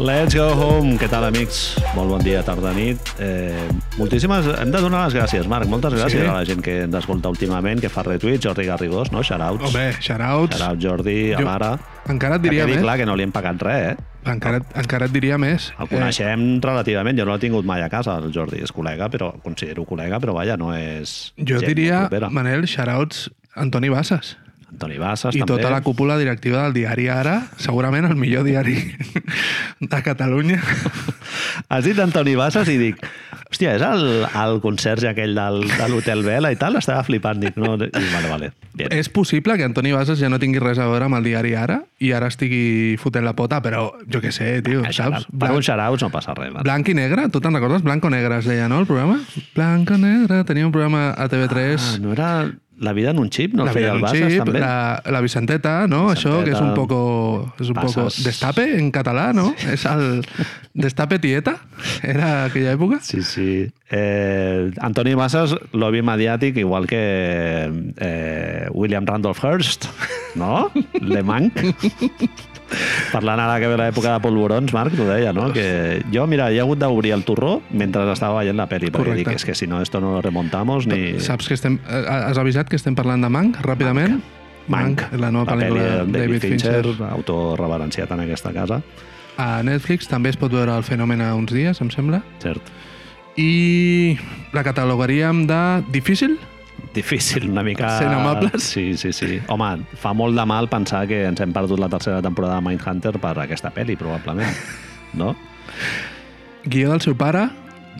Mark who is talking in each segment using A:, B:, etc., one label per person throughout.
A: Let's go home. Què tal, amics? Molt bon dia, tarda, nit. Eh, moltíssimes... Hem de donar les gràcies, Marc. Moltes gràcies
B: Sí.
A: a la gent que ens escolta últimament, que fa retuits, Jordi Garrigós, no? Shoutouts.
B: Home, shoutouts.
A: Shoutouts, Jordi, a
B: Jo-
A: Mare.
B: Encara et
A: Que
B: diria
A: quedi
B: més.
A: clar que no li hem pagat res, eh?
B: Encara, encara et diria més. eh,
A: El coneixem relativament, jo no l'he tingut mai a casa, el Jordi és col·lega, però considero col·lega, però vaja, no és...
B: Eh, jo
A: gent
B: diria,
A: molt propera.
B: Manel, shoutouts Antoni Bassas.
A: Antoni Bassas,
B: I
A: també.
B: tota la cúpula directiva del diari Ara, segurament el millor diari de Catalunya.
A: Has dit Antoni Bassas i dic, hòstia, és el, el conserge aquell del, de l'Hotel Vela i tal? Estava flipant, dic, no... Dic, vale, vale, bien.
B: És possible que Antoni Bassas ja no tingui res a veure amb el diari Ara i ara estigui fotent la pota, però jo què sé, tio,
A: Ah,
B: saps?
A: Per
B: Blanc-
A: un xarauts no passa res. Blanc.
B: Blanc i negre, tu te'n recordes? Blanc o negre es deia, no, el programa? Blanc o negre, tenia un programa a TV3.
A: Ah, no era La vida en un xip? No la feia
B: vida
A: el
B: en un
A: Bassas, també?
B: la, la Vicenteta, ¿no? Eso que es un
A: Vicenteta,
B: poco, es un poco
A: Bassas.
B: destape en catalán, ¿no? Es al destape tieta, era aquella época.
A: Sí, sí. Eh, Antoni Bassas, lobby mediàtic, igual que eh, William Randolph Hearst, no? Le Manc. Parlant ara que ve l'època de polvorons, Marc, t'ho deia, no? Que jo, mira, he hagut d'obrir el torró mentre estava veient la pel·li, perquè
B: Correcte.
A: dic, és que si no, esto no lo remontamos ni...
B: Saps que estem, eh, has avisat que estem parlant de Mank, ràpidament?
A: Manc,
B: la nova pel·lícula de
A: pel·li
B: David, Fincher. Fincher.
A: autor reverenciat en aquesta casa,
B: A Netflix també es pot veure el fenomen a uns dies, em sembla.
A: cert.
B: I la catalogaríem de difícil?
A: Difícil, una mica...
B: Sent amables.
A: Sí, sí, sí. Home, fa molt de mal pensar que ens hem perdut la tercera temporada de Mindhunter per aquesta pel·li, probablement. No?
B: Guió del seu pare,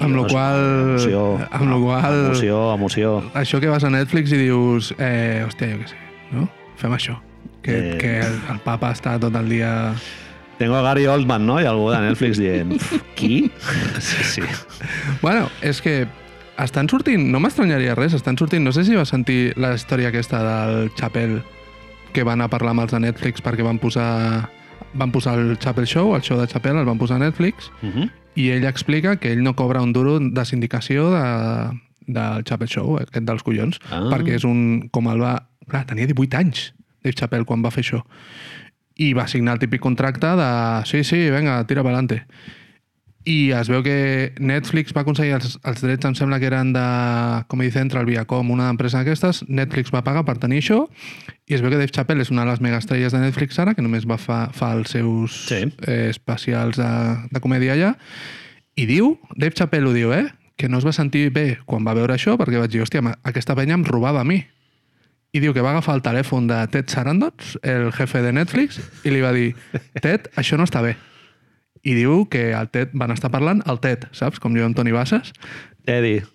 B: amb la qual...
A: Emoció,
B: amb la qual...
A: Emoció, emoció.
B: això que vas a Netflix i dius, eh, hòstia, jo què sé, no? Fem això. Que,
A: Eh.
B: eh... que el, el papa està tot el dia...
A: Tengo a Gary Oldman, no? I algú de Netflix dient... Qui? Sí, sí.
B: Bueno, és que estan sortint, no m'estranyaria res, estan sortint, no sé si vas sentir la història aquesta del Chapel, que van a parlar amb els de Netflix perquè van posar van posar el Chapel Show, el show de Chapel, el van posar a Netflix,
A: Uh -huh.
B: i ell explica que ell no cobra un duro de sindicació de, del Chapel Show, aquest dels collons,
A: Ah.
B: ah. perquè és un... com el va... Clar, tenia 18 anys, Dave Chappelle, quan va fer això. I va signar el típic contracte de sí, sí, venga, tira per adelante. I es veu que Netflix va aconseguir els, els drets, em sembla que eren de, com dic, entre el Viacom, una empresa d'aquestes, Netflix va pagar per tenir això, i es veu que Dave Chappelle és una de les megaestrelles de Netflix ara, que només va fa, fa els seus
A: Sí.
B: eh, especials de, de comèdia allà, i diu, Dave Chappelle ho diu, eh? Que no es va sentir bé quan va veure això perquè vaig dir, hòstia, ma- aquesta penya em robava a mi. I diu que va agafar el telèfon de Ted Sarandon, el jefe de Netflix, i li va dir, Ted, això no està bé. I diu que el Ted van estar parlant, el Ted, saps? Com jo amb Toni Bassas.
A: Eddie,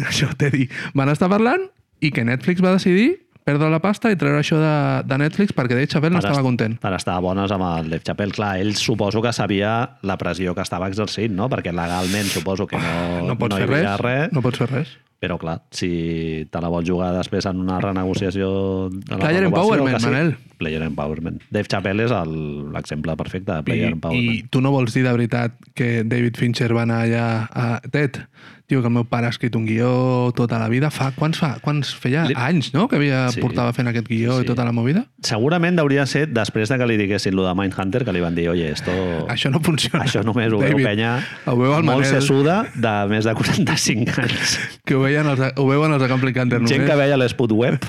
B: Això t'he dit. Van estar parlant i que Netflix va decidir perdre la pasta i treure això de, de Netflix perquè Dave Chappelle no
A: Per
B: estava
A: est-
B: content.
A: Per estar bones amb el Dave Chappelle. Clar, ell suposo que sabia la pressió que estava exercint, no? Perquè legalment suposo que no,
B: Ah, No pots
A: no
B: fer
A: hi havia
B: res,
A: res.
B: No pots fer res.
A: Però clar, si te la vols jugar després en una renegociació... De la
B: Player
A: renovació,
B: empowerment,
A: que sí.
B: Manel.
A: Player empowerment. Dave Chappelle és el- l'exemple perfecte de player
B: I, I
A: empowerment.
B: tu no vols dir de veritat que David Fincher va anar allà a Ted? Tio, que el meu pare ha escrit un guió tota la vida. Fa, quants fa? Quants feia?
A: Li-
B: Anys, no? Que havia
A: Sí.
B: sí. portava fent aquest guió
A: Sí,
B: sí,
A: sí.
B: i tota la movida?
A: Segurament hauria ser després de que li diguessin lo de Mindhunter, que li van dir, oye, esto...
B: Això no funciona.
A: Oh. Això només ho veu
B: David,
A: penya
B: Ho veu el
A: molt
B: Manel,
A: sesuda de més de 45 anys.
B: que ho veuen els, ho veuen els de Camp Canter només.
A: Gent que veia l'Sput Web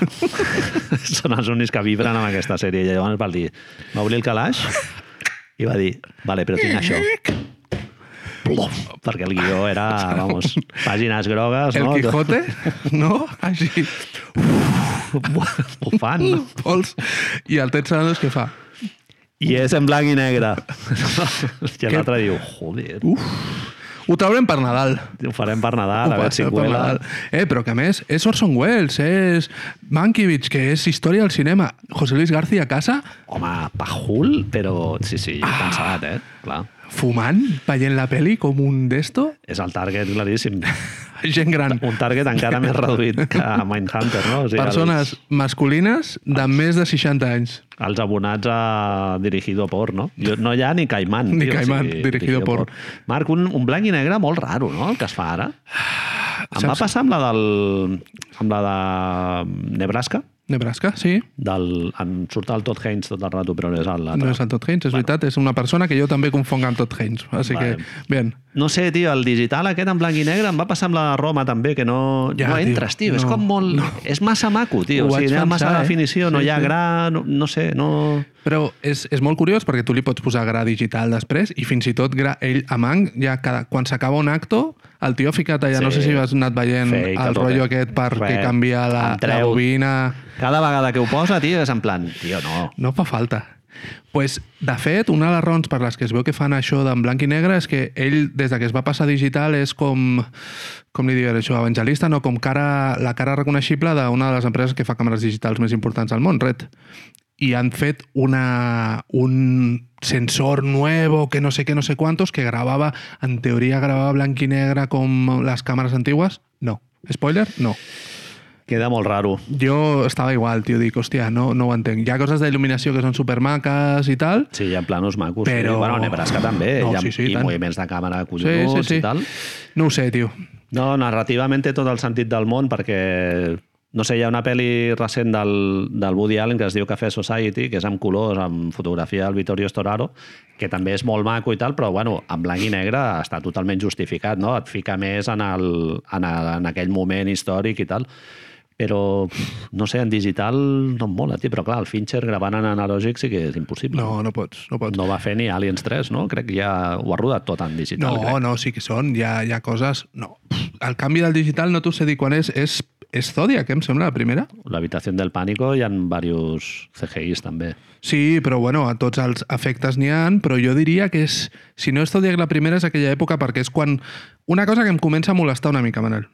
A: són els únics que vibren amb aquesta sèrie. I llavors va dir, va obrir el calaix i va dir, vale, però tinc això. Plof, perquè el guió era, vamos, pàgines grogues,
B: El
A: no?
B: Quijote, no? Així,
A: Bufant, no?
B: pols. I el Ted Sarandos què fa?
A: I és en blanc i negre. I
B: Que-
A: l'altre diu, joder, Uf,
B: Ho traurem per Nadal.
A: ho farem per Nadal, a
B: Ho
A: veure si
B: passa per
A: cuela.
B: Nadal. Eh, però que a més, és Orson Welles, és Mankiewicz, que és història del cinema. José Luis García a casa,
A: Home, pajul, però sí, sí, ah. pensat, eh? Clar,
B: fumant, veient la peli com un d'esto,
A: és el target claríssim.
B: gent gran.
A: Un target encara més reduït que Mindhunter, no? O sigui,
B: Persones masculines de més de 60 anys.
A: els abonats a Dirigido por, no? Jo, no hi ha ni Caimán.
B: Ni
A: tio,
B: Caimán, Dirigido por.
A: Marc, un, un blanc i negre molt raro, no?, el que es fa ara. Em va
B: Ah, Saps-
A: passar amb la del... amb la de Nebraska,
B: Nebraska, sí.
A: Del, en surt el Todd Haynes tot el rato, però no és el- l'altre.
B: No és el Todd Haynes, és veritat. És una persona que jo també confonc amb Todd Haynes. Així
A: Vale.
B: que, bien.
A: No sé, tio, el digital aquest en blanc i negre em va passar amb la de Roma també, que no,
B: Ja,
A: ja, no
B: tio,
A: entres, tio. tio.
B: no,
A: és com molt...
B: no.
A: No. És massa maco, tio.
B: Ho
A: O sigui,
B: vaig
A: hi ha massa
B: pensar, eh?
A: definició, no
B: Sí,
A: hi ha
B: sí.
A: gra, no, no sé, no...
B: Però és, és molt curiós perquè tu li pots posar gra digital després i fins i tot gra ell a mang, ja cada, quan s'acaba un acto, el tio ha ficat allà, sí. no sé
A: Sí.
B: si has anat veient
A: Fake, a
B: el
A: tope.
B: rotllo aquest perquè
A: Res,
B: canvia la,
A: em
B: la
A: treu.
B: bobina...
A: Cada vegada que ho posa, tio, és en plan, tio, no.
B: No fa falta. Pues, de fet, una de les raons per les que es veu que fan això d'en blanc i negre és que ell, des de que es va passar digital, és com, com li diuen això, evangelista, no? Com cara, la cara reconeixible d'una de les empreses que fa càmeres digitals més importants al món, Red. I han fet una, un sensor nuevo, que no sé què, no sé cuántos, que gravava, en teoria gravava blanc i negre com les càmeres antigues. No. Spoiler? No.
A: Queda molt raro.
B: Jo estava igual, tio, dic, hòstia, no, no ho entenc. Hi ha coses d'il·luminació que són supermaques i tal,
A: Sí, hi ha planos macos.
B: Però-
A: Sí. Bueno, Nebraska també.
B: No,
A: hi ha,
B: sí, sí,
A: I
B: tant.
A: moviments de càmera collonuts sí, sí, sí. i tal.
B: No ho sé, tio.
A: No, narrativament té tot el sentit del món perquè no sé, hi ha una pel·li recent del, del Woody Allen que es diu Café Society, que és amb colors, amb fotografia del Vittorio Storaro, que també és molt maco i tal, però bueno, en blanc i negre està totalment justificat, no? Et fica més en, el, en, el, en aquell moment històric i tal. Però, pff, no sé, en digital no em mola, tio, però clar, el Fincher gravant en analògic sí que és impossible.
B: No, no pots, no pots.
A: No va fer ni Aliens 3, no? Crec que ja ho ha rodat tot en digital.
B: No,
A: crec.
B: no, sí que són. Hi ha, hi ha coses... No. El canvi del digital no t'ho sé dir quan és. És, és Zodiac, em sembla, la primera?
A: L'habitació del pànico hi ha diversos CGIs també.
B: Sí, però bueno, a tots els efectes n'hi han, però jo diria que és... Si no és Zodiac la primera, és aquella època, perquè és quan... Una cosa que em comença a molestar una mica, Manel.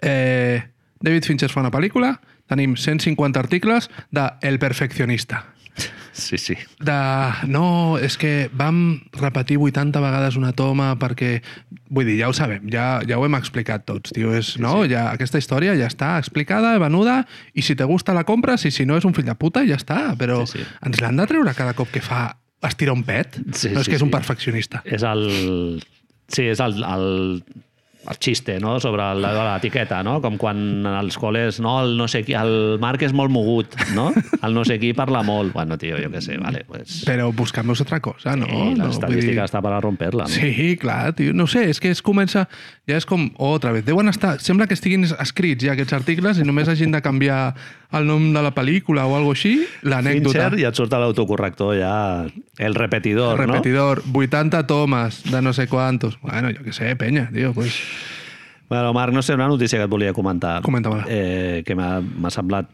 B: Eh, David Fincher fa una pel·lícula, tenim 150 articles de El perfeccionista.
A: Sí, sí.
B: de... No, és que vam repetir 80 vegades una toma perquè... Vull dir, ja ho sabem, ja, ja ho hem explicat tots, tio. És, no? ja, aquesta història ja està explicada, venuda, i si te gusta la compres, i si no és un fill de puta, ja està. Però
A: Sí,
B: sí,
A: sí.
B: sí. ens l'han de treure cada cop que fa estira un pet?
A: Sí,
B: no, és
A: sí,
B: que
A: sí.
B: és un perfeccionista.
A: És el... Sí, és el, el, el xiste, no?, sobre la, de l'etiqueta, no? Com quan als col·les, no, el no sé qui, el Marc és molt mogut, no? El no sé qui parla molt. Bueno, tio, jo què sé, vale, pues...
B: Però buscam-nos altra cosa, no?
A: eh,
B: no,
A: la
B: vull
A: estadística està per a romper-la. No?
B: Sí, clar, tio. No ho sé, és que es comença... Ja és com, oh, otra vez, deuen estar... Sembla que estiguin escrits ja aquests articles i només hagin de canviar el nom de la pel·lícula o alguna així, l'anècdota.
A: Fincher i et surt a l'autocorrector ja... El repetidor, no?
B: Repetidor, 80 tomes de no sé quantos. Bueno, jo què sé, penya, tio, pues...
A: Bueno, Marc, no sé, una notícia que et volia comentar.
B: Comenta-me-la.
A: Eh, que m'ha m'ha semblat,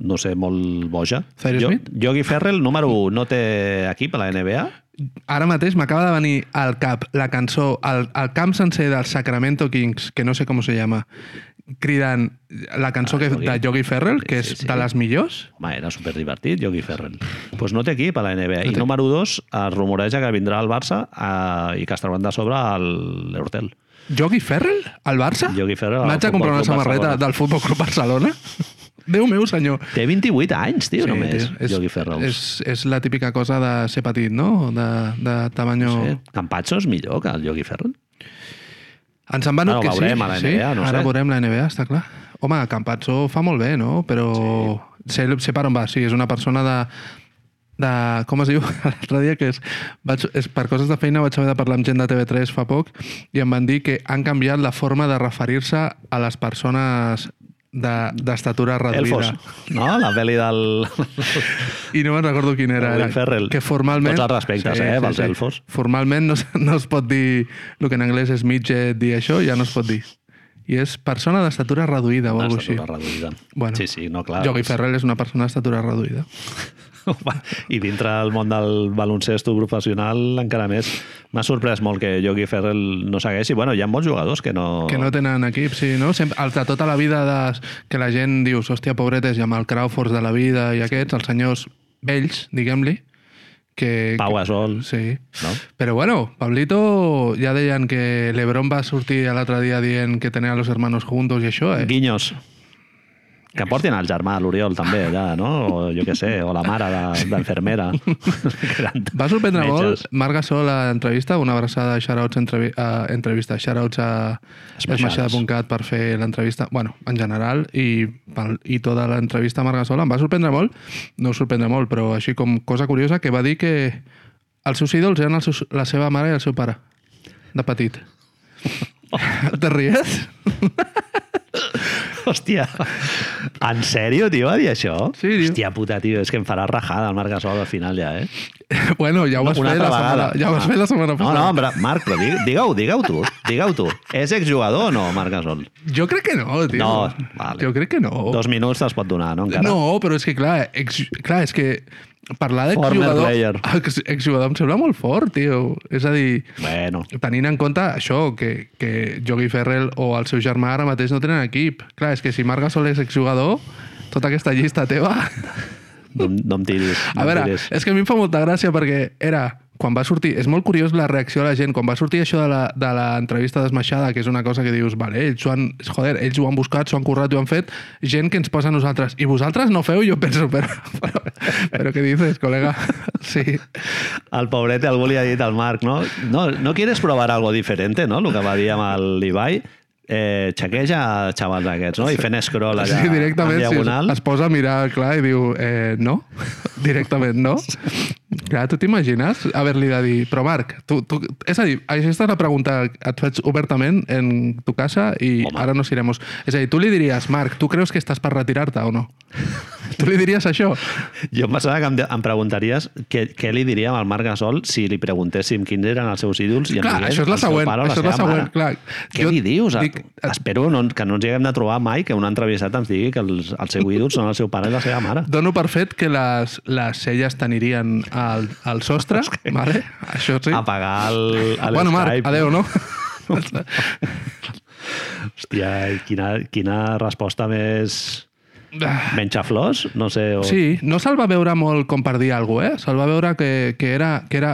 A: no sé, molt boja.
B: Cyrus
A: jo,
B: Smith?
A: Yogi Ferrell, número 1, no té equip a la NBA?
B: Ara mateix m'acaba de venir al cap la cançó, el, el camp sencer del Sacramento Kings, que no sé com se llama, cridant la cançó
A: Ah,
B: que,
A: Yogi.
B: de Yogi Ferrell,
A: Sí,
B: que és
A: sí, sí.
B: de les millors.
A: Home, era superdivertit, Yogi Ferrell. Doncs pues no té equip a la NBA.
B: No
A: I
B: té-
A: número 2, es rumoreja que vindrà al Barça eh, i que es trauran de sobre el l'Hortel.
B: Jogi Ferrell? Al Barça?
A: Yogi Ferrell, al
B: M'haig de
A: Futbol
B: comprar una
A: Club
B: samarreta
A: Barcelona.
B: del Futbol Club Barcelona? Déu meu, senyor.
A: Té 28 anys, tio, sí, només,
B: tio,
A: tio, Yogi Ferrell.
B: És, és la típica cosa de ser petit, no? De, de tamanyo...
A: No sé,
B: Sí.
A: Campazzo és millor que el Yogi Ferrell.
B: Ens en van
A: Ara ho
B: que sí.
A: veurem a la
B: sí.
A: NBA, no
B: Ara
A: sé.
B: veurem la NBA, està clar. Home, Campazzo fa molt bé, no? Però sí. sé, sé per on va. Sí, és una persona de, de... Com es diu? L'altre dia que és, vaig, és, per coses de feina vaig haver de parlar amb gent de TV3 fa poc i em van dir que han canviat la forma de referir-se a les persones de- d'estatura de, reduïda.
A: Elfos, no? La pel·li del...
B: I no me'n recordo quin era.
A: Will
B: era
A: Ferrell.
B: Que formalment...
A: Tots els respectes, eh, pels elfos.
B: Formalment no, es- no es pot dir el que en anglès és midget i això, ja no es pot dir. I és persona d'estatura reduïda o
A: Una
B: alguna així.
A: estatura reduïda.
B: Bueno,
A: sí, sí, no, clar.
B: Jogi Ferrell és una persona d'estatura reduïda.
A: I dintre del món del baloncesto professional encara més. M'ha sorprès molt que Jogi Ferrell no segueix i bueno, hi ha molts jugadors que no...
B: Que no tenen equip, sí, no? Sempre, els de tota la vida de, que la gent dius, hòstia, pobretes, i amb el Crawfords de la vida i aquests, els senyors vells, diguem-li, que...
A: Pau Gasol,
B: que- Sí.
A: no?
B: Pero bueno, Pablito, ya deien que eh? LeBron va sortir l'altre dia dient que tenia los hermanos juntos i això, eh?
A: Guiños. Que portin el germà, l'Oriol, també, allà, no? O jo què sé, o la mare de- d'enfermera. Gran-
B: Va sorprendre
A: Metges.
B: molt Marc Gasol a l'entrevista, una abraçada a shoutouts entrevi a entrevista, shoutouts a
A: Smashades.
B: smashada.cat per fer l'entrevista, bueno, en general, i, pel- i tota l'entrevista a Marc Gasol em va sorprendre molt, no us sorprendre molt, però així com cosa curiosa, que va dir que els seus ídols eren els seus, la seva mare i el seu pare, de petit. Te ries?
A: Hòstia. En sèrio, tio, va dir això?
B: Sí, tio.
A: Hòstia puta, tio, és que em farà rajada el Marc Gasol al final ja, eh?
B: Bueno, ja ho vas fer la setmana, ja ho vas fer la
A: Ah.
B: setmana
A: No,
B: passada.
A: no, però, Marc, però digue- digue-ho, digue-ho tu. Digue-ho tu. És exjugador o no, Marc Gasol?
B: Jo crec que no, tio.
A: No, vale.
B: Jo crec que no.
A: Dos minuts te'ls pot donar, no? Encara.
B: Oh. No, però és que clar, ex, clar és que parlar
A: Former
B: d'exjugador...
A: player.
B: Ex, exjugador em sembla molt fort, tio. És a dir,
A: Bueno,
B: tenint en compte això, que, que Jogi Ferrell o el seu germà ara mateix no tenen equip. Clar, és que si Marc Gasol és exjugador, tota aquesta llista teva...
A: no, em- no em tiris. No
B: A
A: em
B: veure,
A: tiris.
B: és que a mi em fa molta gràcia perquè era quan va sortir, és molt curiós la reacció de la gent, quan va sortir això de la- de l'entrevista de desmaixada, que és una cosa que dius, vale, ells ho han, joder, ells ho han buscat, s'ho han currat, ho han fet, gent que ens posa a nosaltres, i vosaltres no feu, jo penso, però, però, però què dices, col·lega? Sí,
A: El pobret algú li ha dit al Marc, no? No, no quieres probar algo diferente, no? El que va dir amb l'Ibai. Eh, xequeja els xavals aquests, no? I fent scroll allà
B: sí directament
A: en
B: si es,
A: diagonal.
B: es posa a mirar, clar, i diu, eh, no, directament no. Clar, tu t'imagines haver-li de dir, però Marc, tu, tu, és a dir, aquesta és la pregunta que et faig obertament en tu casa i
A: Home.
B: Home. ara nos iremos. És a dir, tu li diries, Marc, tu creus que estàs per retirar-te o no? tu li diries això?
A: Jo em pensava que em, de- em preguntaries què, què li diríem al Marc Gasol si li preguntéssim quins eren els seus ídols i em
B: Clar,
A: digués
B: això és la
A: el seu
B: següent,
A: pare o
B: això és la
A: seva
B: següent,
A: mare.
B: clar.
A: Què
B: Jo
A: li dius?
B: dic- eh,
A: Dic... Espero no, que no ens hi haguem de trobar mai que un entrevistat ens digui que els, els seus ídols són el seu pare i la seva mare.
B: Dono per fet que les, les celles t'anirien al, al sostre, vale? Això sí.
A: Apagar el, el
B: bueno, Marc,
A: Skype.
B: adeu, no?
A: Hòstia, quina, quina resposta més... Menxaflors? No sé... O...
B: Sí, no se'l va veure molt com per dir alguna cosa, eh? Se'l va veure que, que, era, que era...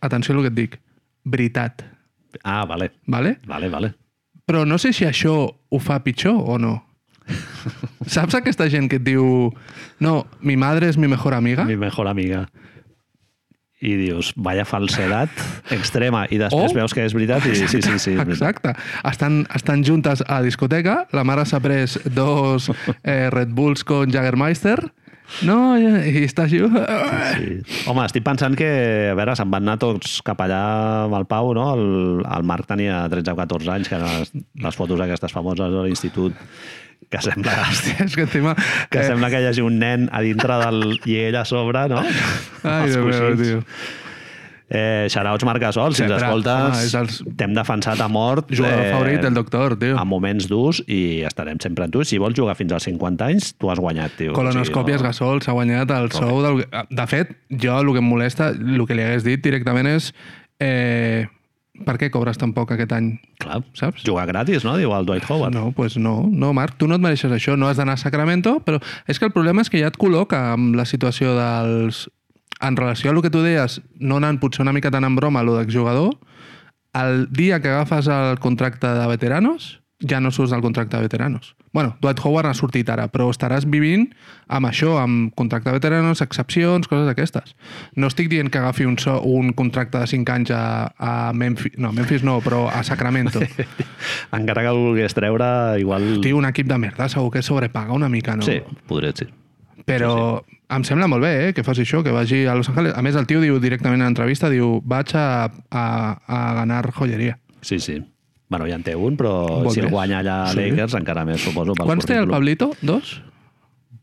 B: Atenció al que et dic. Veritat,
A: Ah, vale.
B: vale?
A: Vale, vale.
B: Però no sé si això ho fa pitjor o no. Saps aquesta gent que et diu no, mi madre és mi mejor amiga?
A: Mi mejor amiga. I dius, vaya falsedat extrema. I després
B: O-
A: veus que és veritat i sí, sí, sí. és veritat.
B: Exacte. Estan, estan juntes a la discoteca, la mare s'ha pres dos eh, Red Bulls con Jagermeister, no, i està així...
A: Sí. Home, estic pensant que, a veure, se'n van anar tots cap allà amb el Pau, no? El, el Marc tenia 13 o 14 anys, que eren les, les fotos aquestes famoses de l'institut, que sembla...
B: És que encima... eh,
A: Que sembla que hi hagi un nen a dintre del i ell a sobre, no?
B: Ai,
A: Els
B: Déu meu,
A: coixins.
B: tio.
A: Eh, xarauts Marc Gasol, si ens
B: Sempre.
A: escoltes,
B: Home, és els-
A: t'hem defensat a mort.
B: Jugador favorit del doctor, tio.
A: A moments durs i estarem sempre amb tu. Si vols jugar fins als 50 anys, tu has guanyat, tio.
B: Colonoscòpies,
A: no?
B: Gasol, s'ha guanyat el sou del... Ah, De fet, jo el que em molesta, el que li hagués dit directament és eh, per què cobres tan poc aquest any?
A: Clar,
B: Saps?
A: Jugar gratis, no? Diu el Dwight Howard.
B: No, pues no, no, Marc, tu no et mereixes això, no has d'anar a Sacramento, però és que el problema és que ja et col·loca amb la situació dels... En relació a el que tu deies, no anant potser una mica tan en broma a lo d'exjugador, el dia que agafes el contracte de veteranos, ja no surts del contracte de veteranos. bueno, Dwight Howard ha sortit ara, però estaràs vivint amb això, amb contracte de veteranos, excepcions, coses d'aquestes. No estic dient que agafi un, so, un contracte de 5 anys a, a Memphis, no, Memphis no, però a Sacramento.
A: Encara que el vulguis treure, igual...
B: Tio, un equip de merda segur que sobrepaga una mica, no?
A: Sí, podria ser.
B: Però em sembla molt bé eh, que faci això, que vagi a Los Angeles. A més, el tio diu directament a l'entrevista, diu, vaig a, a, a ganar joieria.
A: Sí, sí. Bueno, ja en té un, però
B: Bon
A: si el
B: més.
A: guanya allà a
B: Sí.
A: Lakers, encara més, suposo. pel
B: Quants té el
A: currículum.
B: Pablito? Dos?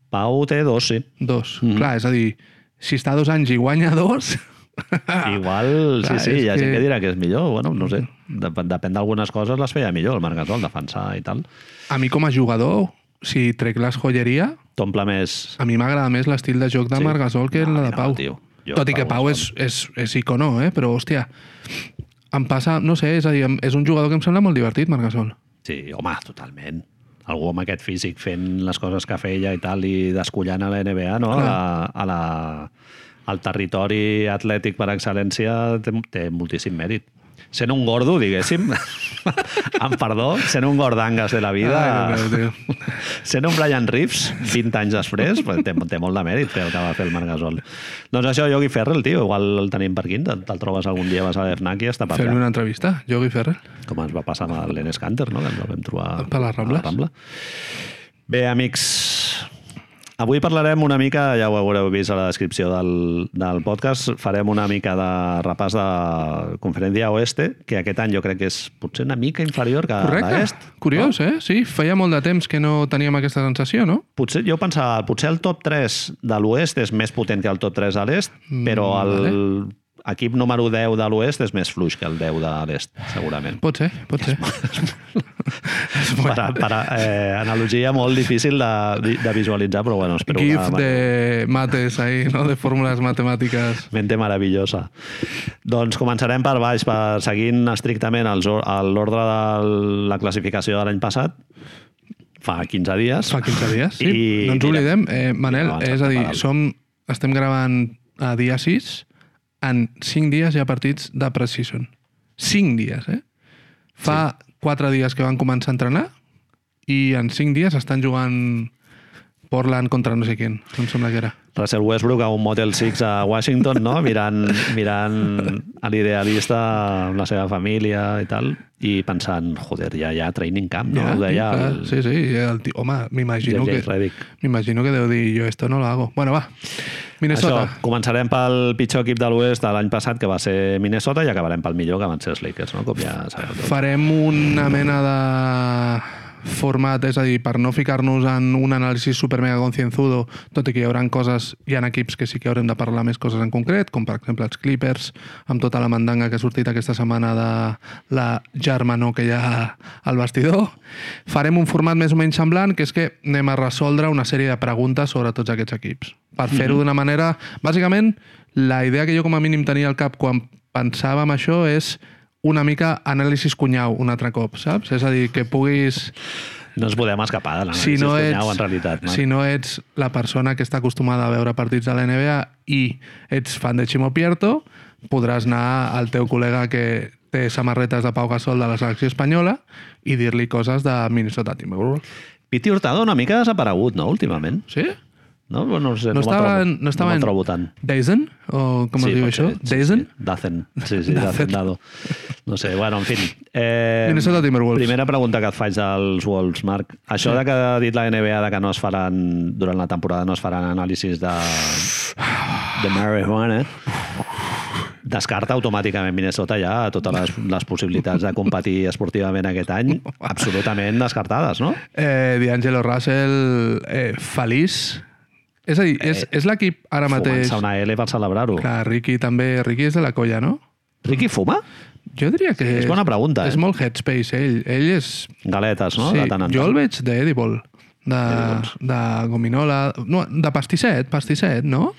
A: Pau té dos, sí.
B: Dos.
A: Mhm.
B: Mm -hmm. Clar, és a dir, si està dos anys i guanya dos...
A: Igual, sí,
B: Ah, Clar,
A: sí,
B: és
A: hi ha gent
B: que-
A: que dirà que és millor, bueno, no sé, dep depèn d'algunes coses les feia millor, el Marc Gasol, defensar i tal.
B: A mi com a jugador, si trec les joieria,
A: T'omple més...
B: a mi m'agrada més l'estil de joc de
A: Sí.
B: sí. Marc Gasol que
A: No,
B: la de
A: no,
B: Pau.
A: tio. Jo,
B: Tot i que
A: Pau
B: Pau
A: és
B: és, és, és icono, eh? però hòstia, em passa, no sé, és a dir, em- és un jugador que em sembla molt divertit, Marc Gasol.
A: Sí, home, totalment. Algú amb aquest físic fent les coses que feia i tal, i descollant a la NBA, no? A la, a la, al territori atlètic per excel·lència té, té moltíssim mèrit. sent un gordo, diguéssim, amb perdó, sent un gordangas de la vida,
B: Ai, Déu meu, tio.
A: sent un Brian Reeves 20 anys després, però té, té molt de mèrit el que va fer el Marc Gasol. Doncs això, Yogi Ferrell, tio, igual el tenim per aquí, te'l te trobes algun dia, vas a l'Ernac i està per
B: Fer-li
A: allà.
B: una entrevista, Jogi Ferrer.
A: Com ens va passar amb l'Enes Canter, no? que ens el vam trobar
B: Per les Rambles.
A: a la Rambla. Bé, amics, avui parlarem una mica, ja ho haureu vist a la descripció del, del podcast, farem una mica de repàs de Conferència Oeste, que aquest any jo crec que és potser una mica inferior que
B: Correcte.
A: l'Est.
B: Curiós, eh? Sí, feia molt de temps que no teníem aquesta sensació, no?
A: Potser, jo pensava, potser el top 3 de l'Oest és més potent que el top 3 de l'Est, però
B: Mm,
A: el equip número 10 de l'Oest és més fluix que el 10 de l'Est, segurament.
B: Pot ser, pot ser.
A: per, a- per a- eh, analogia molt difícil de, de visualitzar, però bueno, espero
B: GIF
A: que...
B: de mates ahí, no? De fórmules matemàtiques.
A: Mente meravellosa. Doncs començarem per baix, per seguint estrictament els or- el- l'ordre de la classificació de l'any passat, fa 15 dies.
B: Fa 15 dies, sí.
A: I
B: no ens
A: direm-
B: oblidem. Eh, Manel,
A: Mira, abans
B: és
A: de
B: a dir,
A: preparar-lo.
B: som, estem gravant a dia 6, en 5 dies hi ha partits de preseason. 5 dies, eh? Fa 4 dies que van començar a entrenar i en 5 dies estan jugant Portland contra no sé quin, em sembla que era.
A: Russell Westbrook a un Motel 6 a Washington, no? mirant, mirant a l'idealista amb la seva família i tal, i pensant, joder, ja hi ha training camp, no?
B: Ja,
A: Ho deia
B: clar,
A: el
B: Sí, sí, el tio, home, m'imagino
A: JJ
B: que...
A: Redick.
B: M'imagino que deu dir, jo esto no lo hago. Bueno, va, Minnesota.
A: Això, començarem pel pitjor equip de l'Oest de l'any passat, que va ser Minnesota, i acabarem pel millor, que van ser els Lakers, no? Com ja sabeu. tots.
B: Farem una mena de format, és a dir, per no ficar-nos en un anàlisi super mega concienzudo, tot i que hi haurà coses, hi ha equips que sí que haurem de parlar més coses en concret, com per exemple els Clippers, amb tota la mandanga que ha sortit aquesta setmana de la germanor que hi ha al vestidor. Farem un format més o menys semblant, que és que anem a resoldre una sèrie de preguntes sobre tots aquests equips. Per fer-ho d'una manera... Bàsicament, la idea que jo com a mínim tenia al cap quan pensàvem això és una mica anàlisis cunyau un altre cop, saps? És a dir, que puguis...
A: No ens podem escapar de l'anàlisi
B: Si no, ets,
A: en realitat.
B: si
A: Si...
B: no ets la persona que està acostumada a veure partits de la NBA i ets fan de Chimo Pierto, podràs anar al teu col·lega que té samarretes de Pau Gasol de la selecció espanyola i dir-li coses de Minnesota Timberwolves.
A: Piti Hurtado una mica desaparegut, no?, últimament.
B: Sí?
A: No, no, no sé, no,
B: No, estava,
A: me'l
B: en-
A: trobo,
B: no estava
A: no me'l
B: en
A: trobo tant.
B: Dazen? O com es diu
A: pot
B: això?
A: ser,
B: Dazen?
A: Sí, Dazen, sí, sí, Dazen Dado. No sé, bueno, en fi. Eh,
B: Minnesota Timberwolves.
A: Primera pregunta que et faig dels Wolves, Marc. Això sí. de que ha dit la NBA de que no es faran, durant la temporada no es faran anàlisis de, de marihuana, descarta automàticament Minnesota ja totes les, les possibilitats de competir esportivament aquest any absolutament descartades, no?
B: Eh, D'Angelo Russell, eh, feliç. És a dir, és, és l'equip ara mateix...
A: Eh, Fumant-se una L per celebrar-ho.
B: Clar, Ricky també... Ricky és de la colla, no?
A: Ricky fuma?
B: Jo diria que...
A: És bona pregunta, eh?
B: És molt headspace, ell. Ell és...
A: Galetes, no?
B: sí,
A: de tant en
B: jo
A: tant.
B: el veig d'edible, de, de gominola, no, de pastisset, pastisset, no?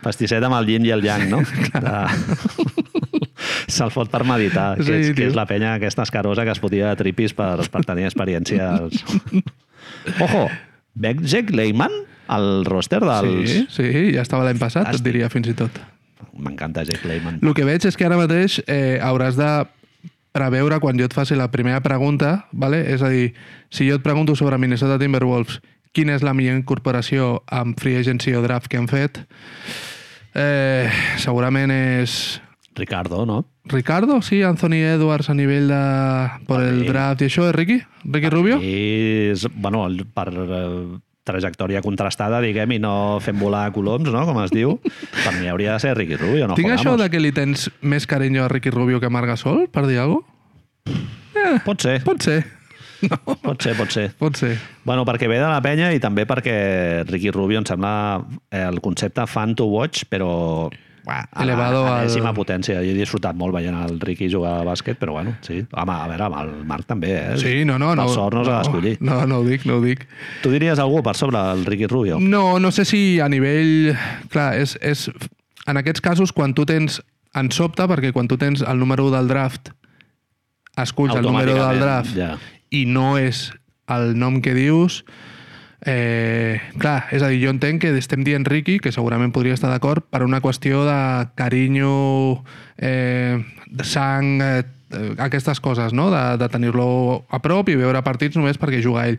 A: Pastisset amb el yin i el yang, no? De... Se'l fot per meditar, que,
B: Sí,
A: és, que
B: tio.
A: és la penya aquesta escarosa que es fotia de tripis per, per tenir experiències. Ojo, veig Jack Lehman al roster dels...
B: Sí, sí, ja estava l'any passat,
A: Fantàstic.
B: et diria fins i tot.
A: M'encanta Jack Lehman.
B: El que veig és que ara mateix eh, hauràs de preveure quan jo et faci la primera pregunta, vale? és a dir, si jo et pregunto sobre Minnesota Timberwolves, quina és la millor incorporació amb free agency o draft que han fet, eh, segurament és
A: Ricardo, no?
B: Ricardo, sí, Anthony Edwards a nivell de... per el draft i això, eh, Ricky? Ricky Rubio?
A: I és, bueno, el- per eh, trajectòria contrastada, diguem, i no fent volar coloms, no?, com es diu, per mi hauria de ser Ricky Rubio, no
B: Tinc això
A: jugamos.
B: de que li tens més carinyo a Ricky Rubio que a Marc Gasol, per dir alguna cosa?
A: Pot ser,
B: Pot ser,
A: pot ser, pot ser.
B: pot ser.
A: Bueno, perquè ve de la penya i també perquè Ricky Rubio em sembla eh, el concepte fan to watch, però buah, a
B: Elevado
A: la
B: al-
A: enèsima potència. Jo he disfrutat molt veient el Ricky jugar a bàsquet, però bueno, sí. Home, a veure, amb el Marc també, eh?
B: Sí, no, no.
A: Per
B: no
A: sort no, s'ha d'escollir.
B: No, no ho dic, no ho dic.
A: Tu diries algú per sobre el Ricky Rubio?
B: No, no sé si a nivell... Clar, és, és... En aquests casos, quan tu tens... En sobte, perquè quan tu tens el número 1 del draft, esculls el número del
A: Automàticament,
B: draft
A: ja.
B: i no és el nom que dius, Eh, clar, és a dir, jo entenc que estem dient Ricky, que segurament podria estar d'acord, per una qüestió de carinyo, eh, de sang, eh, eh, aquestes coses, no? De, de tenir-lo a prop i veure partits només perquè juga ell.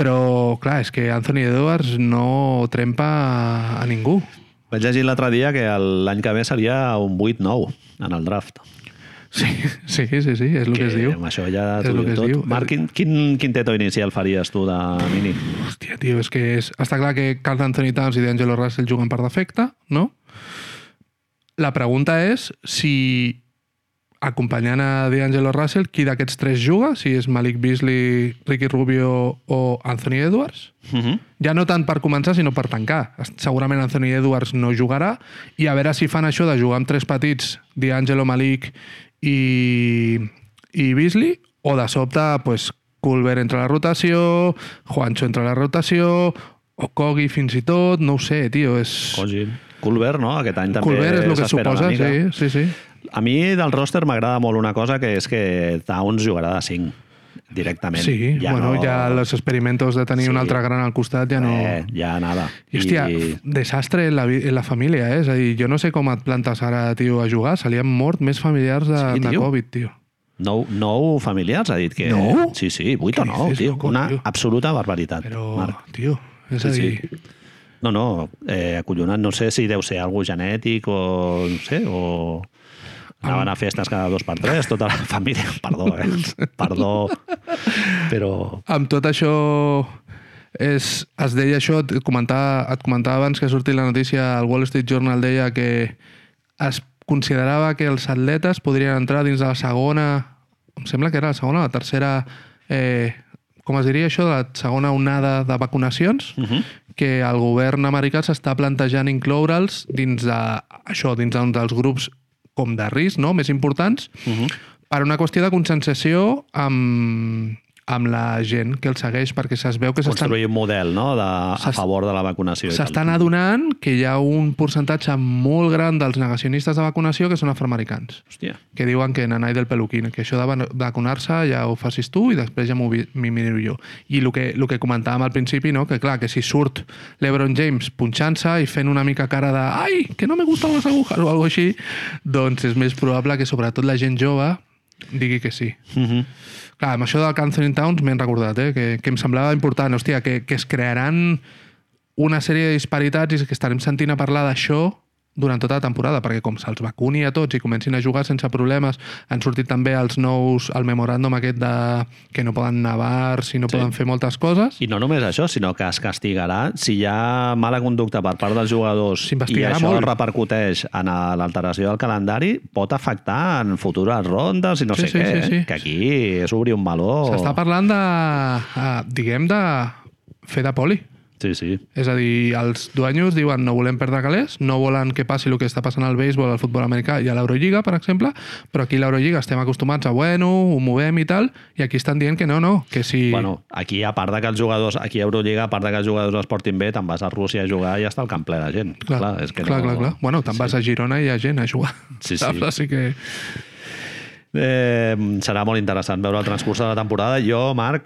B: Però, clar, és que Anthony Edwards no trempa a- a ningú.
A: Vaig llegir l'altre dia que el- l'any que ve seria un 8-9 en el draft.
B: Sí, sí, sí, sí és el que, es diu.
A: Amb això ja
B: És
A: t'ho
B: el que
A: diu
B: es
A: tot.
B: diu.
A: Marc, quin, quin quinteto inicial faries tu de mini?
B: Hòstia, tio, és que és... està clar que Carl Anthony Towns i D'Angelo Russell juguen per defecte, no? La pregunta és si acompanyant a D'Angelo Russell, qui d'aquests tres juga? Si és Malik Beasley, Ricky Rubio o Anthony Edwards?
A: Uh -huh.
B: Ja no tant per començar, sinó per tancar. Segurament Anthony Edwards no jugarà i a veure si fan això de jugar amb tres petits, D'Angelo Malik i, i Beasley, o de sobte, pues, Culver entra a la rotació, Juancho entra a la rotació, o Kogi fins i tot, no ho sé, tio, és...
A: Culver, no? Aquest any també
B: Culver és el que
A: s'espera una
B: suposa,
A: mica.
B: sí, sí, sí.
A: A mi del roster m'agrada molt una cosa, que és que Towns jugarà de 5 directament.
B: Sí, ja bueno,
A: no-
B: no... ja els experimentos de tenir
A: Sí.
B: sí. un altre gran al costat ja no...
A: Eh, ja nada.
B: I, hòstia, I... desastre en la, vi- en la família, eh? És a dir, jo no sé com et plantes ara, tio, a jugar. Se li han mort més familiars de,
A: Sí,
B: sí, de
A: tio.
B: Covid, tio.
A: Nou, nou familiars ha dit que...
B: Nou?
A: Sí, sí, 8
B: Què
A: o 9,
B: dices,
A: tio.
B: loco,
A: Una
B: tio?
A: absoluta barbaritat,
B: Però,
A: Marc.
B: tio, és
A: Sí,
B: a
A: sí.
B: dir...
A: No, no, eh, acollonat, no sé si deu ser algo genètic o no sé, o anaven a festes cada dos per tres, tota la família, perdó, eh? perdó, però
B: Amb tot això... És, es deia això, et comentava, et comentava abans que ha sortit la notícia, el Wall Street Journal deia que es considerava que els atletes podrien entrar dins de la segona... Em sembla que era la segona o la tercera... Eh, com es diria això? La segona onada de vacunacions?
A: uh -huh.
B: que el govern americà s'està plantejant incloure'ls dins de, això, dins d'un dels grups com de risc, no?, més importants,
A: Uh -huh.
B: per una qüestió de conscienciació amb, amb la gent que el segueix, perquè es veu que s'estan
A: construir un model no? de, a
B: S'est-
A: favor de la vacunació. i tal.
B: s'estan adonant que hi ha un percentatge molt gran dels negacionistes de vacunació que són afroamericans
A: Hòstia,
B: que diuen que nanai del peluquín, que això de va- vacunar-se ja ho facis tu i després ja m'ho vi- m'hi miro jo. I el que, el que comentàvem al principi, no? que clar, que si surt l'Ebron James punxant-se i fent una mica cara de ai, que no me gustan les agujas o alguna així, doncs és més probable que sobretot la gent jove digui que sí.
A: uh -huh.
B: Clar, amb això del Cancer in Towns m'he recordat, eh? que, que em semblava important, hòstia, que, que es crearan una sèrie de disparitats i que estarem sentint a parlar d'això durant tota la temporada, perquè com se'ls vacuni a tots i comencin a jugar sense problemes, han sortit també els nous, el memoràndum aquest de que no poden anar a bars i no
A: Sí.
B: sí. poden fer moltes coses.
A: I no només això, sinó que es castigarà si hi ha mala conducta per part dels jugadors i
B: S'investigarà
A: això
B: molt.
A: repercuteix en a- l'alteració del calendari, pot afectar en futures rondes i no
B: Sí,
A: sé
B: sí,
A: què,
B: sí, sí.
A: que aquí és obrir un valor.
B: S'està parlant de, eh, diguem, de fer de poli.
A: Sí, sí.
B: És a dir, els duanyos diuen no volem perdre calés, no volen que passi el que està passant al béisbol, al futbol americà i a l'Eurolliga, per exemple, però aquí a l'Eurolliga estem acostumats a, bueno, ho movem i tal, i aquí estan dient que no, no, que si...
A: Bueno, aquí a part de que els jugadors, aquí a Euroliga, a part de que els jugadors es portin bé, te'n vas a Rússia a jugar i ja està el camp ple de gent.
B: clar,
A: clar, és que
B: clar,
A: no...
B: clar, clar. Bueno, te'n vas a Girona i hi ha gent a jugar.
A: Sí, sí.
B: Saps? Així que...
A: Eh, serà molt interessant veure el transcurs de la temporada. Jo, Marc,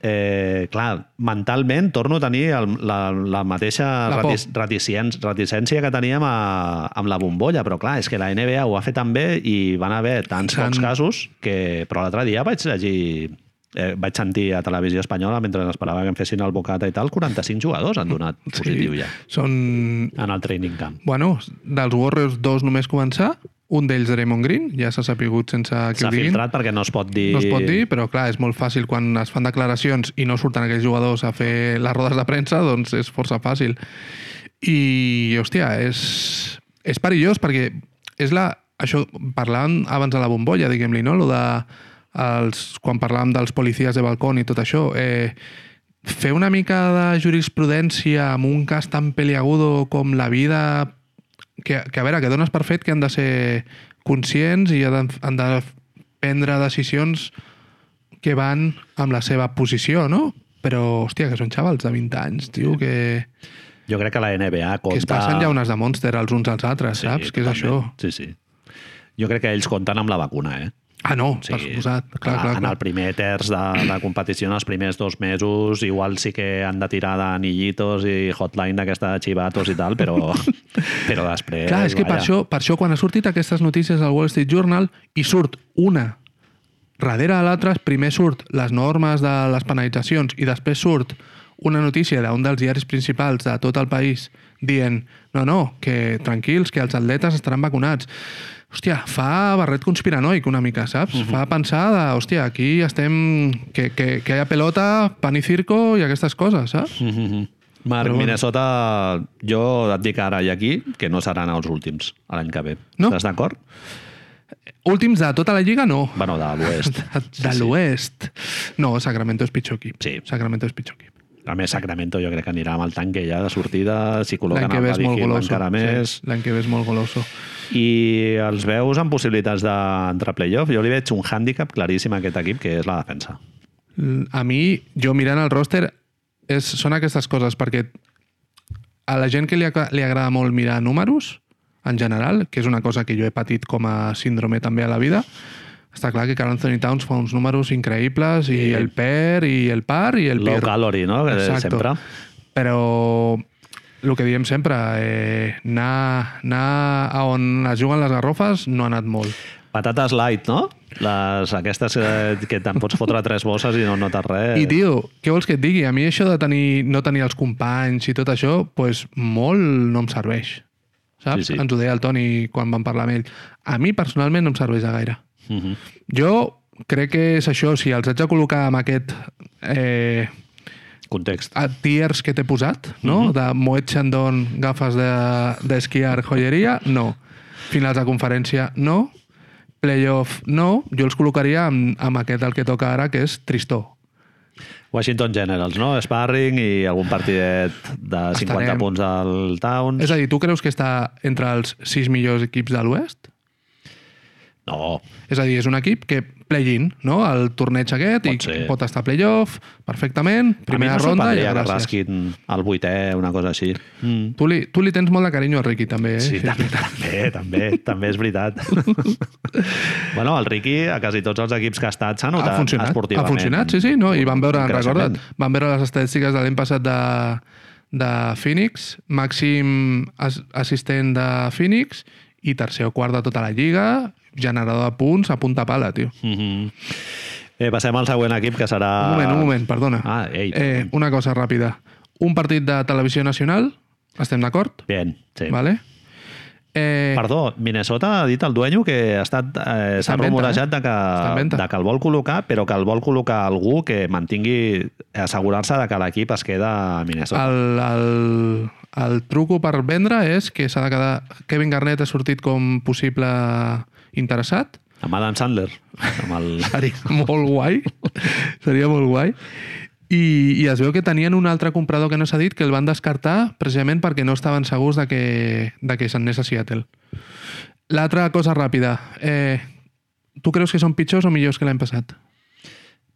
A: eh, clar, mentalment torno a tenir el, la, la mateixa
B: La por.
A: retic, reticien- reticència que teníem a, amb la bombolla, però clar, és que la NBA ho ha fet tan bé i van haver tants
B: Tant.
A: pocs casos que... Però l'altre dia vaig llegir... Eh, vaig sentir a televisió espanyola mentre esperava que em fessin el bocata i tal, 45 jugadors han donat positiu ja
B: Són
A: en el training camp.
B: Bueno, dels Warriors dos només començar, un d'ells Draymond Green, ja s'ha sapigut sense que
A: S'ha
B: ho diguin.
A: filtrat perquè no es pot dir...
B: No es pot dir, però clar, és molt fàcil quan es fan declaracions i no surten aquells jugadors a fer les rodes de premsa, doncs és força fàcil. I, hòstia, és, és perillós perquè és la... Això, parlàvem abans de la bombolla, diguem-li, no? Lo de els, quan parlàvem dels policies de balcó i tot això, eh, fer una mica de jurisprudència amb un cas tan peliagudo com la vida que, que a veure, que dones per fet que han de ser conscients i han de, han de prendre decisions que van amb la seva posició, no? Però, hòstia, que són xavals de 20 anys, tio, que,
A: Jo crec que la NBA compta...
B: que es passen ja unes de Monster els uns als altres, saps? Que és
A: totalment.
B: això.
A: Sí, sí. Jo crec que ells compten amb la vacuna, eh?
B: Ah, no,
A: O
B: sí. per
A: sigui,
B: suposat. Clar, clar,
A: en
B: clar.
A: el primer terç de, de competició, en els primers dos mesos, igual sí que han de tirar d'anillitos i hotline d'aquesta de xivatos i tal, però, però després...
B: Clar, és que per
A: Eh, vaja.
B: això, per això quan ha sortit aquestes notícies al Wall Street Journal i surt una darrere de l'altra, primer surt les normes de les penalitzacions i després surt una notícia d'un dels diaris principals de tot el país dient no, no, que tranquils, que els atletes estaran vacunats. Hòstia, fa barret conspiranoic una mica, saps? Fa pensar de, hòstia, aquí estem... Que, que, que hi ha pelota, pan i circo i aquestes coses, saps?
A: Mhm. Marc,
B: Però bueno.
A: Minnesota, jo et dic ara i aquí que no seran els últims a l'any que ve.
B: No.
A: Estàs d'acord?
B: Últims de tota la lliga, no.
A: Bueno, de l'oest.
B: De, de l'oest. No, Sacramento és pitjor equip.
A: Sí.
B: Sacramento és pitjor equip.
A: A més, Sacramento jo crec que anirà amb el tanque ja de sortida, si
B: L'any
A: col·loquen
B: que
A: el
B: ve és
A: Buddy
B: molt
A: Hill
B: goloso.
A: encara més.
B: Sí, L'any que ve és molt goloso.
A: I els veus amb possibilitats d'entrar a playoff? Jo li veig un hàndicap claríssim a aquest equip, que és la defensa.
B: L- A mi, jo mirant el roster, és, són aquestes coses, perquè a la gent que li, aca- li agrada molt mirar números, en general, que és una cosa que jo he patit com a síndrome també a la vida, està clar que Carl Anthony Towns fa uns números increïbles, i
A: Sí.
B: el per, i el par, i el
A: Low
B: per.
A: calorie, no? Que
B: Exacto.
A: Eh, Sempre.
B: Però el que diem sempre, eh, anar, anar a on es juguen les garrofes no ha anat molt.
A: Patates light, no? Les, aquestes eh, que, que te'n pots fotre tres bosses i no notes res.
B: I, tio, què vols que et digui? A mi això de tenir, no tenir els companys i tot això, pues, molt no em serveix. Saps?
A: Sí, sí.
B: Ens ho deia el Toni quan vam parlar amb ell. A mi, personalment, no em serveix de gaire.
A: Mhm.
B: Jo crec que és això, si els haig de col·locar amb aquest... Eh,
A: Context.
B: a tiers que t'he posat, no?
A: Mhm.
B: De Moet Chandon, gafes de- d'esquiar, de, joieria, no. Finals de conferència, no. Playoff, no. Jo els col·locaria amb, amb aquest el que toca ara, que és Tristó.
A: Washington Generals, no? Sparring i algun partidet de 50
B: Estarem.
A: punts al Towns.
B: És a dir, tu creus que està entre els sis millors equips de l'Oest?
A: No,
B: És a dir, és un equip que play-in, no? El torneig aquest,
A: Pot
B: i
A: ser.
B: pot estar a playoff, perfectament, primera
A: a mi no
B: ronda, i
A: sorprendria
B: ja,
A: que
B: gràcies.
A: rasquin el vuitè, una cosa així. Mm.
B: Tu li, tu li tens molt de carinyo al Ricky, també, eh?
A: Sí, també, també, també, també és veritat. bueno, el Ricky a quasi tots els equips que ha estat s'ha notat
B: ha funcionat, ha
A: esportivament.
B: funcionat, sí, sí, no? I vam veure,
A: Un
B: recorda't,
A: creixement.
B: vam veure les estadístiques de l'any passat de, de Phoenix, màxim as, assistent de Phoenix i tercer o quart de tota la lliga, generador de punts a punta pala, tio.
A: Mhm. Bé, passem al següent equip que serà...
B: Un moment, un moment, perdona.
A: Ah, ei.
B: eh, una cosa ràpida. Un partit de televisió nacional, estem d'acord?
A: Bien, sí.
B: Vale? Eh,
A: Perdó, Minnesota ha dit al dueño que ha estat eh, s'ha
B: en venda,
A: rumorejat de que,
B: en venda.
A: de que el vol col·locar, però que el vol col·locar algú que mantingui, assegurar-se de que l'equip es queda a Minnesota.
B: El, el, el truco per vendre és que s'ha de quedar... Kevin Garnett ha sortit com possible interessat.
A: Amb Adam Sandler. Amb el...
B: Seria molt guai. Seria molt guai. I, I es veu que tenien un altre comprador que no s'ha dit que el van descartar precisament perquè no estaven segurs de que, de que se'n anés a Seattle. L'altra cosa ràpida. Eh, tu creus que són pitjors o millors que l'any passat?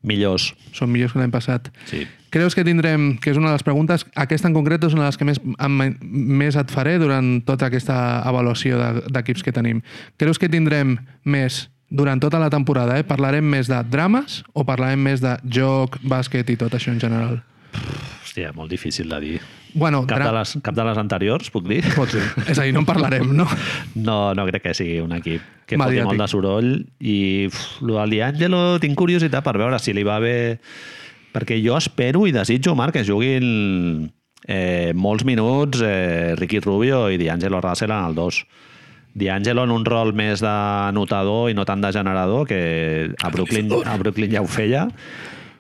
A: Millors.
B: Són millors que l'any passat.
A: Sí.
B: Creus que tindrem, que és una de les preguntes, aquesta en concret és una de les que més, em- més et faré durant tota aquesta avaluació de- d'equips que tenim. Creus que tindrem més durant tota la temporada, eh? parlarem més de drames o parlarem més de joc, bàsquet i tot això en general?
A: Hòstia, molt difícil de dir.
B: Bueno,
A: Cap de
B: dra-
A: les, cap de les anteriors, puc dir?
B: pot ser. És a dir, no en parlarem, no?
A: No, no crec que sigui un equip que foti
B: Mediàtic.
A: molt de soroll i uf, lo del D'Angelo tinc curiositat per veure si li va bé perquè jo espero i desitjo, Marc, que juguin eh, molts minuts eh, Ricky Rubio i D'Angelo Russell en el 2 D'Angelo en un rol més de notador i no tant de generador que a Brooklyn, a Brooklyn ja ho feia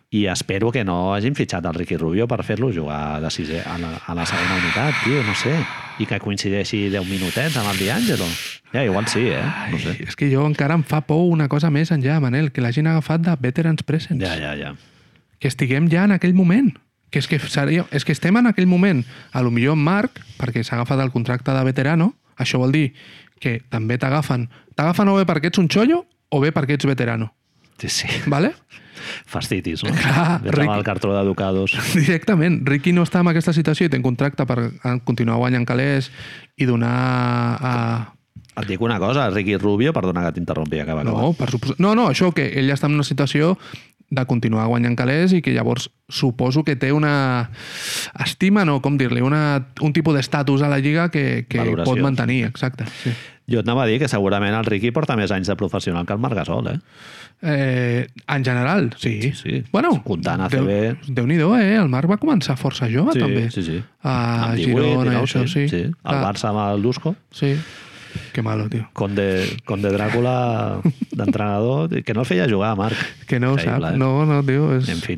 A: i espero que no hagin fitxat el Ricky Rubio per fer-lo jugar de sisè, a, la, a la segona unitat, tio, no sé. I que coincideixi 10 minutets amb el D'Angelo. Ja, igual sí, eh? No sé.
B: Ai, és que jo encara em fa por una cosa més enllà, Manel, que l'hagin agafat de Veterans Presents.
A: Ja, ja, ja.
B: que estiguem ja en aquell moment. Que és que, seria, és que estem en aquell moment. A lo millor en Marc, perquè s'ha agafat el contracte de veterano, això vol dir que també t'agafen. T'agafen o bé perquè ets un xollo o bé perquè ets veterano.
A: Sí, sí.
B: Vale?
A: Fastitis, no?
B: Clar,
A: Vés amb
B: Ricky-
A: el cartró d'educados.
B: Directament. Ricky no està en aquesta situació i té un contracte per eh, continuar guanyant calés i donar a,
A: Et dic una cosa, Ricky Rubio, perdona que t'interrompi, acaba. acaba.
B: No, per suposar... no, no, això que ell està en una situació de continuar guanyant calés i que llavors suposo que té una estima, no, com dir-li, una... un tipus d'estatus a la Lliga que, que
A: Valoració,
B: pot mantenir, exacte. Sí.
A: Jo et anava a dir que segurament el Ricky porta més anys de professional que el Marc Gasol, eh?
B: Eh, en general, sí.
A: Sí, sí.
B: Bueno,
A: Comptant ACB.
B: Déu- Déu-n'hi-do, eh? El Marc va començar força jove,
A: Sí,
B: també.
A: sí, sí.
B: A
A: Amb 18,
B: Girona,
A: 19,
B: això, sí.
A: sí. El
B: Clar,
A: Barça amb el Lusco.
B: Sí. Que malo, tio.
A: Conde, Conde Dràcula d'entrenador, que no el feia jugar, Marc.
B: Que no ho sap.
A: Increïble, eh?
B: No, no, tio. És...
A: En fi.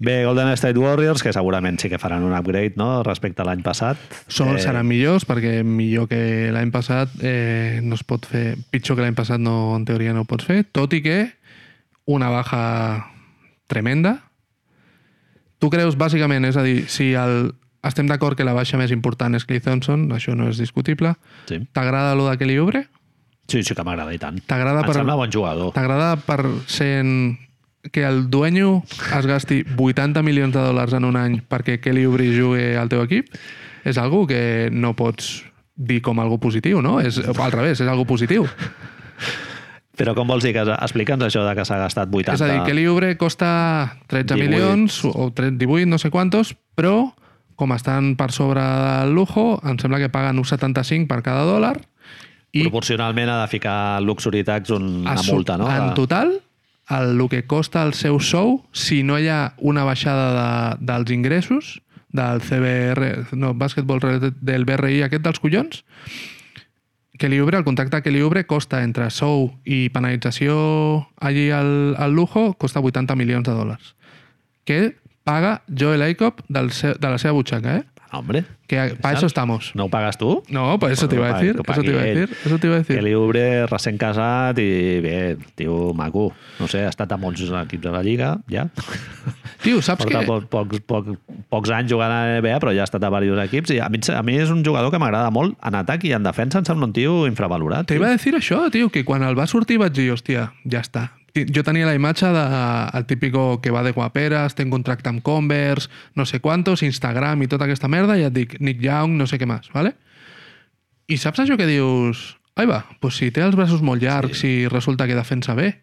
A: Bé, Golden State Warriors, que segurament sí que faran un upgrade no? respecte a l'any passat.
B: Són,
A: Eh,
B: seran millors perquè millor que l'any passat eh, no es pot fer, pitjor que l'any passat no, en teoria no ho pots fer, tot i que una baja tremenda. Tu creus, bàsicament, és a dir, si el, estem d'acord que la baixa més important és Clay Thompson, això no és discutible,
A: Sí,
B: t'agrada lo de Kelly Oubre?
A: sí, sí que m'agrada i tant.
B: T'agrada
A: Em
B: per-
A: sembla bon jugador.
B: T'agrada per sent que el duenyo es gasti 80 milions de dòlars en un any perquè Kelly Oubre jugui al teu equip? És algo que no pots dir com algo positiu, no? És al revés, és algo positiu.
A: Però com vols dir que... Explica'ns això de que s'ha gastat 80...
B: És a dir, Kelly Oubre costa 13
A: 18.
B: milions o 13, 18, no sé quantos, però com estan per sobre del lujo, em sembla que paguen un 75 per cada dòlar i
A: Proporcionalment ha de ficar Luxury Tax un, una
B: Assu-
A: multa, no?
B: En total, el, el que costa el seu sou, si no hi ha una baixada de, dels ingressos, del CBR, no, Basketball Related, del BRI aquest dels collons, que li obre, el contracte que li obre costa entre sou i penalització allí al, al Lujo, costa 80 milions de dòlars. Que paga Joel Aikop del seu, de la seva butxaca, eh?
A: Hombre,
B: Que para eso estamos.
A: no ho pagues tu?
B: No, pues eso te iba a decir, eso te iba a decir, eso te iba a decir.
A: Kelly Oubre, recent casat i bé, tio maco. No sé, ha estat a molts equips de la Lliga, ja.
B: Tio, saps
A: Porta
B: que...
A: po pocs, poc, pocs anys jugant a la NBA, però ja ha estat a diversos equips. I a mi, a mi és un jugador que m'agrada molt en atac i en defensa. Em sembla un tio infravalorat.
B: Te
A: tio.
B: iba a decir això, tio, que quan el va sortir vaig dir, hòstia, ja està. Ti- Jo tenia la imatge del de, el típico que va de guaperes, té un contracte amb Converse, no sé quantos, Instagram i tota aquesta merda, i et dic Nick Young, no sé què més, ¿vale? I saps això que dius? Ai va, pues si té els braços molt llargs sí. i resulta que defensa bé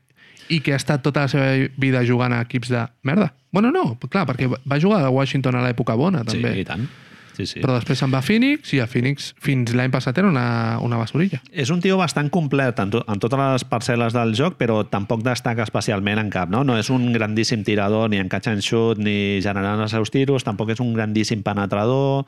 B: i que ha estat tota la seva vida jugant a equips de merda. Bueno, no, clar, perquè va- va jugar a Washington a l'època bona,
A: Sí,
B: també.
A: i tant. Sí, sí.
B: Però després se'n va a Phoenix i a Phoenix fins l'any passat era una, una basurilla.
A: És un tio bastant complet en, to en totes les parcel·les del joc, però tampoc destaca especialment en cap. No, no és un grandíssim tirador ni en catch and shoot ni generant els seus tiros, tampoc és un grandíssim penetrador.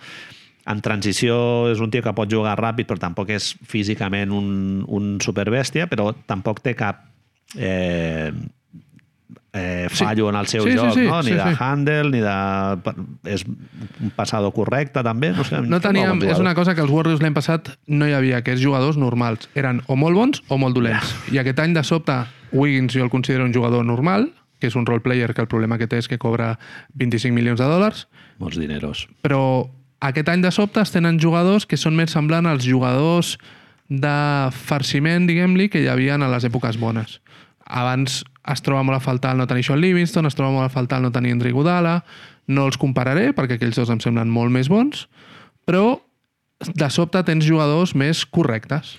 A: En transició és un tio que pot jugar ràpid, però tampoc és físicament un, un superbèstia, però tampoc té cap eh, eh,
B: Sí.
A: fallo en el seu
B: Sí, sí,
A: joc,
B: sí,
A: no? ni
B: sí,
A: de
B: sí.
A: handle, ni de... És un passador correcte, també. No, sé, em sembla
B: No
A: bon
B: teníem, és
A: jugador.
B: una cosa que els Warriors l'any passat no hi havia, que és jugadors normals. Eren o molt bons o molt dolents. I aquest any, de sobte, Wiggins jo el considero un jugador normal, que és un role player que el problema que té és que cobra 25 milions de dòlars,
A: Molts dineros.
B: però aquest any de sobte es tenen jugadors que són més semblant als jugadors de farciment, diguem-li, que hi havia a les èpoques bones. Abans es troba molt a faltar el no tenir Sean Livingston, es troba molt a faltar el no tenir Andre Iguodala, no els compararé perquè aquells dos em semblen molt més bons, però de sobte tens jugadors més correctes.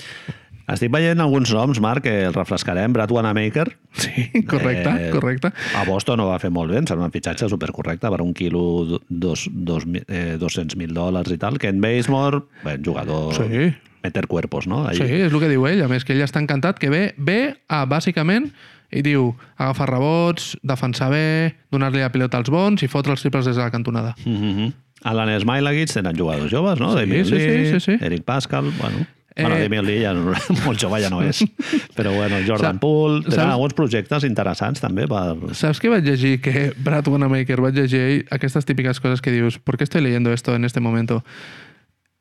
A: Estic veient alguns noms, Marc, que els refrescarem. Brad Wanamaker,
B: Sí, correcte,
A: Eh,
B: eh... correcte.
A: a Boston ho va fer molt bé, em sembla un fitxatge supercorrecte per un quilo, dos, dos, mi- eh, 200.000 dòlars i tal. Ken Basemore, bé, jugador...
B: Sí.
A: Meter cuerpos, no? Ahí.
B: Sí, és el que diu ell. A més, que ell està encantat, que ve, ve a, bàsicament, i diu agafar rebots, defensar bé, donar-li la pilota als bons i fotre els triples des de la cantonada.
A: Mhm. Alan Smilagic tenen jugadors joves, no?
B: Sí,
A: Damian
B: sí, sí,
A: Lee,
B: sí, sí.
A: Eric Pascal, bueno... Eh...
B: Eh,
A: Bueno, Damian Lee ja no, molt jove ja no és. Però bueno, Jordan Poole... Tenen
B: saps-
A: alguns projectes interessants també per...
B: Saps què vaig llegir? Que Brad Wanamaker vaig llegir ell aquestes típiques coses que dius ¿Por qué estoy leyendo esto en este momento?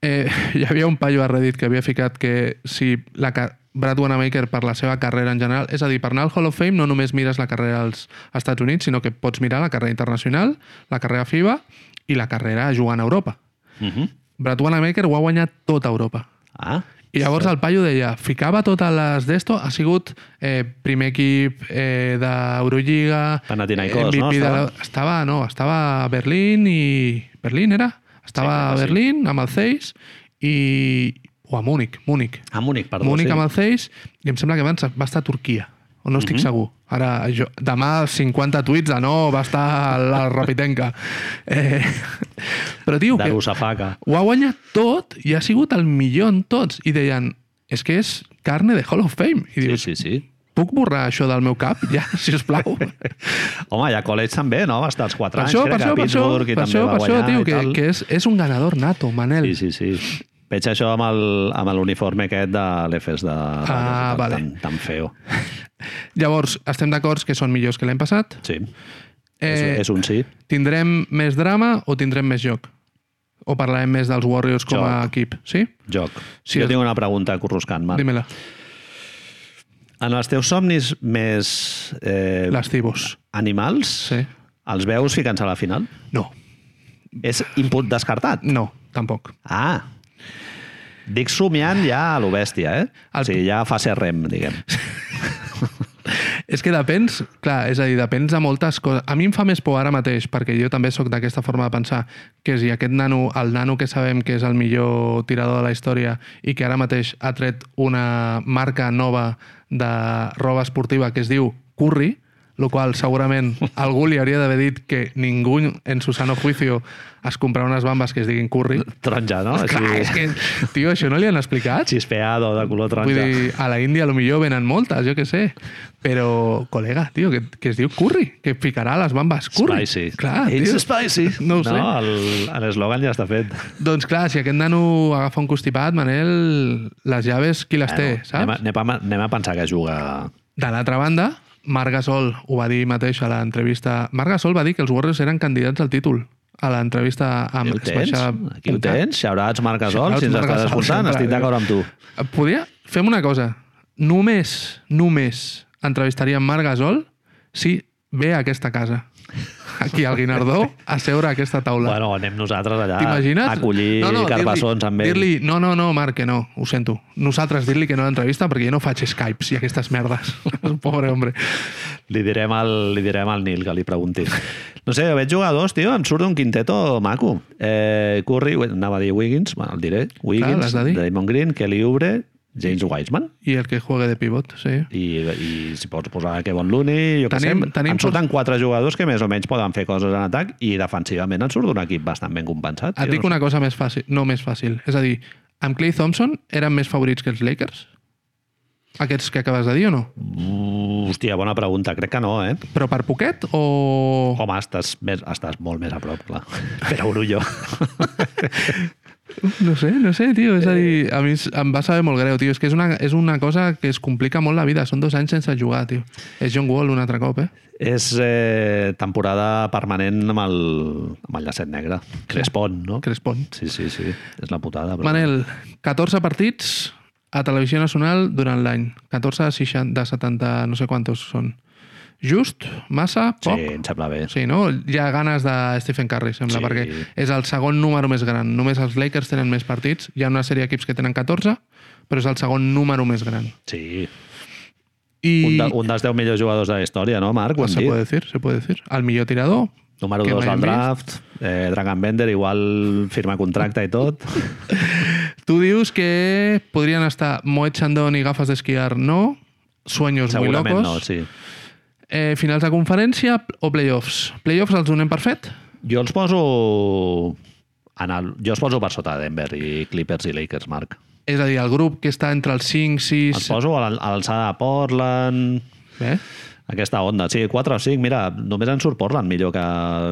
B: Eh, hi havia un paio a Reddit que havia ficat que si la ca- Brad Wanamaker per la seva carrera en general, és a dir, per anar al Hall of Fame no només mires la carrera als Estats Units, sinó que pots mirar la carrera internacional, la carrera FIBA i la carrera jugant a Europa.
A: Uh -huh.
B: Brad Wanamaker ho ha guanyat tot a Europa.
A: Ah,
B: I llavors el paio deia, ficava totes les d'esto, ha sigut eh, primer equip eh, d'Eurolliga...
A: Panathinaikos,
B: MVP
A: no?
B: de la-
A: Estava?
B: Estava, no, estava a Berlín i... Berlín era?
A: Sí, crec
B: Estava sí, a
A: que sí.
B: Berlín amb el Zeiss i o a Múnich, Múnich.
A: A Múnich, Ah, perdó.
B: Múnich
A: sí.
B: amb el Zeiss, i em sembla que abans va estar a Turquia, o no
A: Mhm.
B: estic segur. Ara, jo, demà 50 tuits de no, va estar a la Rapitenca. Eh, però, tio, que
A: Darusafaka.
B: ho ha guanyat tot i ha sigut el millor en tots. I deien, és que és carne de Hall of Fame.
A: Sí,
B: I dius,
A: sí, sí.
B: puc borrar això del meu cap, ja, si us plau?
A: Home, i a college també, no? Va estar els 4
B: per
A: anys,
B: això,
A: crec,
B: per això,
A: a
B: per això,
A: Pittsburgh,
B: per
A: i també
B: això,
A: va
B: per això,
A: guanyar
B: tio,
A: i
B: que,
A: tal.
B: que és, és un ganador nato, Manel.
A: Sí, sí, sí. Veig això amb el- amb l'uniforme aquest de l'EFES de...
B: Ah,
A: tan-
B: vale.
A: Tan, tan feo.
B: Llavors, estem d'acord que són millors que l'any passat?
A: Sí.
B: Eh,
A: Eh, és, és un sí.
B: Tindrem més drama o tindrem més joc? O parlarem més dels Warriors com a
A: Joc.
B: equip, sí?
A: Joc.
B: Sí,
A: Sí, jo
B: és-
A: tinc una pregunta corroscant, Marc.
B: Dímela.
A: En els teus somnis més eh,
B: Les Tibos.
A: animals,
B: Sí.
A: els veus ficant-se a la final?
B: No,
A: És input descartat?
B: no, tampoc.
A: Ah. Dic somiant ja a lo bèstia, eh?
B: El-
A: O sigui, ja fase rem, diguem.
B: És que depens, clar, és a dir, depens de moltes coses. A mi em fa més por ara mateix, perquè jo també sóc d'aquesta forma de pensar, que si aquest nano, el nano que sabem que és el millor tirador de la història i que ara mateix ha tret una marca nova de roba esportiva que es diu Curry, el qual segurament algú li hauria d'haver dit que ningú en su sano juicio es comprarà unes bambes que es diguin Curry.
A: Taronja, no?
B: Clar, és que, tio, això no li han explicat?
A: Xispeado, de color
B: Vull
A: taronja.
B: dir, a la Índia millor venen moltes, jo que sé. Però, col·lega, tio, que, que es diu curry, que ficarà a les bambes curry.
A: Spicy.
B: Clar,
A: It's
B: tio.
A: spicy.
B: No ho sé.
A: No, el- l'eslògan ja està fet.
B: Doncs clar, si aquest nano agafa un constipat, Manel, les llaves qui les té,
A: Bueno,
B: saps?
A: Anem a, anem, a, anem a pensar que juga...
B: De l'altra banda, Marc Gasol ho va dir mateix a l'entrevista. Marc Gasol va dir que els Warriors eren candidats al títol a l'entrevista
A: Aquí
B: amb
A: ho
B: que es
A: tens?
B: baixava-
A: Aquí ho tens? Xaurats, Marc Gasol,
B: Shoutouts,
A: si ens
B: Marc
A: estàs
B: Gasol,
A: escoltant,
B: sempre,
A: estic d'acord amb tu.
B: Eh, Podria... Fem una cosa. Només, només entrevistaríem Marc Gasol si ve a aquesta casa. Aquí al Guinardó, a seure a aquesta taula.
A: Bueno, anem nosaltres allà
B: T'imagines?
A: a collir no, no, carbassons
B: dir-li-
A: amb ell.
B: Dir-li, no, no, no, Marc, que no, ho sento. Nosaltres dir-li que no a l'entrevista perquè jo no faig Skypes i aquestes merdes. Pobre hombre.
A: Li direm, al, li direm al Nil que li pregunti. No sé, jo veig jugadors, tio, em surt un quinteto maco. Eh, Curry, anava a dir Wiggins, bueno, el diré. Wiggins,
B: l'has de dir.
A: Damon Green, Kelly Oubre, James Wiseman,
B: I el que juegue de pivot, sí.
A: i, i si pots posar Kevon Looney, jo
B: Tenim-
A: què sé, em
B: tenim
A: surten quatre jugadors que més o menys poden fer coses en atac i defensivament en surt un equip bastant ben compensat.
B: Et
A: tio,
B: dic
A: no sé.
B: una cosa més fàcil, no més fàcil. És a dir, amb Clay Thompson eren més favorits que els Lakers? Aquests que acabes de dir o no?
A: Mm, Hòstia, bona pregunta, crec que no, eh?
B: Però per poquet o...
A: Home, estàs, més, estàs molt més a prop, clar. Però orullo.
B: No sé, no sé, tio. És a dir, a mi es- em va saber molt greu, tio. És que és una, és una cosa que es complica molt la vida. Són dos anys sense jugar, tio. És John Wall un altre cop, eh?
A: És eh, temporada permanent amb el, amb el llacet negre. Crespon, no?
B: Crespon.
A: Sí, sí, sí. És la putada. Però...
B: Manel, 14 partits a Televisió Nacional durant l'any. 14 de, 60, de 70, no sé quantos són. Just? Massa?
A: Sí,
B: Poc?
A: em sembla bé.
B: Sí, no? Hi ha ganes de Stephen Curry, sembla,
A: Sí.
B: perquè és el segon número més gran. Només els Lakers tenen més partits. Hi ha una sèrie d'equips que tenen 14, però és el segon número més gran.
A: Sí.
B: I...
A: Un, de, un dels 10 millors jugadors de la història, no, Marc? Ho
B: Pues
A: hem
B: se
A: dit.
B: puede decir, se puede decir. El millor tirador.
A: Número
B: que
A: 2
B: mai
A: al
B: hem
A: draft, eh, Dragon Bender igual firma contracte i tot.
B: Tu dius que podrien estar Moet Chandon i gafes d'esquiar, no. Sueños muy
A: Segurament
B: locos.
A: no, sí.
B: eh, finals de conferència o playoffs? Playoffs els donem per fet?
A: Jo els poso... En el, jo els poso per sota de Denver i Clippers i Lakers, Marc.
B: És a dir, el grup que està entre els 5,
A: Els
B: 6...
A: poso a l'al- a l'alçada de Portland,
B: Eh?
A: Aquesta onda, sí, 4 o 5, mira, només en surt Portland millor que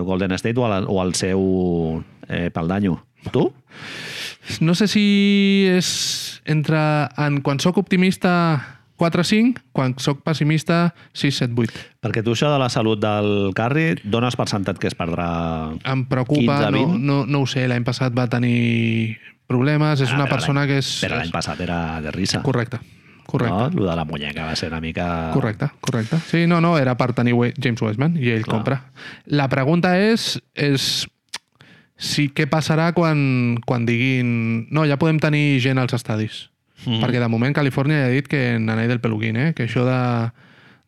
A: Golden State o, el, o el seu eh, peldanyo. Tu?
B: No sé si és entre... En, quan sóc optimista 4-5, quan sóc pessimista 6-7-8.
A: Perquè tu això de la salut del Carri dones per sentat que es perdrà...
B: Em preocupa,
A: 15,
B: no,
A: 20?
B: no, no ho sé, l'any passat va tenir problemes, és
A: Ah,
B: una
A: però
B: persona
A: l'any-
B: que és...
A: Però l'any passat era de risa.
B: Correcte, correcte.
A: No? Lo de la muñeca va ser una mica...
B: Correcte, correcte. Sí, no, no, era per tenir We- James Westman i ell
A: Clar.
B: compra. La pregunta és, és si què passarà quan, quan diguin no, ja podem tenir gent als estadis. Mm. Perquè de moment Califòrnia ja ha dit que n'anei del peluquín, eh? que això de,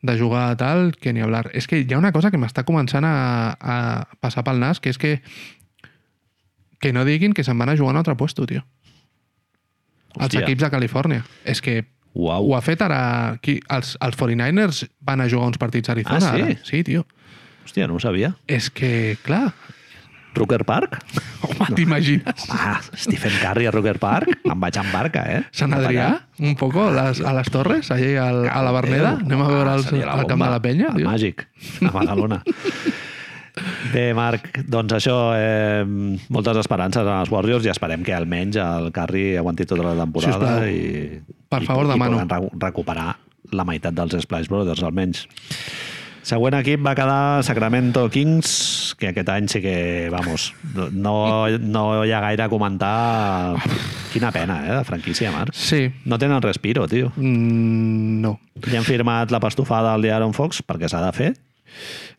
B: de jugar a tal, que ni hablar. És que hi ha una cosa que m'està començant a, a passar pel nas, que és que que no diguin que se'n van a jugar a un altre puesto, tio. als
A: Hòstia.
B: equips de Califòrnia. És que
A: Uau.
B: ho ha fet ara... Qui, els, els 49ers van a jugar uns partits a Arizona.
A: Ah, sí?
B: Ara. Sí, tio.
A: Hòstia, no ho sabia.
B: És que, clar,
A: Rucker Park?
B: home, t'imagines?
A: Ah, Stephen Curry a Rucker Park? Em vaig en barca, eh?
B: Sant Adrià, un poco, a les, a les Torres, allà al, a la Berneda. Anem a veure els,
A: Seria
B: el camp de
A: bomba.
B: la penya.
A: El
B: Tio.
A: màgic, a Badalona. Bé, Marc, doncs això, eh, moltes esperances en els Warriors i esperem que almenys el Curry aguanti tota la temporada
B: Sisplau.
A: i,
B: Per
A: i-
B: favor,
A: i,
B: demano.
A: puguem recu- recuperar la meitat dels Splash Brothers, almenys. Següent equip va quedar Sacramento Kings, que aquest any sí que, vamos, no, no hi ha gaire a comentar. Quina pena, eh, de franquícia, Marc.
B: Sí.
A: No tenen respiro, tio.
B: Mm, no.
A: Ja han firmat la pastofada al d'Aaron Fox perquè s'ha de fer.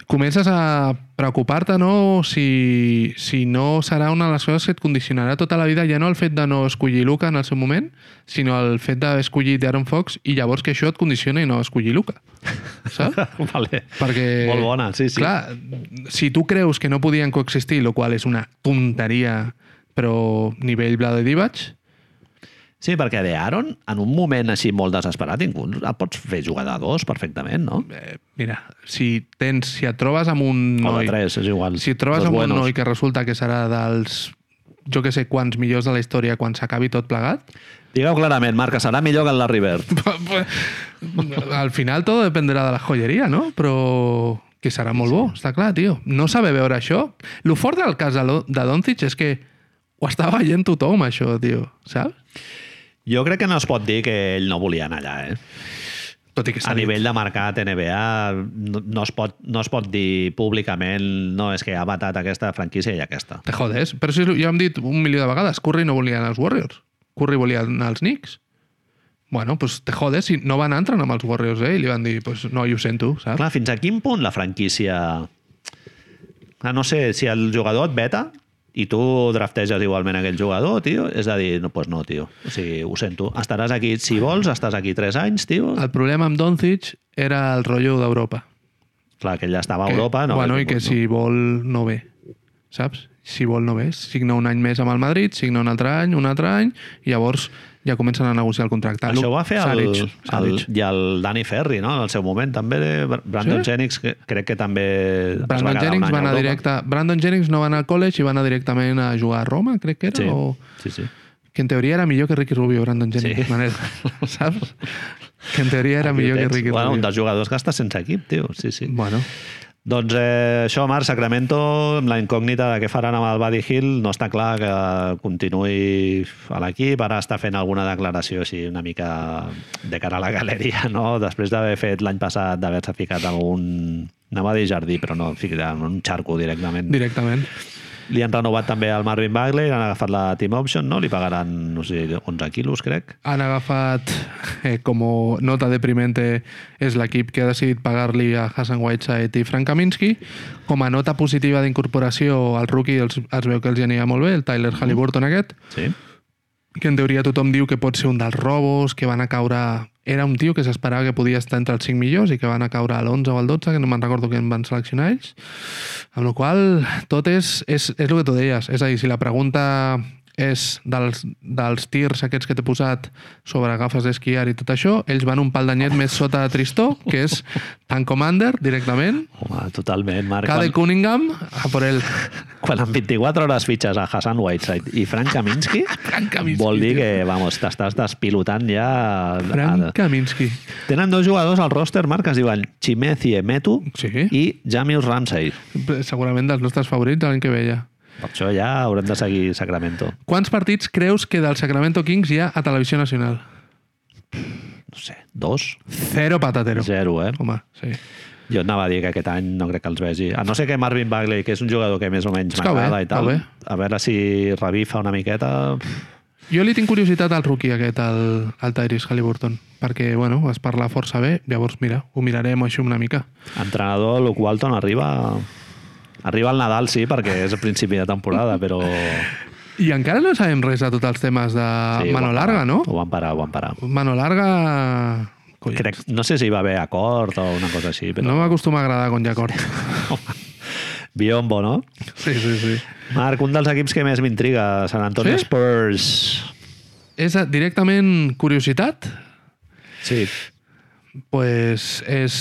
B: Comences a preocupar-te, no?, si, si no serà una de les coses que et condicionarà tota la vida, ja no el fet de no escollir Luca en el seu moment, sinó el fet d'haver escollit Aaron Fox i llavors que això et condiciona i no escollir Luca. Saps?
A: vale.
B: Perquè,
A: Molt bona, sí, sí.
B: Clar, si tu creus que no podien coexistir, lo qual és una tonteria, però nivell Vlade Divac,
A: Sí, perquè de Aaron, en un moment així molt desesperat, inclús el pots fer jugar de dos perfectament, no?
B: eh, mira, si tens, si et trobes amb un
A: O
B: noi...
A: de tres, és igual.
B: Si et trobes
A: Dos
B: amb un
A: buenos.
B: noi que resulta que serà dels jo que sé quants millors de la història quan s'acabi tot plegat,
A: Digueu clarament, Marc, que serà millor que el Larry Bird.
B: al final tot dependrà de la joieria, no? Però que serà molt bo, està clar, tio. No saber veure això. Lo fort del cas de Lo- de Doncic és que ho està veient tothom, això, tio, saps?
A: Jo crec que no es pot dir que ell no volia anar allà, eh?
B: Tot i que s'ha
A: A
B: dit.
A: nivell de mercat NBA no, no, es pot, no es pot dir públicament no, és que ha matat aquesta franquícia i aquesta.
B: Te jodes. Però si ja hem dit un milió de vegades, Curry no volia anar als Warriors. Curry volia anar als Knicks. Bueno, pues te jodes, si no van entrar amb els Warriors, eh? I li van dir, pues no, jo ho sento, saps?
A: Clar, fins a quin punt la franquícia... Ah, no sé, si el jugador et veta i tu drafteges igualment aquell jugador, tio, és a dir, no, pues no, tio. O sigui, ho sento. Estaràs aquí, si vols, estàs aquí 3 anys, tio.
B: El problema amb Doncic era el rotllo d'Europa.
A: Clar, que ell estava a
B: Que-
A: Europa. No,
B: bueno,
A: hagués
B: i que
A: pogut,
B: si vol no ve, saps? Si vol no ve, signa un any més amb el Madrid, signa un altre any, un altre any, i llavors ja comencen a negociar el contracte.
A: No. Això
B: Lu-
A: ho va fer el,
B: Saric,
A: el,
B: Saric.
A: i el Danny Ferry, no?, en el seu moment, també. eh, Brandon
B: Sí?
A: sí? Jennings, que, crec que també es va
B: Brandon
A: quedar un
B: Jennings
A: any
B: va
A: a
B: anar
A: Europa.
B: directe... Brandon Jennings no va anar al college i va anar directament a jugar a Roma, crec que era,
A: Sí,
B: o...
A: sí, sí.
B: Que en teoria era millor que Ricky Rubio, Brandon Jennings,
A: Sí.
B: Manel, saps? Que en teoria era millor que
A: Tens-
B: Ricky
A: bueno, un
B: Rubio.
A: dels jugadors que està sense equip, tio. Sí, sí.
B: Bueno,
A: Doncs eh, això, Marc, Sacramento, amb la incògnita de què faran amb el Buddy Hill, no està clar que continuï a l'equip. Ara està fent alguna declaració així una mica de cara a la galeria, no? Després d'haver fet l'any passat, d'haver-se ficat en un... Anava a dir jardí, però no, fica en un xarco directament.
B: directament.
A: Li han renovat també el Marvin Bagley, han agafat la team option, no? Li pagaran, no sé, 11 quilos, crec.
B: han agafat eh, com a nota deprimente és l'equip que ha decidit pagar-li a Hassan Whiteside i Frank Kaminsky. Com a nota positiva d'incorporació al rookie els, es veu que els hi anirà molt bé, el Tyler
A: Mm.
B: Halliburton aquest,
A: Sí.
B: que en teoria tothom diu que pot ser un dels robos, que van a caure... Era un tio que s'esperava que podia estar entre els 5 millors i que van a caure a l'11 o al 12, que no me'n recordo que en van seleccionar ells. Amb la qual cosa, tot és, és, és el que tu deies. És a dir, si la pregunta és dels, dels tirs aquests que t'he posat sobre gafes d'esquiar i tot això, ells van un pal d'anyet més sota de Tristó, que és tan commander directament.
A: Home, totalment, Marc.
B: Cade
A: Quan,
B: Cunningham, a por el...
A: quan en 24 hores fitxes a Hassan Whiteside i Frank Kaminsky,
B: Frank Kaminsky,
A: vol dir
B: tio.
A: que, vamos, t'estàs despilotant ja...
B: Frank
A: Frank...
B: Kaminsky.
A: Tenen dos jugadors al roster, Marc, que es diuen Chimezi Emetu
B: Sí.
A: i Jamius Ramsey.
B: Segurament dels nostres favorits de l'any que veia.
A: Per això ja haurem de seguir Sacramento.
B: Quants partits creus que del Sacramento Kings hi ha a Televisió Nacional?
A: No sé, dos?
B: Cero patatero.
A: Zero, eh?
B: Home, sí.
A: Jo anava a dir que aquest any no crec que els vegi. A no sé que Marvin Bagley, que és un jugador que més o menys
B: És que
A: m'agrada
B: bé,
A: i tal,
B: que bé.
A: a veure si revifa una miqueta...
B: Jo li tinc curiositat al rookie aquest, al, al Tyrese Halliburton, perquè, bueno, es parla força bé, llavors, mira, ho mirarem així una mica.
A: Entrenador Luke Walton arriba... Arriba al Nadal, sí, perquè és a principi de temporada, però...
B: I encara no sabem res de tots els temes
A: Sí,
B: de
A: ho
B: sí, Ah, Mano
A: van
B: Larga,
A: parar.
B: no?
A: Ho van parar, ho van parar.
B: Mano Larga... Collons.
A: Crec, no sé si hi va haver acord o una cosa així, però...
B: No m'acostuma a agradar con Jacord.
A: Biombo, no?
B: Sí, sí, sí.
A: Marc, un dels equips que més m'intriga, Sant Antonio
B: Sí?
A: Spurs.
B: és directament curiositat,
A: Sí.
B: pues és,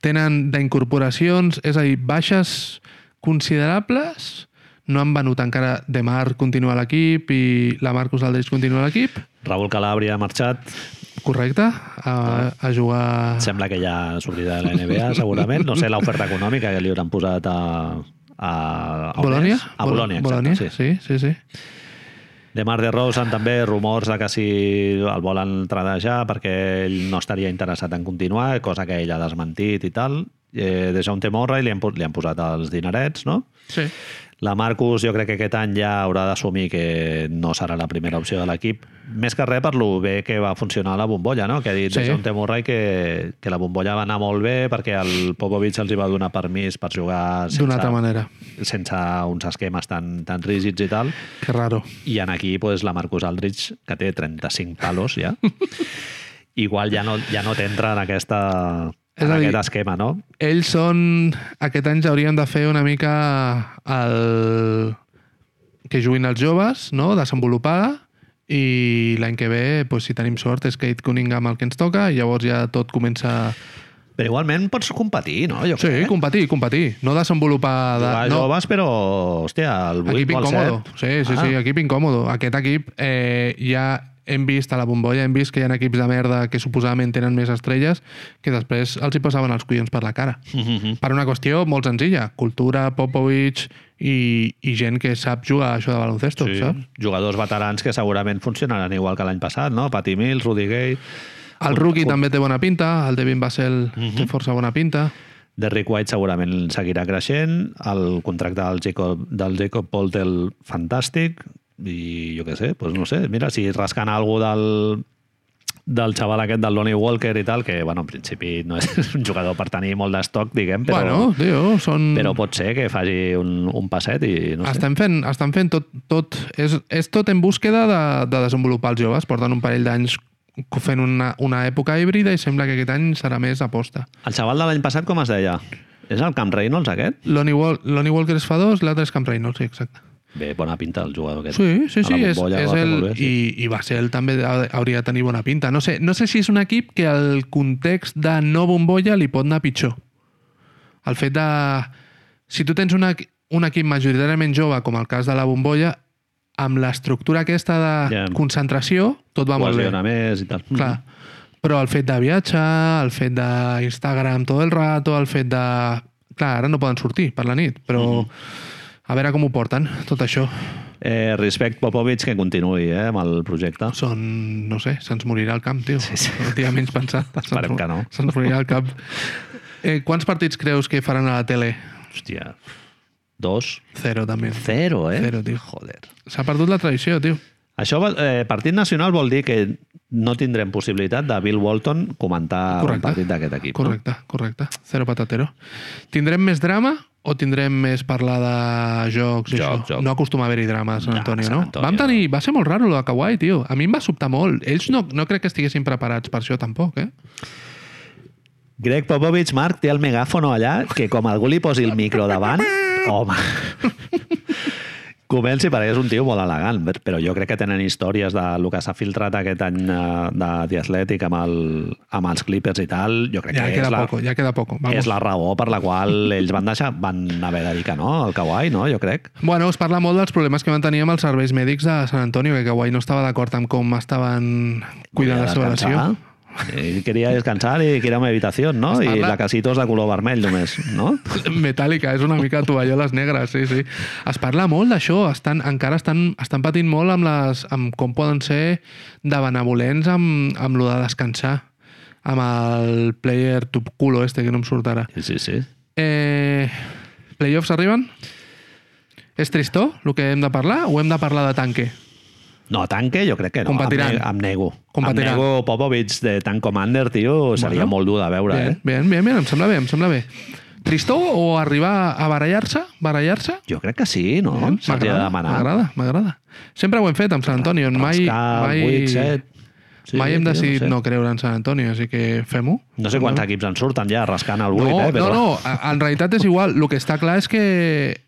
B: tenen d'incorporacions, és a dir, baixes considerables, no han venut encara de Mar continua a l'equip i la Marcus Aldrich continua a l'equip,
A: Raúl Calabria ha marxat.
B: correcte, a, a jugar...
A: Sembla que ja s'oblida de la NBA, segurament. No sé l'oferta econòmica que li hauran posat a... A, a on
B: Bolònia?
A: és? A Bolònia, exacte.
B: Bolònia,
A: sí.
B: sí, sí, sí.
A: De Mar de Rose han també rumors de que si el volen tradejar perquè ell no estaria interessat en continuar, cosa que ell ha desmentit i tal. Eh, de John Temorra i li han, pu- li han posat els dinerets, no?
B: sí.
A: La Marcus jo crec que aquest any ja haurà d'assumir que no serà la primera opció de l'equip. Més que res per lo bé que va funcionar la bombolla, no? Que ha dit
B: Sí.
A: sí. John Temurray que, que la bombolla va anar molt bé perquè el Popovich els hi va donar permís per jugar sense,
B: D'una altra manera.
A: sense uns esquemes tan, tan rígids i tal.
B: Que raro.
A: I en aquí, pues, la Marcus Aldrich, que té 35 palos ja, igual ja no, ja no t'entra en, aquesta,
B: És
A: en
B: a dir-
A: aquest esquema, no?
B: Ells són... Aquest any hauríem de fer una mica el... que juguin els joves, no? desenvolupada, i l'any que ve, doncs, si tenim sort, és Kate Cunningham el que ens toca, i llavors ja tot comença...
A: Però igualment pots competir, no? Jo
B: Sí,
A: crec.
B: competir, competir. No desenvolupar... De...
A: Jugar
B: no,
A: joves, però, hòstia, el 8
B: equip
A: o el
B: incòmodo.
A: 7...
B: Sí, sí,
A: Ah.
B: sí, equip incòmodo. Aquest equip eh, ja hem vist a la bombolla, hem vist que hi ha equips de merda que suposadament tenen més estrelles que després els hi passaven els collons per la cara. Per una qüestió molt senzilla. Cultura, Popovich i, i gent que sap jugar a això de baloncesto, sí. saps?
A: Jugadors veterans que segurament funcionaran igual que l'any passat, no? Patty Mills, Rudy Gay,
B: El rookie també té bona pinta, el Devin Vassell uh té força bona pinta.
A: Derrick White segurament seguirà creixent, el contracte del Jacob, del Jacob Poltel fantàstic, i jo què sé, doncs no sé, mira, si rascant algú del, del xaval aquest del Lonnie Walker i tal, que bueno, en principi no és un jugador per tenir molt d'estoc, diguem,
B: Però,
A: però,
B: bueno, tio, són...
A: però pot ser que faci un, un passet i no sé.
B: Estan fent, estan fent tot, tot és, és tot en búsqueda de, de desenvolupar els joves. Porten un parell d'anys co- fent una, una època híbrida i sembla que aquest any serà més aposta.
A: El xaval de l'any passat com es deia? És el Camp Reynolds aquest?
B: Lonnie, Wal Lonnie Walker es fa dos, l'altre és Camp Reynolds, sí, exacte.
A: Bé, bona pinta el jugador aquest.
B: Sí, sí,
A: A
B: sí,
A: la
B: és,
A: bombolla
B: és
A: va fer
B: el...
A: molt bé, sí.
B: I, I Basel també ha- hauria de tenir bona pinta. No sé, no sé si és un equip que el context de no bombolla li pot anar pitjor. El fet de... Si tu tens una, un equip majoritàriament jove, com el cas de la bombolla, amb l'estructura aquesta de
A: Ja. Mhm.
B: concentració, tot va molt bé.
A: Cohesiona més i tal.
B: Clar. Però el fet de viatjar, el fet d'Instagram tot el rato, el fet de... Clar, ara no poden sortir per la nit, però
A: Mhm.
B: a veure com ho porten, tot això.
A: Eh, respect Popovich que continuï eh, amb el projecte.
B: Són, no sé, se'ns morirà al camp, tio. Sí, sí. No t'hi ha menys pensat.
A: Esperem
B: Se'ns-
A: que no.
B: Se'ns morirà al camp. Eh, quants partits creus que faran a la tele?
A: Hòstia. Dos.
B: Zero, també.
A: Zero, eh?
B: Zero, tio.
A: Joder.
B: S'ha perdut la tradició, tio.
A: Això, vol- eh, partit nacional vol dir que no tindrem possibilitat de Bill Walton comentar
B: Correcte.
A: un Ah, partit d'aquest equip.
B: Correcte, correcte. Zero patatero. Tindrem més drama o tindrem més parlar de jocs i
A: Joc,
B: això?
A: joc.
B: No acostuma a haver-hi drama a Sant
A: No,
B: Antonio,
A: Sant
B: no?
A: Antonio,
B: Vam tenir... Va ser molt raro, lo de Kawhi, tio. A mi em va sobtar molt. Ells no, no crec que estiguessin preparats per això, tampoc, eh?
A: No? Greg Popovich, Marc, té el megàfono allà que com algú li posi el micro davant, home... Comenci perquè és un tio molt elegant, però jo crec que tenen històries de lo que s'ha filtrat aquest any eh, de The Athletic amb, el, amb els Clippers i tal. Jo crec
B: Ja
A: que
B: queda
A: és la,
B: poco, ja queda poco. Vamos.
A: és la raó per la qual ells van deixar, van haver de dir que no, al Kawhi, no? Jo crec.
B: Bueno, es parla molt dels problemes que van tenir amb els serveis mèdics de Sant Antonio, que Kawhi no estava d'acord amb com estaven cuidant la seva lesió.
A: descansar. Ell quería descansar y que era una habitación, ¿no?
B: Es
A: I
B: parla-
A: la casita és de color vermell només, no?
B: Metàl·lica, és una mica tovalloles negres, sí, sí. Es parla molt d'això, estan, encara estan, estan patint molt amb, les, amb com poden ser de benevolents amb, amb lo de descansar, amb el player tup culo este que no em surt ara.
A: Sí, sí, sí.
B: Eh, playoffs arriben? És tristó el que hem de parlar o hem de parlar de tanque?
A: No, tanque jo crec que no.
B: Competiran.
A: Em, ne- em nego.
B: Competiran.
A: Em nego Popovic de tank commander, tio, seria
B: Bueno.
A: molt dur de veure,
B: Bien,
A: eh?
B: bien, bien, bien, em sembla bé, em sembla bé. Tristó o arribar a barallar-se? Barallar-se?
A: Jo crec que sí, no?
B: Bien,
A: Se'ls hi ha de demanar.
B: m'agrada, m'agrada. Sempre ho hem fet amb Sant Antonio. Mai,
A: Rascar,
B: mai,
A: vuit, set. Sí,
B: mai hem
A: tio,
B: decidit
A: no,
B: no creure en Sant Antonio, així que fem-ho.
A: sé. no sé quants equips en surten ja rascant el 8,
B: No,
A: eh?
B: no, no, a- en realitat és igual. El que està clar és que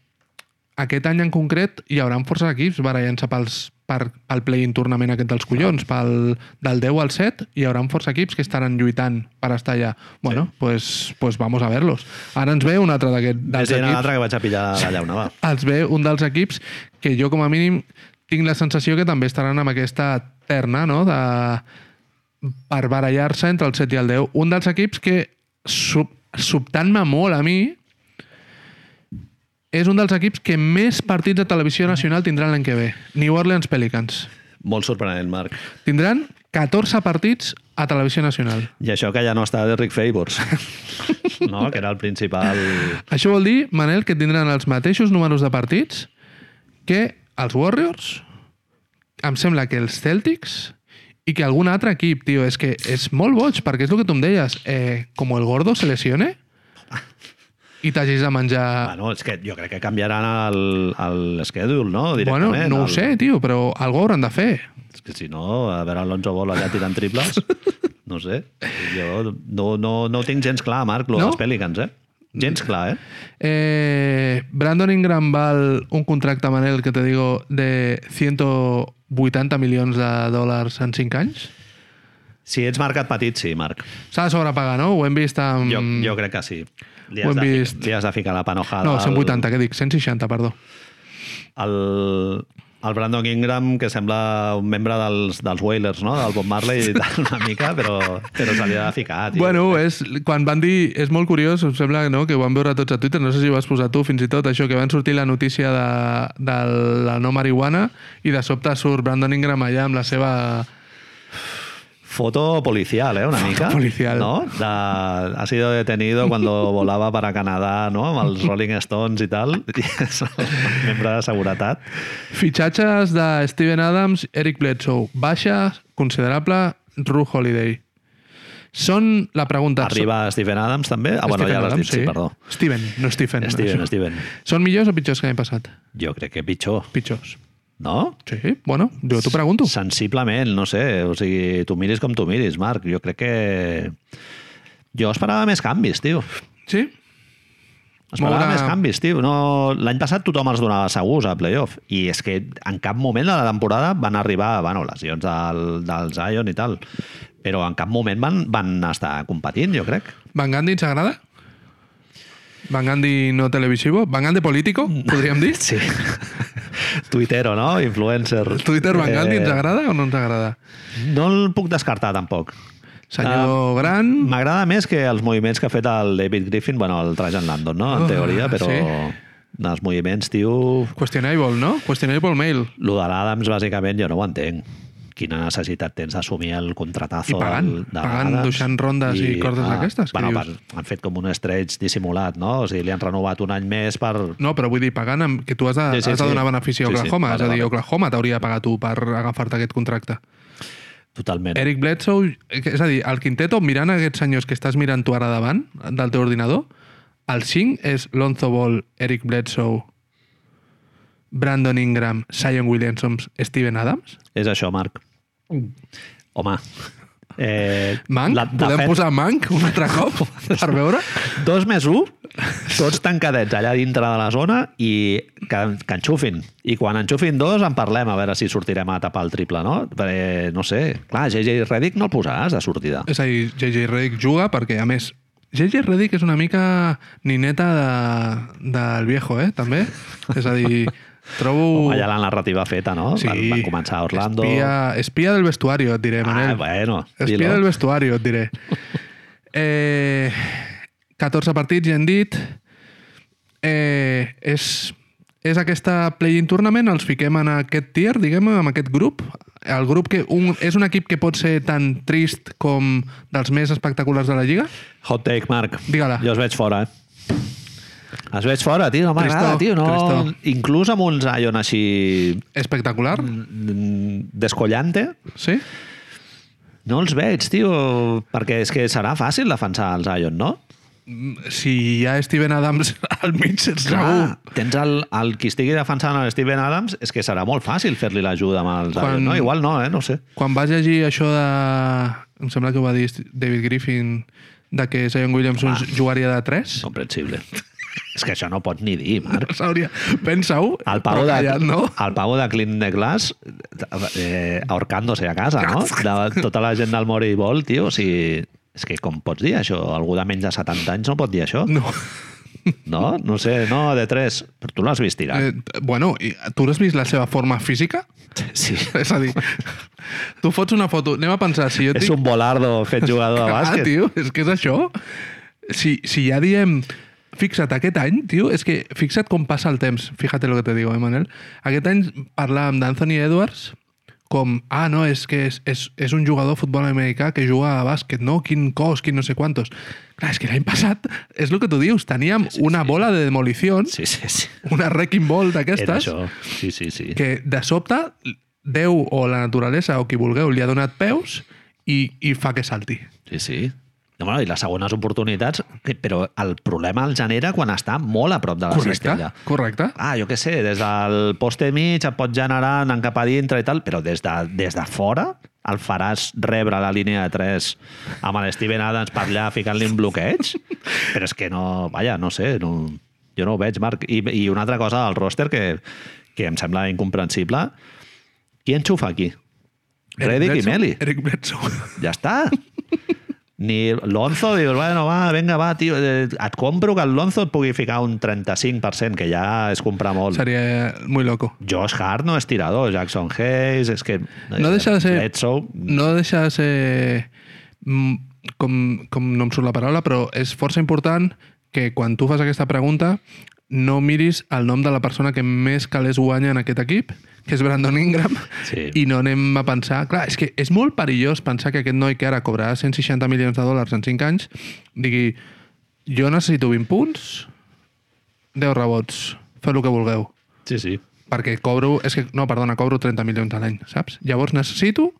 B: aquest any en concret hi haurà forces equips barallant-se pels, per, pel play-in tournament aquest dels collons, pel, del 10 al 7, hi haurà força equips que estaran lluitant per estar allà. Bueno, sí. pues, pues vamos a verlos. Ara ens ve un altre d'aquest-
A: Més
B: dels
A: gent a
B: equips.
A: l'altre que vaig a pillar la llauna, va.
B: Ens ve un dels equips que jo, com a mínim, tinc la sensació que també estaran amb aquesta terna, no?, de, per barallar-se entre el 7 i el 10. Un dels equips que, sub, sobtant-me molt a mi, és un dels equips que més partits de televisió nacional tindran l'any que ve. New Orleans Pelicans.
A: Molt sorprenent, Marc.
B: Tindran 14 partits a televisió nacional.
A: I això que ja no està Derrick Favors, no? que era el principal...
B: Això vol dir, Manel, que tindran els mateixos números de partits que els Warriors, em sembla que els Celtics i que algun altre equip, tio. És que és molt boig, perquè és el que tu em deies. Eh, com el gordo se lesione i t'hagis de menjar...
A: Bueno, és que jo crec que canviaran el, el schedule, no?
B: Bueno,
A: Directament.
B: no ho
A: el-
B: sé, tio, però alguna hauran de fer.
A: És que si no, a veure Alonso Ball allà tirant triples, no sé. Jo no, no, no ho tinc gens clar, Marc, lo
B: No?
A: dels Pelicans, eh? Gens clar, eh?
B: Eh, Brandon Ingram val un contracte, Manel, que te digo, de 180 milions de dòlars en 5 anys?
A: Si ets marcat petit, sí, Marc.
B: S'ha de sobrepagar, no? Ho hem vist amb...
A: Jo, jo crec que sí. Li
B: Mm. Ho
A: has, de,
B: hem
A: fi-
B: vist.
A: li has de ficar la panojada.
B: No,
A: al-
B: 180, què dic? 160, perdó.
A: el, el Brandon Ingram, que sembla un membre dels, dels Whalers, no? del Bob Marley i tal, una mica, però, però se li ha de ficar, tio.
B: Bueno, és, quan van dir... És molt curiós, em sembla no, que ho van veure tots a Twitter, no sé si ho vas posar tu, fins i tot, això, que van sortir la notícia de, de la no marihuana i de sobte surt Brandon Ingram allà amb la seva...
A: Foto policial, ¿eh? Una mica.
B: policial.
A: ¿No? De- ha sido detenido cuando volava para Canadà, no? Amb els Rolling Stones i tal. I és el membre de seguretat.
B: Fitxatges de Steven Adams, Eric Bledsoe. Baixa, considerable, Ru Holiday. Són la pregunta...
A: Arriba Stephen Adams, també. Ah, bueno,
B: Stephen
A: ja l'has dit,
B: Adams,
A: sí, perdó.
B: Steven, no Stephen.
A: Steven,
B: Això.
A: Steven.
B: Són millors o pitjors que l'any passat?
A: Jo crec que pitjor,
B: Pitjors.
A: no?
B: Sí, bueno, jo t'ho pregunto.
A: Sensiblement, no sé. O sigui, tu miris com tu miris, Marc. Jo crec que... Jo esperava més canvis, tio.
B: Sí?
A: Esperava
B: Moure-
A: més canvis, tio. No... L'any passat tothom els donava segurs a playoff i és que en cap moment de la temporada van arribar, bueno, lesions del, del Zion i tal, però en cap moment van, van estar competint, jo crec.
B: Van Gandhi ens agrada? Van Gandhi no televisivo? Van Gandhi político, podríem dir?
A: Sí. Twitter o no? Influencer.
B: Twitter Van Gandhi ens
A: Eh,
B: agrada o no ens agrada?
A: no el puc descartar, tampoc. Ah,
B: Senyor Gran...
A: M'agrada més que els moviments que ha fet el David Griffin, bueno, el Trajan Landon, no? En
B: Ah,
A: teoria, però
B: sí.
A: els moviments, tio...
B: Questionable, no? Questionable mail.
A: Lo de l'Adams, bàsicament, jo no ho entenc. Quina necessitat tens d'assumir el contratazo
B: I pagant,
A: del- de
B: pagant,
A: l'Adams?
B: deixant rondes i coses d'aquestes, què
A: Bueno,
B: dius?
A: per, han fet com un estreig dissimulat, no? O sigui, li han renovat un any més per...
B: No, però vull dir, pagant amb, que tu has de,
A: Sí, sí,
B: has de
A: sí.
B: donar benefici a
A: Sí, sí,
B: Oklahoma.
A: vale,
B: és a dir,
A: vale.
B: Oklahoma t'hauria de pagar tu per agafar-te aquest contracte.
A: Totalment.
B: Eric Bledsoe, és a dir, el quinteto, mirant aquests senyors que estàs mirant tu ara davant del teu ordinador, el 5 és Lonzo Ball, Eric Bledsoe, Brandon Ingram, Zion Williamson, Steven Adams.
A: És això, Marc. Home. Eh,
B: Mm. Manc?
A: la-
B: La,
A: de
B: Podem
A: fet,
B: posar Manc un altre cop per veure?
A: Dos més un, tots tancadets allà dintre de la zona i que, que enxufin. I quan enxufin dos en parlem a veure si sortirem a tapar el triple, no? Perquè, no sé, clar, JJ Redick no el posaràs de sortida.
B: És a dir, JJ Redick juga perquè, a més, JJ Redick és una mica nineta de, del viejo, eh, també? És a dir, trobo...
A: Allà la narrativa feta, no? Van, van començar a Orlando...
B: Espia, espia del vestuario, et diré, Manel.
A: Ah, bueno,
B: Espia
A: dilo.
B: del vestuari, et diré. Eh, 14 partits, ja hem dit. Eh, és, és aquesta play-in tournament, els fiquem en aquest tier, diguem en aquest grup. El grup que un, és un equip que pot ser tan trist com dels més espectaculars de la Lliga.
A: Hot take, Marc.
B: Digue-la.
A: Jo els veig fora, eh? Els veig fora, tio, no m'agrada,
B: Tristó,
A: tio. No...
B: tristó.
A: Inclús amb un Zion així
B: Espectacular,
A: mm, descollante,
B: sí?
A: No els veig, tio, perquè és que serà fàcil defensar els Zion, no?
B: Si hi ha Steven Adams al mig, és segur.
A: tens el, el qui estigui defensant el Steven Adams, és que serà molt fàcil fer-li l'ajuda amb els
B: Quan-
A: Zion, no? Igual no, eh? No ho sé.
B: Quan vas llegir això de... Em sembla que ho va dir David Griffin, de que Zion Williamson jugaria de 3,
A: Comprensible. És que això no pots ni dir, Marc.
B: S'hauria... Pensa-ho.
A: El pavo, de,
B: callat, no?
A: el pavo de Clint de Glass eh, ahorcándose a casa, no? De, tota la gent del Mori Vol, tio, o sigui, és que com pots dir això? Algú de menys de 70 anys no pot dir això?
B: No.
A: No? No sé, no, de 3. Però tu l'has vist tirar.
B: Eh, bueno, i tu has vist la seva forma física?
A: Sí.
B: És a dir, tu fots una foto... Anem a pensar, si jo et
A: És
B: dic...
A: un volardo fet jugador de
B: Ah,
A: bàsquet.
B: tio, és que és això. Si, si ja diem... Fixa't, aquest any, tio, és que fixa't com passa el temps. Fíjate lo que te digo, eh, Manel? Aquest any parlàvem d'Anthony Edwards com, ah, no, és que és, és, és un jugador de futbol americà que juga a bàsquet, no? Quin cos, quin no sé quantos. Clar, és que l'any passat, és el que tu dius, teníem sí, una bola de demolició,
A: Sí, sí, sí.
B: una wrecking ball
A: Era
B: d'aquestes,
A: això. Sí, sí, sí.
B: que de sobte Déu o la naturalesa o qui vulgueu li ha donat peus i, i fa que salti.
A: Sí, sí. No, bueno, I les segones oportunitats, que- però el problema el genera quan està molt a prop de la
B: Correcte,
A: cistella.
B: correcte.
A: Ah, jo què sé, des del poste mig et pot generar anant cap a dintre i tal, però des de, des de fora el faràs rebre a la línia de 3 amb el Steven Adams per allà ficant-li un bloqueig? Però és que no... Vaja, no sé, no, jo no ho veig, Marc. I, i una altra cosa del roster que, que em sembla incomprensible, qui enxufa aquí?
B: Eh,
A: Redick i
B: Bledsoe-
A: Meli.
B: Eric Bledsoe.
A: Ja està. Ni Lonzo dius, bueno, va, vinga, va, tio, eh, et compro que el Lonzo et pugui ficar un 35%, que ja és comprar molt.
B: Seria muy loco.
A: Josh Hart no és tirador, Jackson Hayes, és que... eh,
B: No deixa de ser-
A: Bledsoe,
B: No deixa de ser... mm, Com, com no em surt la paraula, però és força important que quan tu fas aquesta pregunta no miris el nom de la persona que més calés guanya en aquest equip, que és Brandon Ingram,
A: Sí.
B: i no anem a pensar... Clar, és que és molt perillós pensar que aquest noi que ara cobrarà 160 milions de dòlars en 5 anys digui, jo necessito 20 punts, 10 rebots, feu el que vulgueu.
A: sí, sí.
B: perquè cobro... És que, no, perdona, cobro 30 milions a l'any, saps? Llavors necessito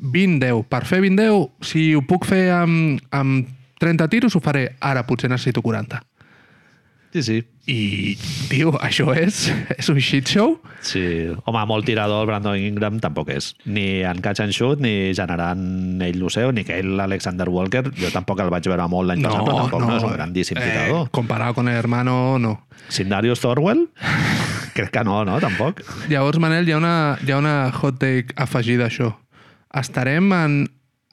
B: 20-10. Per fer 20-10, si ho puc fer amb, amb 30 tiros, ho faré. Ara potser necessito 40.
A: Sí, sí.
B: I, tio, això és, és un shit show.
A: Sí. Home, molt tirador el Brandon Ingram tampoc és. Ni en catch and shoot, ni generant ell lo seu, ni que ell l'Alexander Walker, jo tampoc el vaig veure molt l'any passat, però tampoc no. és un grandíssim tirador.
B: eh, comparado con el hermano, no.
A: Sin Darius Thorwell? Crec que no, no? Tampoc.
B: Llavors, Manel, hi ha una, hi ha una hot take afegida a això. Estarem en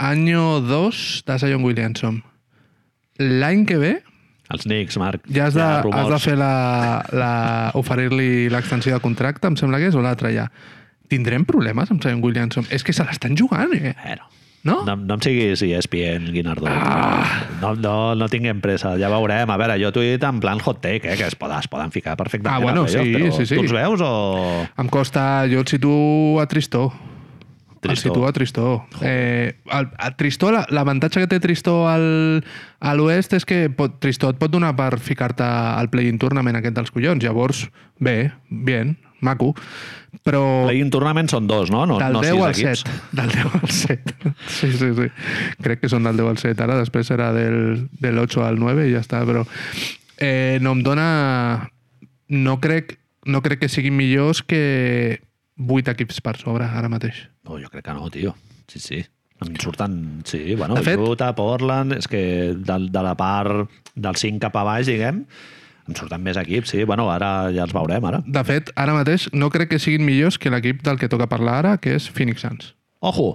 B: any 2 de Zion Williamson. L'any que ve,
A: Els Knicks, Marc.
B: Ja has de,
A: Hi ha
B: has
A: rumors.
B: de fer la, la, oferir-li l'extensió de contracte, em sembla que és, o l'altre ja. Tindrem problemes amb Zion Williamson? És que se l'estan jugant, eh?
A: Bueno,
B: No?
A: no, no em siguis ESPN, Guinardó. Ah. No, no, no tinguem pressa, ja veurem. A veure, jo t'ho he dit en plan hot take, eh, que es poden, es poden ficar perfectament.
B: Ah, bueno,
A: a playoff,
B: sí,
A: però
B: sí, sí.
A: Tu els veus o...
B: Em costa... Jo el situo a Tristó. El
A: Tristó.
B: situo a Tristó. Eh, el, a Tristó, la- l'avantatge que té Tristó al, a l'oest és que pot, Tristó et pot donar per ficar-te al play-in tournament aquest dels collons. Llavors, bé, bien, maco. Però...
A: Play-in tournament són dos, no? No,
B: Del
A: no sis
B: 10 al
A: equips.
B: 7. Del 10 al 7. Sí, sí, sí. Crec que són del 10 al 7. Ara després serà del, del 8 al 9 i ja està, però... Eh, no em dona... No crec, no crec que siguin millors que 8 equips per sobre ara mateix.
A: No, jo crec que no, tio. Sí, sí. Em surten... Sí, bueno,
B: De fet-
A: fet, Utah, Portland... És que de, de la part del 5 cap a baix, diguem, em surten més equips, sí. Bueno, ara ja els veurem, ara.
B: De fet, ara mateix no crec que siguin millors que l'equip del que toca parlar ara, que és Phoenix Suns.
A: Ojo!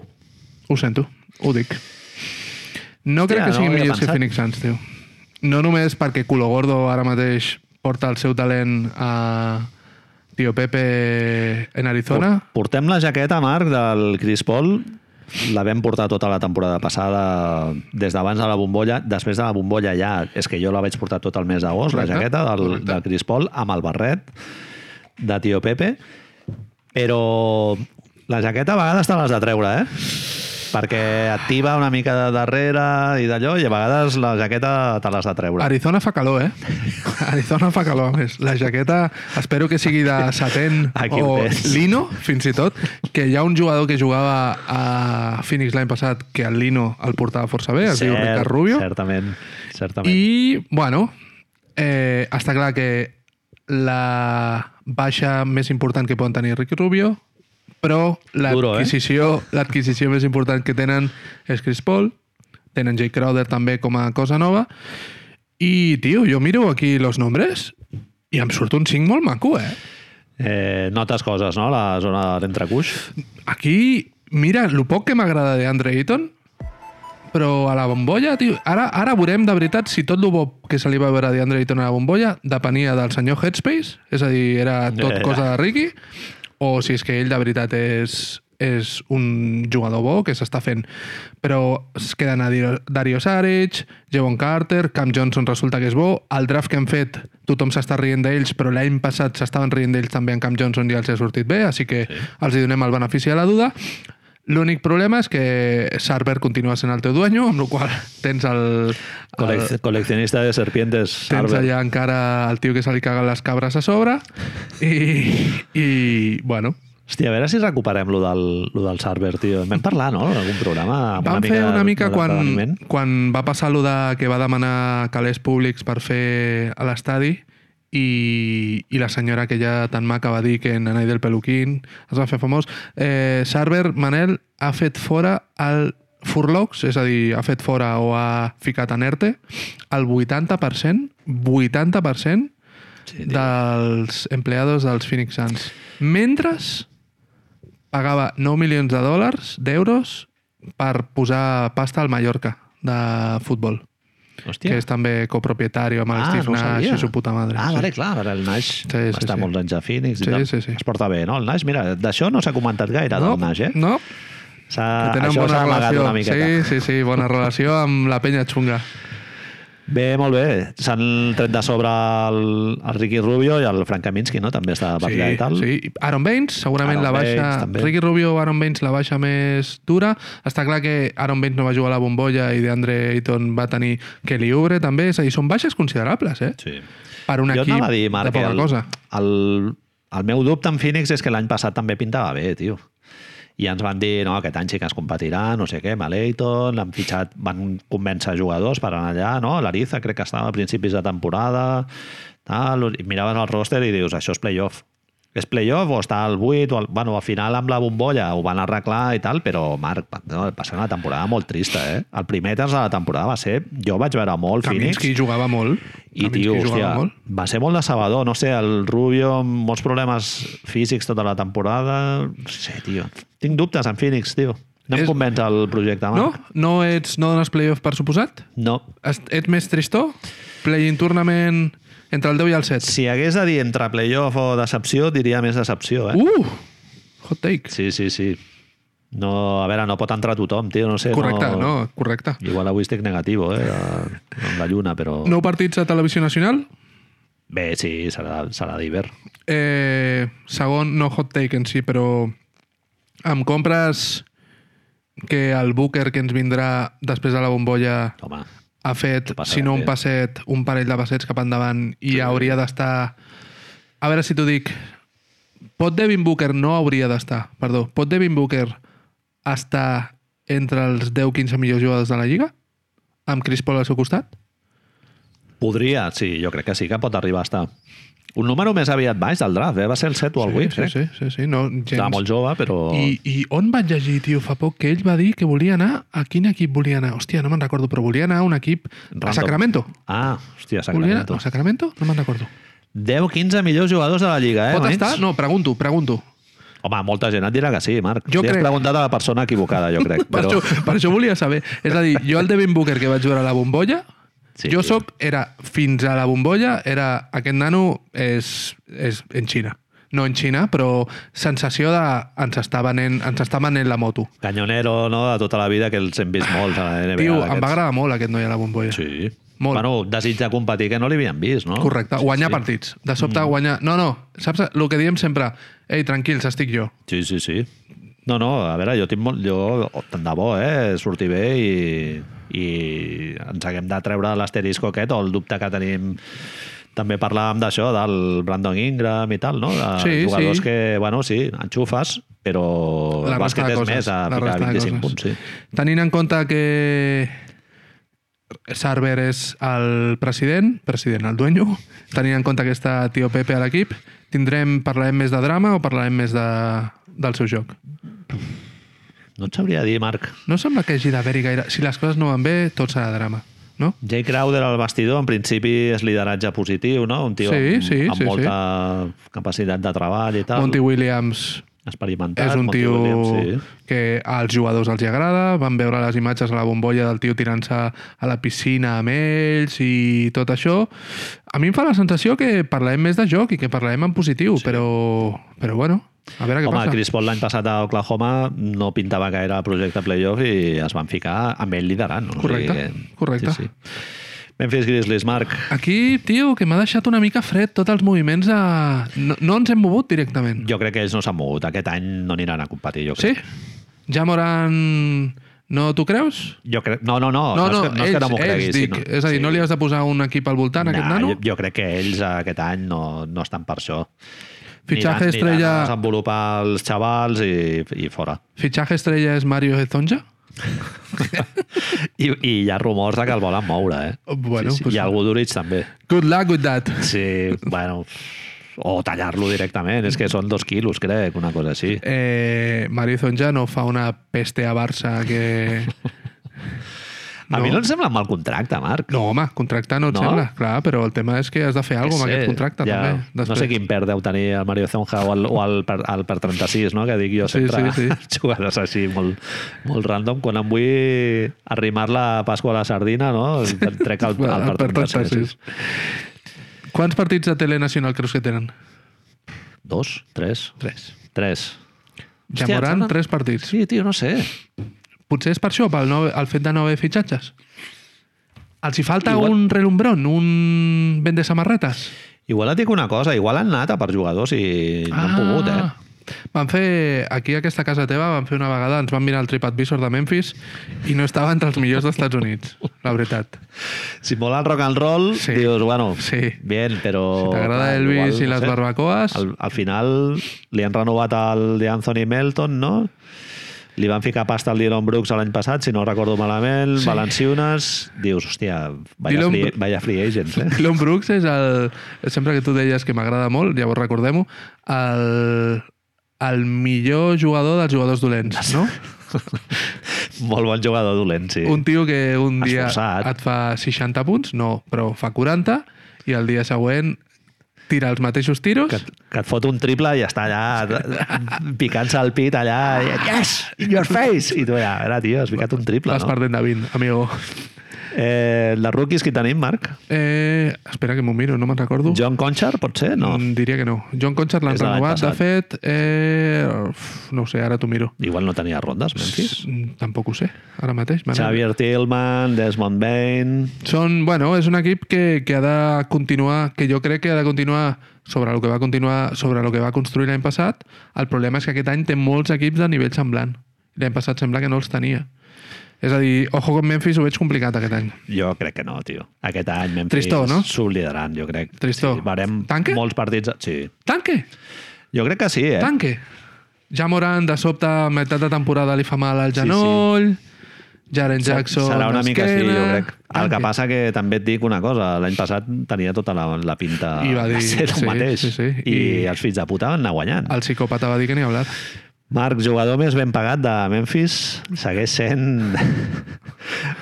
B: Ho sento, ho dic. No
A: Hòstia,
B: crec que
A: no
B: siguin
A: ho havia
B: millors que
A: pensat.
B: Phoenix Suns, tio. No només perquè Culo Gordo ara mateix porta el seu talent a Tio Pepe en Arizona.
A: Portem la jaqueta, Marc, del Chris Paul. La vam portar tota la temporada passada, des d'abans de la bombolla. Després de la bombolla ja, és que jo la vaig portar tot el mes d'agost, la
B: Correcte,
A: jaqueta del,
B: correcte.
A: del Chris Paul, amb el barret de Tio Pepe. Però la jaqueta a vegades te l'has de treure, eh? Perquè activa una mica de darrere i d'allò, i a vegades la jaqueta te l'has de treure.
B: Arizona fa calor, eh? Arizona fa calor, a més. La jaqueta espero que sigui de Satén
A: Aquí ho
B: o
A: tens.
B: Lino, fins i tot, que hi ha un jugador que jugava a Phoenix l'any passat que el Lino el portava força bé, es diu Ricard Rubio.
A: Certament, certament.
B: I, bueno, eh, està clar que la baixa més important que poden tenir Ricky Rubio, però
A: Duro, eh?
B: l'adquisició l'adquisició més important que tenen és Chris Paul, tenen Jay Crowder també com a cosa nova, I, tio, jo miro aquí els nombres i em surt un 5 molt maco, eh?
A: Eh, notes coses, no? La zona de l'entrecuix.
B: Aquí, mira, lo poc que m'agrada de Andre Ayton, però a la bombolla, tio, ara, ara veurem de veritat si tot el bo que se li va veure de Andre Ayton a la bombolla depenia del senyor Headspace, és a dir, era
A: Eh.
B: tot cosa de Ricky, o si és que ell de veritat és, és un jugador bo que s'està fent. Però es queden a dir- Dario Saric, Jevon Carter, Cam Johnson resulta que és bo, el draft que hem fet tothom s'està rient d'ells, però l'any passat s'estaven rient d'ells també en Cam Johnson i els ha sortit bé, així que sí. els hi donem el benefici de la duda. L'únic problema és que Sarver continua sent el teu dueño, amb la qual cosa tens el... el
A: Colec col·leccionista de serpientes.
B: Ah. tens
A: Albert.
B: allà encara el tio que se li caguen les cabres a sobre i, i bueno,
A: Hòstia, a veure si recuperem lo del, lo del server, tio. En vam parlar, no?, en algun programa. amb
B: Vam fer
A: de-
B: una mica
A: de
B: quan,
A: l'envelliment.
B: quan va passar lo de que va demanar calés públics per fer a l'estadi i, i la senyora aquella tan maca va dir que en Anai del Peluquín es va fer famós. Eh, Sarver, Manel, ha fet fora el Furlocks, és a dir, ha fet fora o ha ficat en ERTE el 80%, 80%
A: Sí, tio.
B: dels empleados dels Phoenix Suns. Mentre pagava 9 milions de dòlars, d'euros, per posar pasta al Mallorca de futbol,
A: Hòstia.
B: que és també copropietari amb el ah, Steve
A: ho
B: Nash
A: sabia.
B: i su puta madre.
A: Ah,
B: sí.
A: vale, clar, ara el Nash sí, sí, està sí. molts anys a Phoenix
B: Sí,
A: i tal.
B: sí, sí.
A: Es porta bé, no? El Nash, mira, d'això no s'ha comentat gaire,
B: No,
A: del Nash, eh?
B: no,
A: S'ha,
B: que tenen
A: això
B: bona
A: s'ha amagat
B: relació.
A: una miqueta.
B: Sí, sí, sí, bona relació amb la penya xunga.
A: Bé, molt bé. S'han tret de sobre el, el Ricky Rubio i el Frank Kaminsky, no? També està per
B: Sí,
A: allà i tal.
B: sí. Aaron Baines, segurament
A: Aaron
B: la baixa...
A: Baines, també.
B: Ricky Rubio, Aaron Baines, la baixa més dura. Està clar que Aaron Baines no va jugar a la bombolla i DeAndre Ayton va tenir Kelly Oubre, també. És a dir, són baixes considerables, eh?
A: sí.
B: Per un
A: jo
B: equip
A: anava a dir, Marc,
B: de poca
A: el,
B: cosa.
A: El, el meu dubte amb Phoenix és que l'any passat també pintava bé, tio. I ens van dir, no, aquest any sí que es competirà, no sé què, Maleiton, l'han fitxat, van convèncer jugadors per anar allà, no? L'Ariza crec que estava a principis de temporada, tal, i miraves el roster i dius, això és playoff. És playoff o està al 8, o al... bueno, al final amb la bombolla ho van arreglar i tal, però Marc, pa- no, va ser una temporada molt trista, eh? El primer terç de la temporada va ser, jo vaig veure molt Phoenix.
B: Kaminsky jugava molt.
A: I,
B: Kaminsky
A: tio,
B: jugava
A: hòstia,
B: molt.
A: va ser molt decebedor. No sé, el Rubio amb molts problemes físics tota la temporada... No sé, tio. Tinc dubtes en Phoenix, tio. No em
B: És-
A: convenç el projecte,
B: No?
A: Marc.
B: No, ets, no dones playoff per suposat?
A: No?
B: Est- Ets més tristó? Play-in tournament entre el 10 i el 7?
A: Si hagués de dir entre playoff o decepció, diria més decepció, eh?
B: Uh! Hot take.
A: Sí, sí, sí. No, a veure, no pot entrar tothom, tio, no sé.
B: Correcte, no, correcte.
A: Igual avui estic negatiu, eh? a- Amb la lluna, però...
B: Nou partits a Televisió Nacional,
A: Bé, sí, serà, serà d'hivern.
B: Eh, segon, no hot take en si, però em compres que el Booker que ens vindrà després de la bombolla
A: Home,
B: ha fet,
A: Passarà
B: si no un
A: bé.
B: passet, un parell de passets cap endavant i hauria d'estar... A veure si t'ho dic. Pot Devin Booker no hauria d'estar, perdó, pot Devin Booker estar entre els 10-15 millors jugadors de la Lliga? Amb Chris Paul al seu costat?
A: Podria, sí, jo crec que sí que pot arribar a estar. Un número més aviat baix del draft, eh? va ser el 7 o el 8,
B: sí,
A: eh?
B: sí, sí, sí, no, gens.
A: Estava molt jove, però...
B: I, I on vaig llegir, tio, fa poc, que ell va dir que volia anar... A quin equip volia anar? Hòstia, no me'n recordo, però volia anar a un equip...
A: Random.
B: A Sacramento.
A: Ah, hòstia,
B: Volia anar
A: Sacramento.
B: a Sacramento? No me'n recordo.
A: 10-15 millors jugadors de la Lliga, eh?
B: Pot
A: nois?
B: estar? No, pregunto, pregunto.
A: Home, molta gent et dirà que sí, Marc. Jo
B: Jo
A: si crec...
B: crec-
A: has preguntat a la persona equivocada, jo crec.
B: Per,
A: Però...
B: això, per això volia saber. És a dir, jo el Devin Booker que vaig veure a la bombolla,
A: Sí.
B: sí. jo soc, era fins a la bombolla, era aquest nano és, és en Xina. No en Xina, però sensació de ens està venent, ens està venent la moto.
A: Canyonero, no?, de tota la vida, que els hem vist molts a la NBA.
B: Tio, em
A: d'aquests.
B: va agradar molt aquest noi a la bombolla.
A: Sí.
B: Molt.
A: Molt. Bueno, desig de competir que no l'havien vist, no?
B: Correcte, guanyar sí. partits. De sobte mm. guanyar... No, no, saps el que diem sempre? Ei, tranquils, estic jo.
A: Sí, sí, sí. No, no, a veure, jo tinc molt... Jo, oh, tant de bo, eh? Sortir bé i, i ens haguem de treure l'asterisco aquest o el dubte que tenim també parlàvem d'això, del Brandon Ingram i tal, no? De
B: Sí,
A: jugadors
B: sí.
A: que, bueno, sí, enxufes, però el bàsquet és més a
B: la
A: ficar
B: resta de
A: 25
B: coses.
A: punts, sí.
B: Tenint en compte que Sarver és el president, president, el dueño, tenint en compte que està Tio Pepe a l'equip, tindrem, parlarem més de drama o parlarem més de, del seu joc?
A: No et sabria dir, Marc.
B: No sembla que hagi d'haver-hi gaire... Si les coses no van bé, tot serà drama. no?
A: Jay Crowder al vestidor, en principi, és lideratge positiu, no? Un tio
B: Sí,
A: amb,
B: sí,
A: amb
B: sí,
A: molta capacitat de treball i tal.
B: Monty Williams
A: Experimentat.
B: és un
A: Monty
B: tio
A: Williams,
B: que als jugadors els hi agrada, van veure les imatges a la bombolla del tio tirant-se a la piscina amb ells i tot això. A mi em fa la sensació que parlem més de joc i que parlem en positiu, sí. però, però bueno, a veure què
A: Home,
B: passa.
A: Chris Paul l'any passat a Oklahoma no pintava gaire el projecte playoff i es van ficar amb ell liderant. No?
B: Correcte,
A: que-
B: correcte.
A: Sí, sí. Memphis Grizzlies, Marc.
B: Aquí, tio, que m'ha deixat una mica fred tots els moviments. A... No, no ens hem mogut directament.
A: Jo crec que ells no s'han mogut. Aquest any no aniran a competir, jo
B: Sí?
A: crec.
B: Ja Moran... No t'ho creus?
A: Jo crec... No, no, no.
B: no,
A: no, és que, no és que no m'ho creguis.
B: ells dic.
A: sinó-
B: És a dir,
A: sí.
B: no li has de posar un equip al voltant, a aquest
A: Nah,
B: nano?
A: Jo, jo crec que ells eh, aquest any no, no estan per això.
B: Fitxatge
A: Aniran- aniran
B: estrella...
A: a desenvolupar els xavals i, i fora.
B: Fitxatge estrella és Mario Ezonja?
A: I, I hi ha rumors de que el volen moure, eh?
B: Bueno,
A: sí, sí.
B: pues-
A: I algú d'Urich també.
B: Good luck with that.
A: Sí, bueno... O tallar-lo directament. És que són dos quilos, crec, una cosa així.
B: Eh, Mario Ezonja no fa una peste a Barça que...
A: A mi no em sembla mal contracte, Marc.
B: No, home, contracte no et
A: No?
B: sembla, clar, però el tema és que has de fer alguna cosa amb
A: Què sé,
B: aquest contracte,
A: ja,
B: també.
A: No sé quin per deu tenir el Mario Zonja o el, o el, per, el per 36, no? que dic jo
B: Sí,
A: sempre
B: sí,
A: sí,
B: sí.
A: sí, sí. jugadors així molt, molt random. Quan em vull arrimar la Pasqua a la sardina, no? Em trec el, el,
B: El
A: per 36.
B: Quants partits de telenacional creus que tenen?
A: Dos? Tres?
B: Tres.
A: Tres.
B: Ja
A: Hòstia,
B: moran
A: em sembla-
B: tres partits.
A: Sí, tio, no sé.
B: Potser és per això, pel no, el fet de no haver fitxatges. Els hi falta
A: Igual-
B: un relumbrón, un vent de samarretes.
A: Igual et dic una cosa, igual han anat a per jugadors i no
B: Ah.
A: han pogut, eh?
B: Van fer, aquí a aquesta casa teva, van fer una vegada, ens van mirar el TripAdvisor de Memphis i no estava entre els millors dels Estats Units, la veritat.
A: Si mola el rock and roll,
B: Sí.
A: sí. dius, bueno,
B: Sí.
A: sí. bien, però...
B: Si t'agrada
A: clar,
B: Elvis i les
A: sé.
B: barbacoes.
A: Al, al final li han renovat el de Anthony Melton, no? Li van ficar pasta al Dylan Brooks l'any passat, si no recordo malament,
B: Sí.
A: sí. Valenciunes... Dius, hòstia, vaya,
B: Dillon
A: Dylan... free,
B: Bru-
A: vaya free agents, eh?
B: Dylan Brooks és el... Sempre que tu deies que m'agrada molt, llavors recordem-ho, el, el millor jugador dels jugadors
A: Ah,
B: dolents, no?
A: Molt bon jugador dolent, sí.
B: Un tio que un dia
A: Esforçat.
B: et fa 60 punts, no, però fa 40, i el dia següent tira els mateixos tiros.
A: Que, que et fot un triple i està allà picant-se el pit allà i, yes, in your face i tu allà, a veure tio, has ficat un triple
B: Vas
A: no?
B: perdent de 20, amigo.
A: eh, les rookies que tenim, Marc?
B: Eh, espera que m'ho miro, no me'n recordo.
A: John Conchar, pot ser? No.
B: Mm, Diria que no. John Conchard l'han
A: És de l'any
B: renovat, de
A: passat.
B: fet... Eh, uf, no ho sé, ara t'ho miro.
A: Igual no tenia rondes, Memphis.
B: Mm, Tampoc ho sé, ara mateix. me n'he-
A: Xavier Tillman, Desmond Bain...
B: Són, bueno, és un equip que, que ha de continuar, que jo crec que ha de continuar sobre el que va continuar sobre el que va construir l'any passat. El problema és que aquest any té molts equips de nivell semblant. L'any passat sembla que no els tenia. És a dir, ojo con Memphis, ho veig complicat aquest any.
A: Jo crec que no, tio. Aquest any Memphis
B: Tristó, no?
A: subliderant, jo crec.
B: Tristó.
A: Sí, veurem
B: Tanque?
A: molts partits... Sí.
B: Tanque!
A: Jo crec que sí, eh?
B: Tanque! Ja Moran, de sobte, a meitat de temporada li fa mal al genoll. Jaren
A: Se-
B: Jackson
A: Serà una mica sí, jo
B: d'esquena.
A: crec. El que
B: Tanque.
A: passa que també et dic una cosa, l'any passat tenia tota la, la pinta
B: I va dir,
A: de ser el
B: sí,
A: mateix.
B: sí, sí.
A: I,
B: I-
A: els fills de puta van anar guanyant.
B: El psicòpata va dir que ni hablar.
A: Marc, jugador més ben pagat de Memphis, segueix sent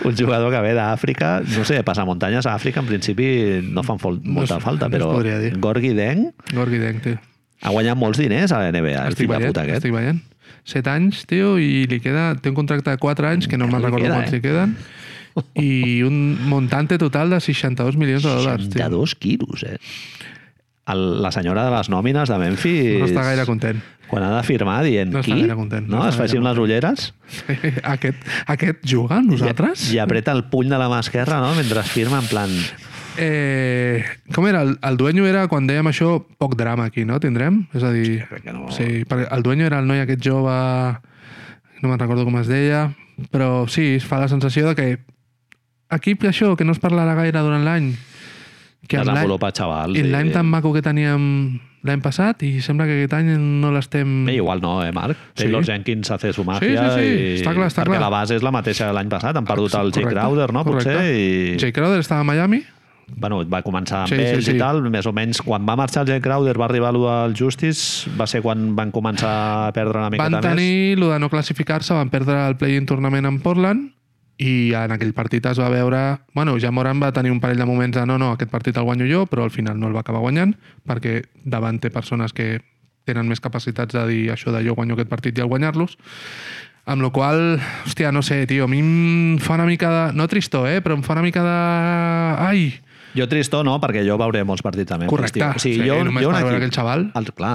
A: un jugador que ve d'Àfrica. No sé, passa muntanyes a Àfrica, en principi no fan fol
B: No
A: molta
B: es-
A: falta,
B: no es
A: però
B: podria dir.
A: Gorgui Deng
B: Gorgui Deng, tio.
A: ha guanyat molts diners a la NBA, el
B: Estic
A: fill de
B: veient,
A: puta aquest.
B: estic veient. 7 anys, tio, i li queda... Té un contracte de 4 anys, que no me'n
A: Li
B: recordo
A: queda,
B: quants
A: eh?
B: li queden, i un montante total de 62 milions de dòlars, tio.
A: 62 quilos, eh? El, la senyora de les nòmines de Memphis...
B: No està gaire content.
A: Quan ha de firmar, dient
B: No està
A: qui?
B: gaire content, no
A: No,
B: està
A: es
B: gaire
A: facin les ulleres
B: Aquest, aquest juga amb nosaltres?
A: i, i apreta el puny de la mà esquerra no? mentre firma en plan...
B: Eh, com era? El, el dueño era, quan dèiem això, poc drama aquí, no? Tindrem? És a dir...
A: Crec que no.
B: Sí, perquè el dueño era el noi aquest jove... No me'n recordo com es deia, però sí, es fa la sensació de que aquí això, que no es parlarà gaire durant l'any, que amb l'any
A: Desenvolupa, xavals.
B: i l'any
A: i-
B: tan maco que teníem l'any passat i sembla que aquest any no l'estem...
A: Bé, igual no, eh, Marc?
B: Mm. Sí.
A: Taylor Jenkins hace su magia
B: sí, sí,
A: i...
B: està clar, està
A: perquè
B: clar.
A: la base és la mateixa de l'any passat. Han perdut el Jake
B: Correcte,
A: Crowder, no?
B: correcte.
A: Potser, i...
B: Jay Crowder estava a Miami?
A: Bueno, va començar amb
B: Sí,
A: sí,
B: sí,
A: ells sí,
B: sí.
A: i tal, més o menys. Quan va marxar el Jake Crowder va arribar allò del Justice, va ser quan van començar a perdre una miqueta
B: Van tenir el de no classificar-se, van perdre el play-in tornament en Portland I en aquell partit es va veure... Bueno, ja Moran va tenir un parell de moments de no, no, aquest partit el guanyo jo, però al final no el va acabar guanyant, perquè davant té persones que tenen més capacitats de dir això de jo guanyo aquest partit i el guanyar-los. Amb la qual cosa, hòstia, no sé, tio, a mi em fa una mica de... No tristor, eh? Però em fa una mica de... Ai!
A: Jo tristó no, perquè jo veuré molts partits també.
B: Correcte.
A: aquest estiu.
B: Sí, només
A: un
B: per veure
A: equip-
B: aquell xaval.
A: El, clar,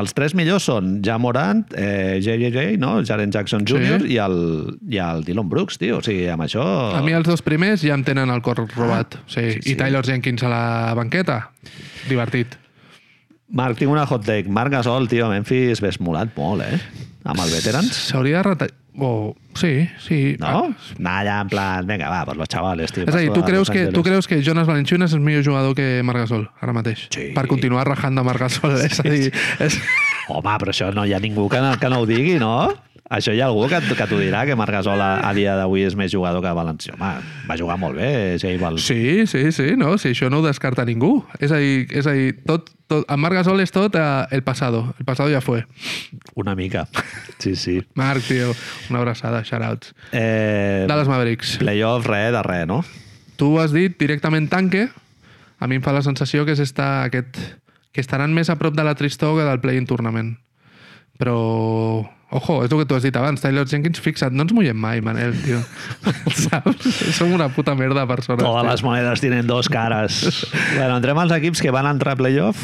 A: els tres millors són Ja Morant, eh, JJJ, no? Jaren Jackson Jr. Sí. I, el, i el Dylan Brooks, tio. O sigui, amb això...
B: A mi els dos primers ja em tenen el cor robat.
A: Oh.
B: sí.
A: sí, sí.
B: I Taylor Jenkins a la banqueta. Divertit.
A: Marc, tinc una hot take. Marc Gasol, tio, a Memphis ves molat molt, eh? Amb el Veterans.
B: S'hauria de retallar... O... Sí, sí. Ah,
A: No? Anar allà en plan, vinga, va, pues los chavales, tio.
B: És a dir,
A: passo
B: tu
A: a
B: creus,
A: Los
B: que, tu
A: Angeles.
B: creus que Jonas Valanciunas és millor jugador que Marc Gasol, ara mateix?
A: Sí.
B: Per continuar rajant de Marc Gasol. eh? És a dir, és...
A: Home, però això no hi ha ningú que no, que no ho digui, no? Això hi ha algú que, que t'ho dirà, que Marc Gasol a, a dia d'avui és més jugador que Valencià. Home, va jugar molt bé, eh, Jay Val.
B: Sí, sí, sí, no, si això no ho descarta ningú. És a dir, és a dir tot, tot, en Marc Gasol és tot eh, el pasado. El pasado ja fue.
A: Una mica. Sí, sí.
B: Marc, tio, una abraçada, shoutouts.
A: Eh,
B: Dallas Mavericks.
A: playoff, res de res, no?
B: Tu ho has dit directament tanque. A mi em fa la sensació que és esta, aquest, que estaran més a prop de la tristor que del play-in tournament. Però... Ojo, és el que tu has dit abans, Taylor Jenkins, fixa't, no ens mullem mai, Manel, tio. Saps? Som una puta merda de persones.
A: Totes
B: tio.
A: les monedes tenen dos cares. bueno, entrem als equips que van entrar a playoff,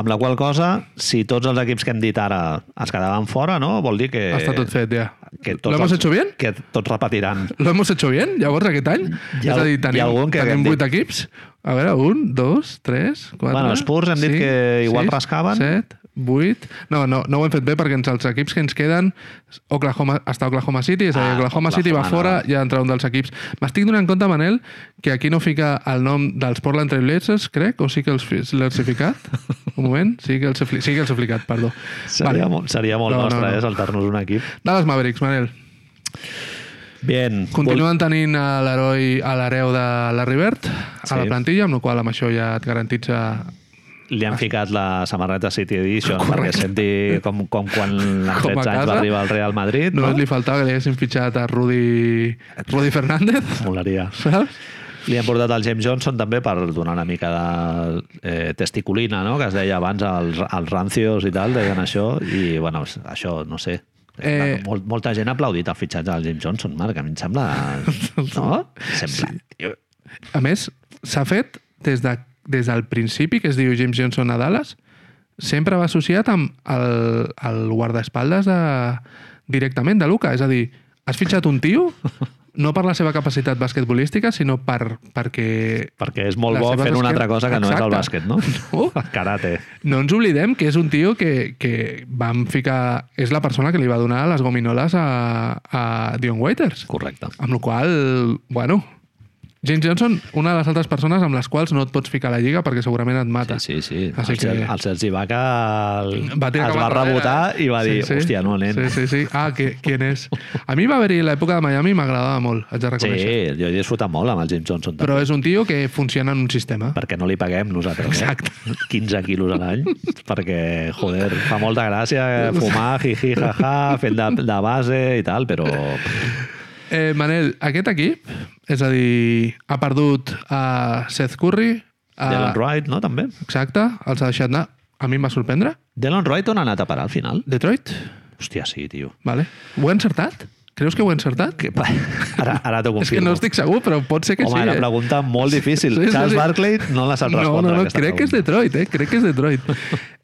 A: amb la qual cosa, si tots els equips que hem dit ara es quedaven fora, no? Vol dir que...
B: Està tot fet, ja.
A: Que tots
B: ¿Lo hemos
A: els-
B: hecho bien?
A: Que tots repetiran.
B: Lo hemos hecho bien, llavors, aquest any?
A: Hi ha-
B: és a dir,
A: hi ha
B: tenim,
A: algun que haguem dit.
B: tenim vuit equips? A veure, un, dos, tres, quatre...
A: Bueno, els Spurs hem dit que igual rascaven.
B: Set, vuit... No, no, no ho hem fet bé perquè ens, els equips que ens queden Oklahoma, està Oklahoma City, és a dir,
A: Ah,
B: Oklahoma, City va
A: Oklahoma,
B: fora
A: no.
B: i ha entrat un dels equips. M'estic donant compte, Manel, que aquí no fica el nom dels Portland Trailblazers, crec, o sí que els fi- l'has ficat? Un moment, sí que els he, fli- sí que els he ficat, perdó.
A: Seria, molt, seria molt
B: No, no,
A: nostre,
B: no.
A: eh, saltar-nos un equip.
B: Dallas Mavericks, Manel.
A: Bien.
B: Continuen tenint a l'heroi, a l'hereu de la Rivert, a
A: Sí.
B: la plantilla, amb la qual cosa, amb això ja et garantitza...
A: Li han ficat la samarreta City Edition
B: Correcte.
A: perquè senti com, com quan en
B: Com
A: 13
B: a
A: anys
B: casa.
A: va arribar al Real Madrid. No?
B: Només li faltava que li haguessin fitxat a Rudi, Rudi Fernández,
A: Molaria.
B: saps?
A: Li han portat el James Johnson també per donar una mica de eh, testiculina, no? que es deia abans als, als rancios i tal, deien això, i bueno, s- això no sé.
B: Eh,
A: Eh... Mol, molta gent ha aplaudit el fitxatge del James Johnson, Marc, a mi em sembla... No? Sembla... Sí.
B: A més, s'ha fet des, de, des del principi, que es diu James Johnson a Dallas, sempre va associat amb el, el guardaespaldes de, directament de Luca. És a dir, has fitxat un tio no per la seva capacitat basquetbolística, sinó per, perquè
A: Perquè és molt
B: Les
A: bo
B: seves
A: fent una
B: esquer-
A: altra cosa que no és el
B: Exacte.
A: bàsquet, no?
B: No.
A: El karate.
B: No ens oblidem que és un tio que, que vam ficar... És la persona que li va donar les gominoles a, a Dion Waiters.
A: Correcte.
B: Amb la qual bueno... James Johnson, una de les altres persones amb les quals no et pots ficar a la lliga perquè segurament et mata.
A: Sí, sí.
B: Així
A: El, Ser,
B: que-
A: el Sergi Vaca el,
B: Va tirar
A: es
B: cap
A: va
B: enrere.
A: rebotar i va dir, sí, sí. hòstia, no, nen.
B: Sí, sí, sí. Ah, que, ¿quién és? A mi va haver-hi l'època de Miami i m'agradava molt, haig de
A: sí,
B: reconèixer.
A: jo he disfrutat molt amb el Jim Johnson també,
B: Però és un tio que funciona en un sistema.
A: perquè no li paguem nosaltres.
B: Exacte.
A: Eh? 15 quilos a l'any, perquè, joder, fa molta gràcia fumar, jiji, jaja, fent de, de base i tal, però...
B: Eh, Manel, aquest equip, és a dir, ha perdut a Seth Curry,
A: Uh, Dylan
B: a,
A: Wright, no, també?
B: exacte, els ha deixat anar. A mi em va sorprendre.
A: Dylan Wright on ha anat a parar al final?
B: Detroit,
A: Hòstia, sí, tio.
B: vale. Ho he encertat? Creus que ho he encertat?
A: Que, pa- ara ara t'ho confirmo.
B: És que no estic segur, però pot ser que
A: Home,
B: sí.
A: era
B: eh?
A: una pregunta molt difícil.
B: Sí, sí,
A: Charles
B: sí.
A: Barkley no la sap
B: No,
A: respondre.
B: no, no,
A: aquesta
B: crec que és
A: pregunta.
B: Detroit, eh? Crec que és Detroit.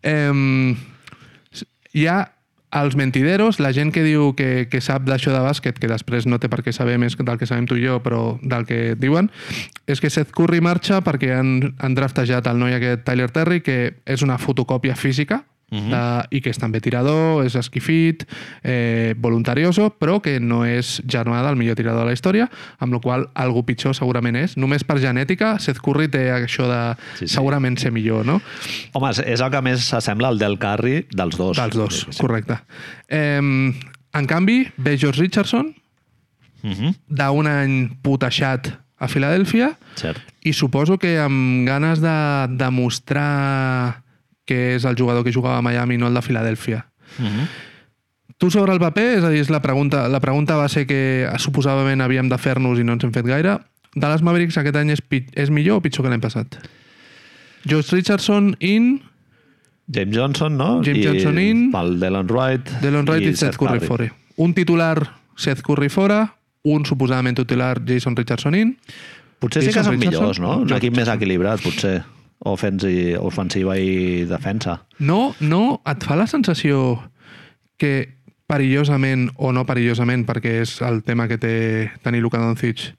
B: eh, hi ha els mentideros, la gent que diu que, que sap d'això de bàsquet, que després no té per què saber més del que sabem tu i jo, però del que diuen, és que Seth Curry marxa perquè han, han draftejat el noi aquest Tyler Terry, que és una fotocòpia física, Uh
A: Mhm.
B: -huh. i que és també tirador, és esquifit, eh, voluntarioso, però que no és germà del millor tirador de la història, amb la qual cosa algú pitjor segurament és. Només per genètica, Seth Curry té això de
A: Sí, sí.
B: segurament ser millor, no?
A: Home, és- és el que més s'assembla al del Curry dels dos.
B: Dels dos, correcte. Eh, en canvi, ve George Richardson,
A: Uh -huh.
B: d'un any puteixat a Filadèlfia,
A: Cert.
B: i suposo que amb ganes de demostrar que és el jugador que jugava a Miami, no el de Filadèlfia.
A: Uh -huh.
B: Tu sobre el paper, és a dir, és la pregunta, la pregunta va ser que suposadament havíem de fer-nos i no ens hem fet gaire. Dallas Mavericks aquest any és, pit- és millor o pitjor que l'any passat? Josh Richardson in...
A: James Johnson, no?
B: James
A: I
B: Johnson in-
A: Pel Delon Wright.
B: Delon Wright i, Seth Curry fora. Un titular, Seth Curry fora. Un suposadament titular, Jason Richardson in.
A: Potser sí que
B: Jason
A: són millors,
B: Richardson,
A: no? Un
B: Johnson.
A: equip més equilibrat, potser. Ofensi, ofensiva i defensa.
B: No, no, et fa la sensació que perillosament o no perillosament, perquè és el tema que té tenir Luka Doncic,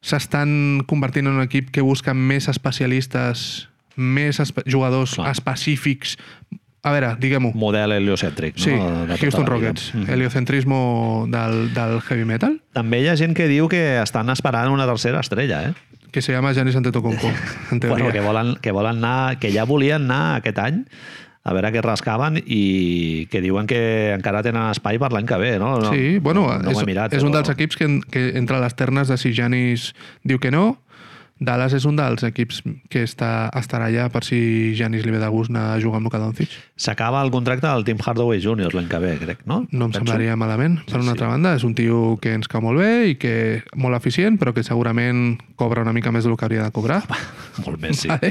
B: s'estan convertint en un equip que busca més especialistes, més espe jugadors
A: Clar.
B: específics. A veure, diguem-ho.
A: Model heliocèntric,
B: Sí,
A: no? De tota la
B: Houston
A: vida.
B: Rockets, heliocentrismo del, del heavy metal,
A: També hi ha gent que diu que estan esperant una tercera estrella, eh?
B: que se llama Giannis Antetokounmpo, en teoria.
A: Bueno, que volen, que volen anar, que ja volien anar aquest any a veure què rascaven i que diuen que encara tenen espai per l'any que ve, no? no
B: Sí, bueno,
A: no, no ho
B: és,
A: he mirat,
B: és un
A: però-
B: dels equips que, en- que entre les ternes de si Janis diu que no, Dallas és un dels equips que està, estarà allà per si Janis li ve de gust anar a jugar amb Luka Doncic.
A: S'acaba el contracte del Tim Hardaway Jr. l'any que ve, crec, no?
B: No em semblaria malament. Per una altra banda, és un tio que ens cau molt bé i que molt eficient, però que segurament cobra una mica més del que hauria de cobrar.
A: Molt més, sí.
B: Vale.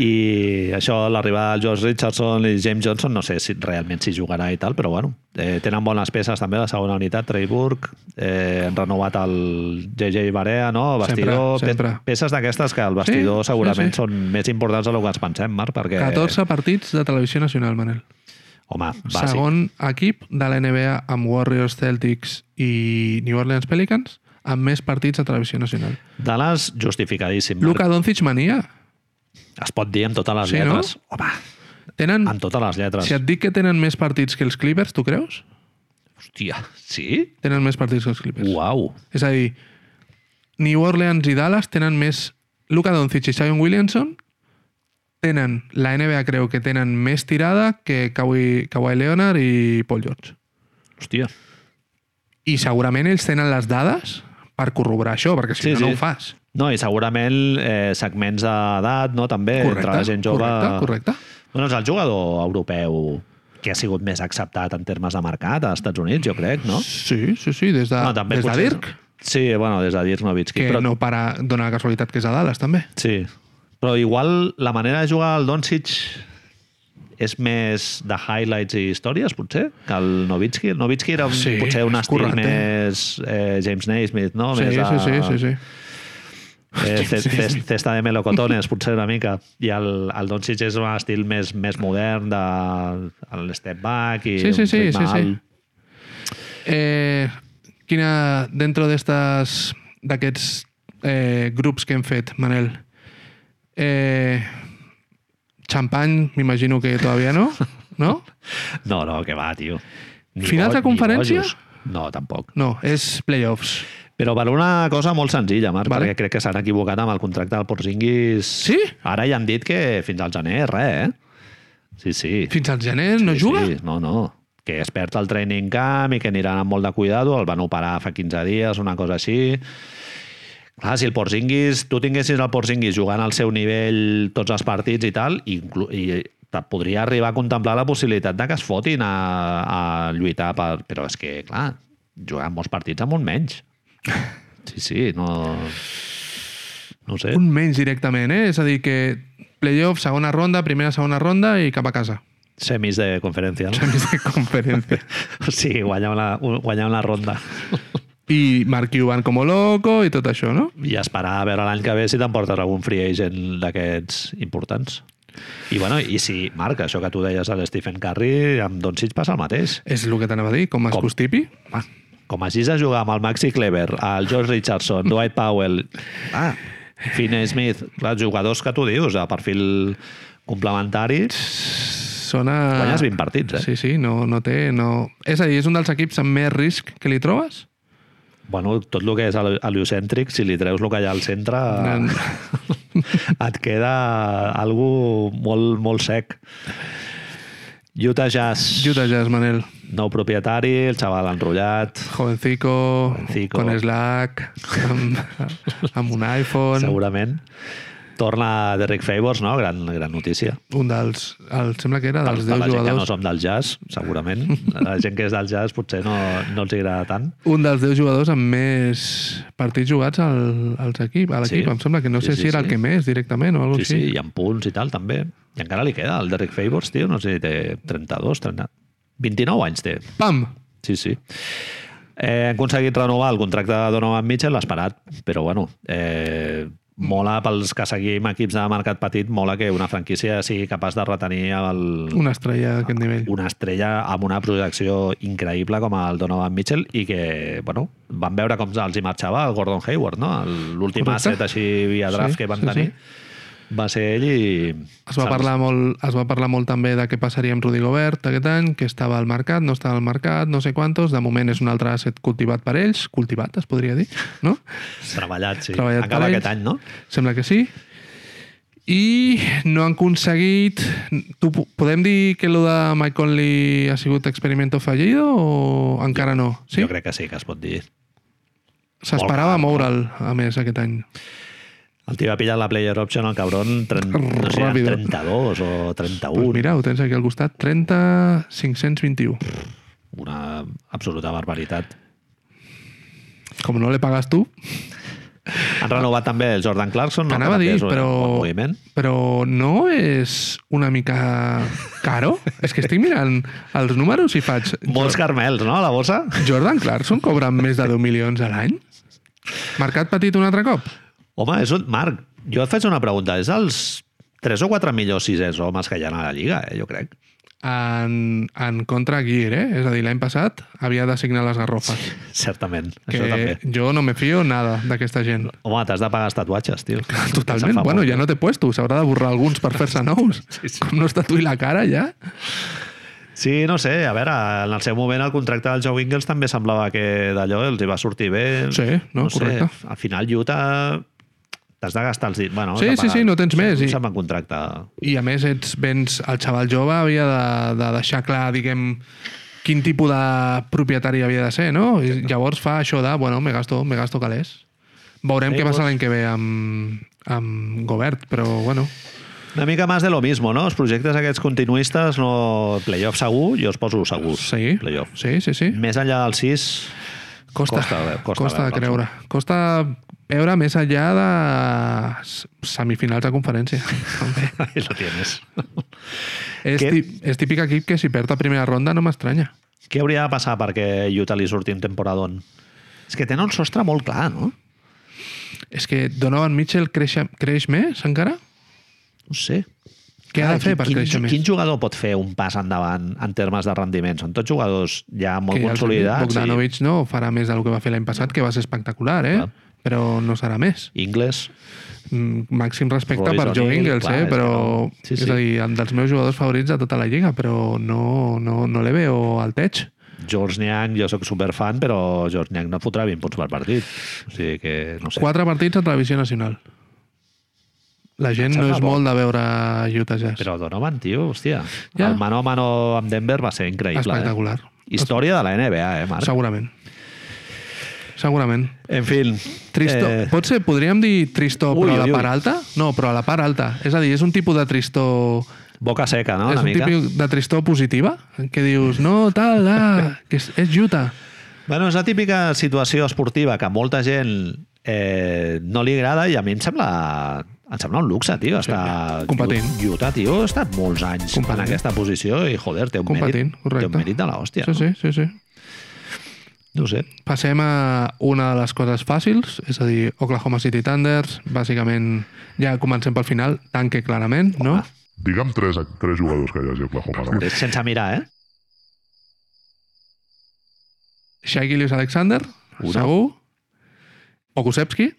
A: I això, l'arribada del George Richardson i James Johnson, no sé si realment s'hi jugarà i tal, però bueno, eh, tenen bones peces també, la segona unitat, Trey Burke, eh, han renovat el JJ Barea, no? El Vestidor,
B: Sempre, sempre.
A: pe- peces d'aquestes que el vestidor
B: sí,
A: segurament
B: sí.
A: són més importants del que ens pensem, Marc, perquè...
B: 14 partits de televisió nacional, Manel.
A: Home, bàsic.
B: Segon equip de la NBA amb Warriors, Celtics i New Orleans Pelicans amb més partits de televisió nacional.
A: Dallas, justificadíssim. Marc.
B: Luka Doncic mania.
A: Es pot dir amb totes les
B: Sí, no?
A: lletres. Home,
B: Tenen,
A: amb totes les lletres.
B: si et dic que tenen més partits que els Clippers, tu creus?
A: Hòstia, sí?
B: Tenen més partits que els Clippers.
A: Uau.
B: És a dir, New Orleans i Dallas tenen més... Luka Doncic i Zion Williamson tenen, la NBA creu que tenen més tirada que Kawhi, Kawhi Leonard i Paul George.
A: Hòstia.
B: I segurament ells tenen les dades per corroborar això, perquè si
A: Sí,
B: sí, no,
A: sí.
B: no ho fas.
A: No, i segurament eh, segments d'edat, no? També, entre la gent jove...
B: correcte, correcte.
A: Bueno, és el jugador europeu que ha sigut més acceptat en termes de mercat als Estats Units, jo crec, no?
B: Sí, sí, sí, des de,
A: no,
B: Ah, des de
A: potser-
B: Dirk,
A: Sí, bueno, des de Dirk Nowitzki.
B: que
A: Però,
B: no para dona la casualitat que és a Dallas, també.
A: Sí. Però igual la manera de jugar al Doncic és més de highlights i històries, potser, que el Nowitzki. El Nowitzki era un, sí,
B: Sí,
A: potser un
B: és
A: estil
B: correcte.
A: més eh, James Naismith, no?
B: sí,
A: més
B: sí, sí, sí, sí, sí.
A: Eh, ce- ce- cesta de melocotones, potser una mica. I el, el Doncic és un estil més, més modern de el step back i
B: Sí, sí,
A: un
B: sí,
A: ritme
B: sí, sí.
A: alt.
B: Eh, quina, dentro d'estes- d'aquests eh, grups que hem fet, Manel, eh, xampany, m'imagino que todavía no, no?
A: No, no, que va, tio. Ni
B: Finals
A: bo-
B: de
A: ni
B: conferència?
A: bojos. No, tampoc.
B: No, és playoffs.
A: Però per una cosa molt senzilla, Marc,
B: Vale.
A: vale. perquè crec que s'han equivocat amb el contracte del Porzingis.
B: Sí?
A: Ara ja han dit que fins al gener, res, eh? Sí, sí.
B: Fins al gener no
A: sí,
B: juga?
A: Sí, no, no. Que es perd el training camp i que aniran amb molt de cuidado. El van operar fa 15 dies, una cosa així. Clar, si el Porzingis, tu tinguessis el Porzingis jugant al seu nivell tots els partits i tal, inclu i te podria arribar a contemplar la possibilitat de que es fotin a, a lluitar per... Però és que, clar, jugant molts partits amb un menys. Sí, sí, no... No ho sé.
B: Un menys directament, eh? És a dir, que playoff, segona ronda, primera, segona ronda i cap a casa.
A: Semis de conferència, no?
B: Semis de conferència.
A: O sigui, guanyar una, guanyar una ronda.
B: I Mark Cuban como loco i tot això, no?
A: i esperar a veure l'any que ve si t'emportes algun free agent d'aquests importants. I, bueno, i si, Marc, això que tu deies a l'Stephen Curry, amb Doncic passa el mateix.
B: És el que t'anava a dir, com es
A: Com?
B: constipi.
A: Ah, Com hagis de jugar amb el Maxi Clever, el George Richardson, Dwight Powell, ah, Finney Smith, clar, jugadors que tu dius, de perfil complementari,
B: Sona...
A: guanyes 20 partits, eh?
B: Sí, sí, no, no té... No... És a dir, és un dels equips amb més risc que li trobes?
A: Bueno, tot el que és heli- heliocèntric, si li treus el que hi ha al centre,
B: Gran.
A: et queda algú molt, molt sec. Utah Jazz,
B: Utah Jazz, Manel.
A: nou propietari, el xaval enrotllat,
B: Jovencico,
A: Jovencico.
B: con Slack, amb, amb un iPhone...
A: segurament. Torna Derrick Favors, no? Gran, gran notícia.
B: Un dels... El, sembla que era
A: Per,
B: dels
A: per
B: 10
A: la gent que no
B: jugadors...
A: som del jazz, segurament. La gent que és del jazz potser no, no els agrada tant.
B: Un dels 10 jugadors amb més partits jugats al, als equip, a l'equip.
A: Sí.
B: Em sembla que no
A: Sí,
B: sé
A: sí,
B: si era
A: sí.
B: el que més directament o alguna
A: Sí,
B: cosa
A: sí, i amb punts i tal, també. I encara li queda el Derrick Favors, tio, no sé si té 32, 30... 29 anys té.
B: així. Pam!
A: Sí, sí. Eh, han aconseguit renovar el contracte de Donovan Mitchell, esperat, però bueno, eh, mola pels que seguim equips de mercat petit, mola que una franquícia sigui capaç de retenir el,
B: Una estrella d'aquest nivell.
A: una estrella amb una projecció increïble com el Donovan Mitchell i que, bueno, van veure com els hi marxava el Gordon Hayward, no? El- L'últim
B: Correcte.
A: asset així via draft
B: Sí,
A: que van
B: sí,
A: tenir
B: sí.
A: va ser ell i...
B: Es va, parlar molt, es va parlar molt també de què passaria amb Rudy Gobert aquest any, que estava al mercat, no estava al mercat, no sé quantos. De moment és un altre asset cultivat per ells, cultivat es podria dir, no?
A: Treballat, sí.
B: treballat
A: Acaba
B: per
A: aquest
B: ells.
A: any, no?
B: Sembla que sí. I no han aconseguit... Tu, po- podem dir que lo de Mike Conley ha sigut experimento fallido o encara no? Sí?
A: Jo crec que sí que es pot dir.
B: S'esperava moure'l, a més, aquest any.
A: El tio va pillar la player option, el cabron, 30, no sé,
B: Ràpido.
A: 32 o
B: Pues
A: 31.
B: mira, ho tens aquí al costat, 30 521.
A: Una absoluta barbaritat.
B: Com no le pagas tu,
A: Han renovat també el Jordan Clarkson, no?
B: T'anava a
A: Que també
B: dir,
A: és un bon
B: però...
A: moviment.
B: Però no és una mica caro? és que estic mirant els números i faig...
A: Molts carmels, no, a la bossa?
B: Jordan Clarkson cobra més de 10 milions a l'any? Mercat petit un altre cop?
A: Home, és un... Marc, jo et faig una pregunta. És els 3 o 4 millors sisers homes que hi ha a la Lliga, eh, jo crec.
B: En, en contra Gear, eh? És a dir, l'any passat havia de signar les garrofes.
A: Certament, que... això
B: Que
A: també.
B: jo no me fio nada d'aquesta gent.
A: Home, t'has de pagar els tatuatges, tio. Se'n
B: Totalment.
A: fa
B: Bueno,
A: molt.
B: ja no té puesto. S'haurà de borrar alguns per fer-se nous. Com no es tatuï la cara, ja.
A: Sí, no sé, a veure, en el seu moment el contracte del Joe Ingles també semblava que d'allò els hi va sortir bé.
B: Sí, no, correcte.
A: Sé, al final Utah t'has de gastar els dits. Bueno,
B: Sí,
A: has de
B: sí,
A: pagar-
B: sí, no tens més,
A: Un
B: i-
A: segon contracte.
B: I a més ets, vens, el xaval jove havia de, de deixar clar, diguem, quin tipus de propietari havia de ser, no? I llavors fa això de, bueno, me gasto, me gasto calés. Veurem
A: Sí,
B: què passa
A: pues.
B: l'any que ve amb, amb Gobert, però bueno,
A: Una mica més de lo mismo, no? Els projectes aquests continuistes, no... Playoff segur, jo els poso segurs.
B: sí,
A: Playoff.
B: sí, sí, sí.
A: Més enllà del 6,
B: Costa,
A: Costa de- costa
B: costa, costa, costa de
A: veure'ls,
B: creure. Costa veure més enllà de s- semifinals de conferència. també.
A: ahí lo tienes.
B: és,
A: Què?
B: tí, és típic equip que si perd a primera ronda no m'estranya.
A: Què hauria de passar perquè Utah li surti un temporadon? És que tenen un sostre molt clar, no?
B: És que Donovan Mitchell creix, creix més encara?
A: No sé.
B: Què ha de fer Eh, per
A: quin,
B: créixer
A: quin,
B: més?
A: Quin jugador pot fer un pas endavant en termes de rendiment? Són tots jugadors ja molt
B: Que ja els hem dit,
A: consolidats. i
B: Bogdanovic no farà més del que va fer l'any passat, que va ser espectacular, eh?
A: Clar.
B: Però no serà més.
A: Ingles.
B: Mm, Màxim respecte
A: Royce
B: per Joe
A: O'Neal,
B: Ingles,
A: clar,
B: eh?
A: és que
B: Però
A: no. Sí,
B: sí, sí.
A: sí.
B: és a dir, un dels meus jugadors favorits de tota la lliga, però no, no, no le veo al teig.
A: George Niang, jo sóc superfan, però George Niang no et fotrà 20 punts per partit. O sigui que, no sé.
B: Quatre partits a televisió nacional. La gent no
A: Sembla
B: és
A: bo.
B: molt de veure Utah Jazz.
A: Però Donovan, tio, hòstia.
B: Ja.
A: El mano a mano amb Denver va ser increïble. Eh?
B: Espectacular.
A: Història de la NBA, eh, Marc?
B: Segurament. Segurament.
A: En fi.
B: Tristo, eh... pot ser, podríem dir tristor
A: Ui,
B: però a la
A: ui, ui.
B: part alta? No, però a la part alta. És a dir, és un tipus de tristor...
A: Boca seca, no?
B: és
A: Ah, Una
B: un
A: mica.
B: tipus de tristor positiva? Que dius, no, tal, ah, que és, és Utah.
A: Bueno, és la típica situació esportiva que a molta gent eh, no li agrada i a mi em sembla, em sembla un luxe, tio. Està
B: Competent.
A: Utah, tio, ha estat molts anys
B: Competent.
A: en aquesta posició i, joder, té un,
B: Competent,
A: mèrit, té
B: correcte.
A: un mèrit de l'hòstia.
B: Sí, sí, sí, sí.
A: No? no sé.
B: Passem a una de les coses fàcils, és a dir, Oklahoma City Thunders, bàsicament, ja comencem pel final, tanque clarament, no?
A: Home.
C: Digue'm tres, tres jugadors que hi hagi a Oklahoma. ara mateix.
A: És sense mirar, eh?
B: Shai Gilius Alexander,
A: Una.
B: segur. Pokusevski.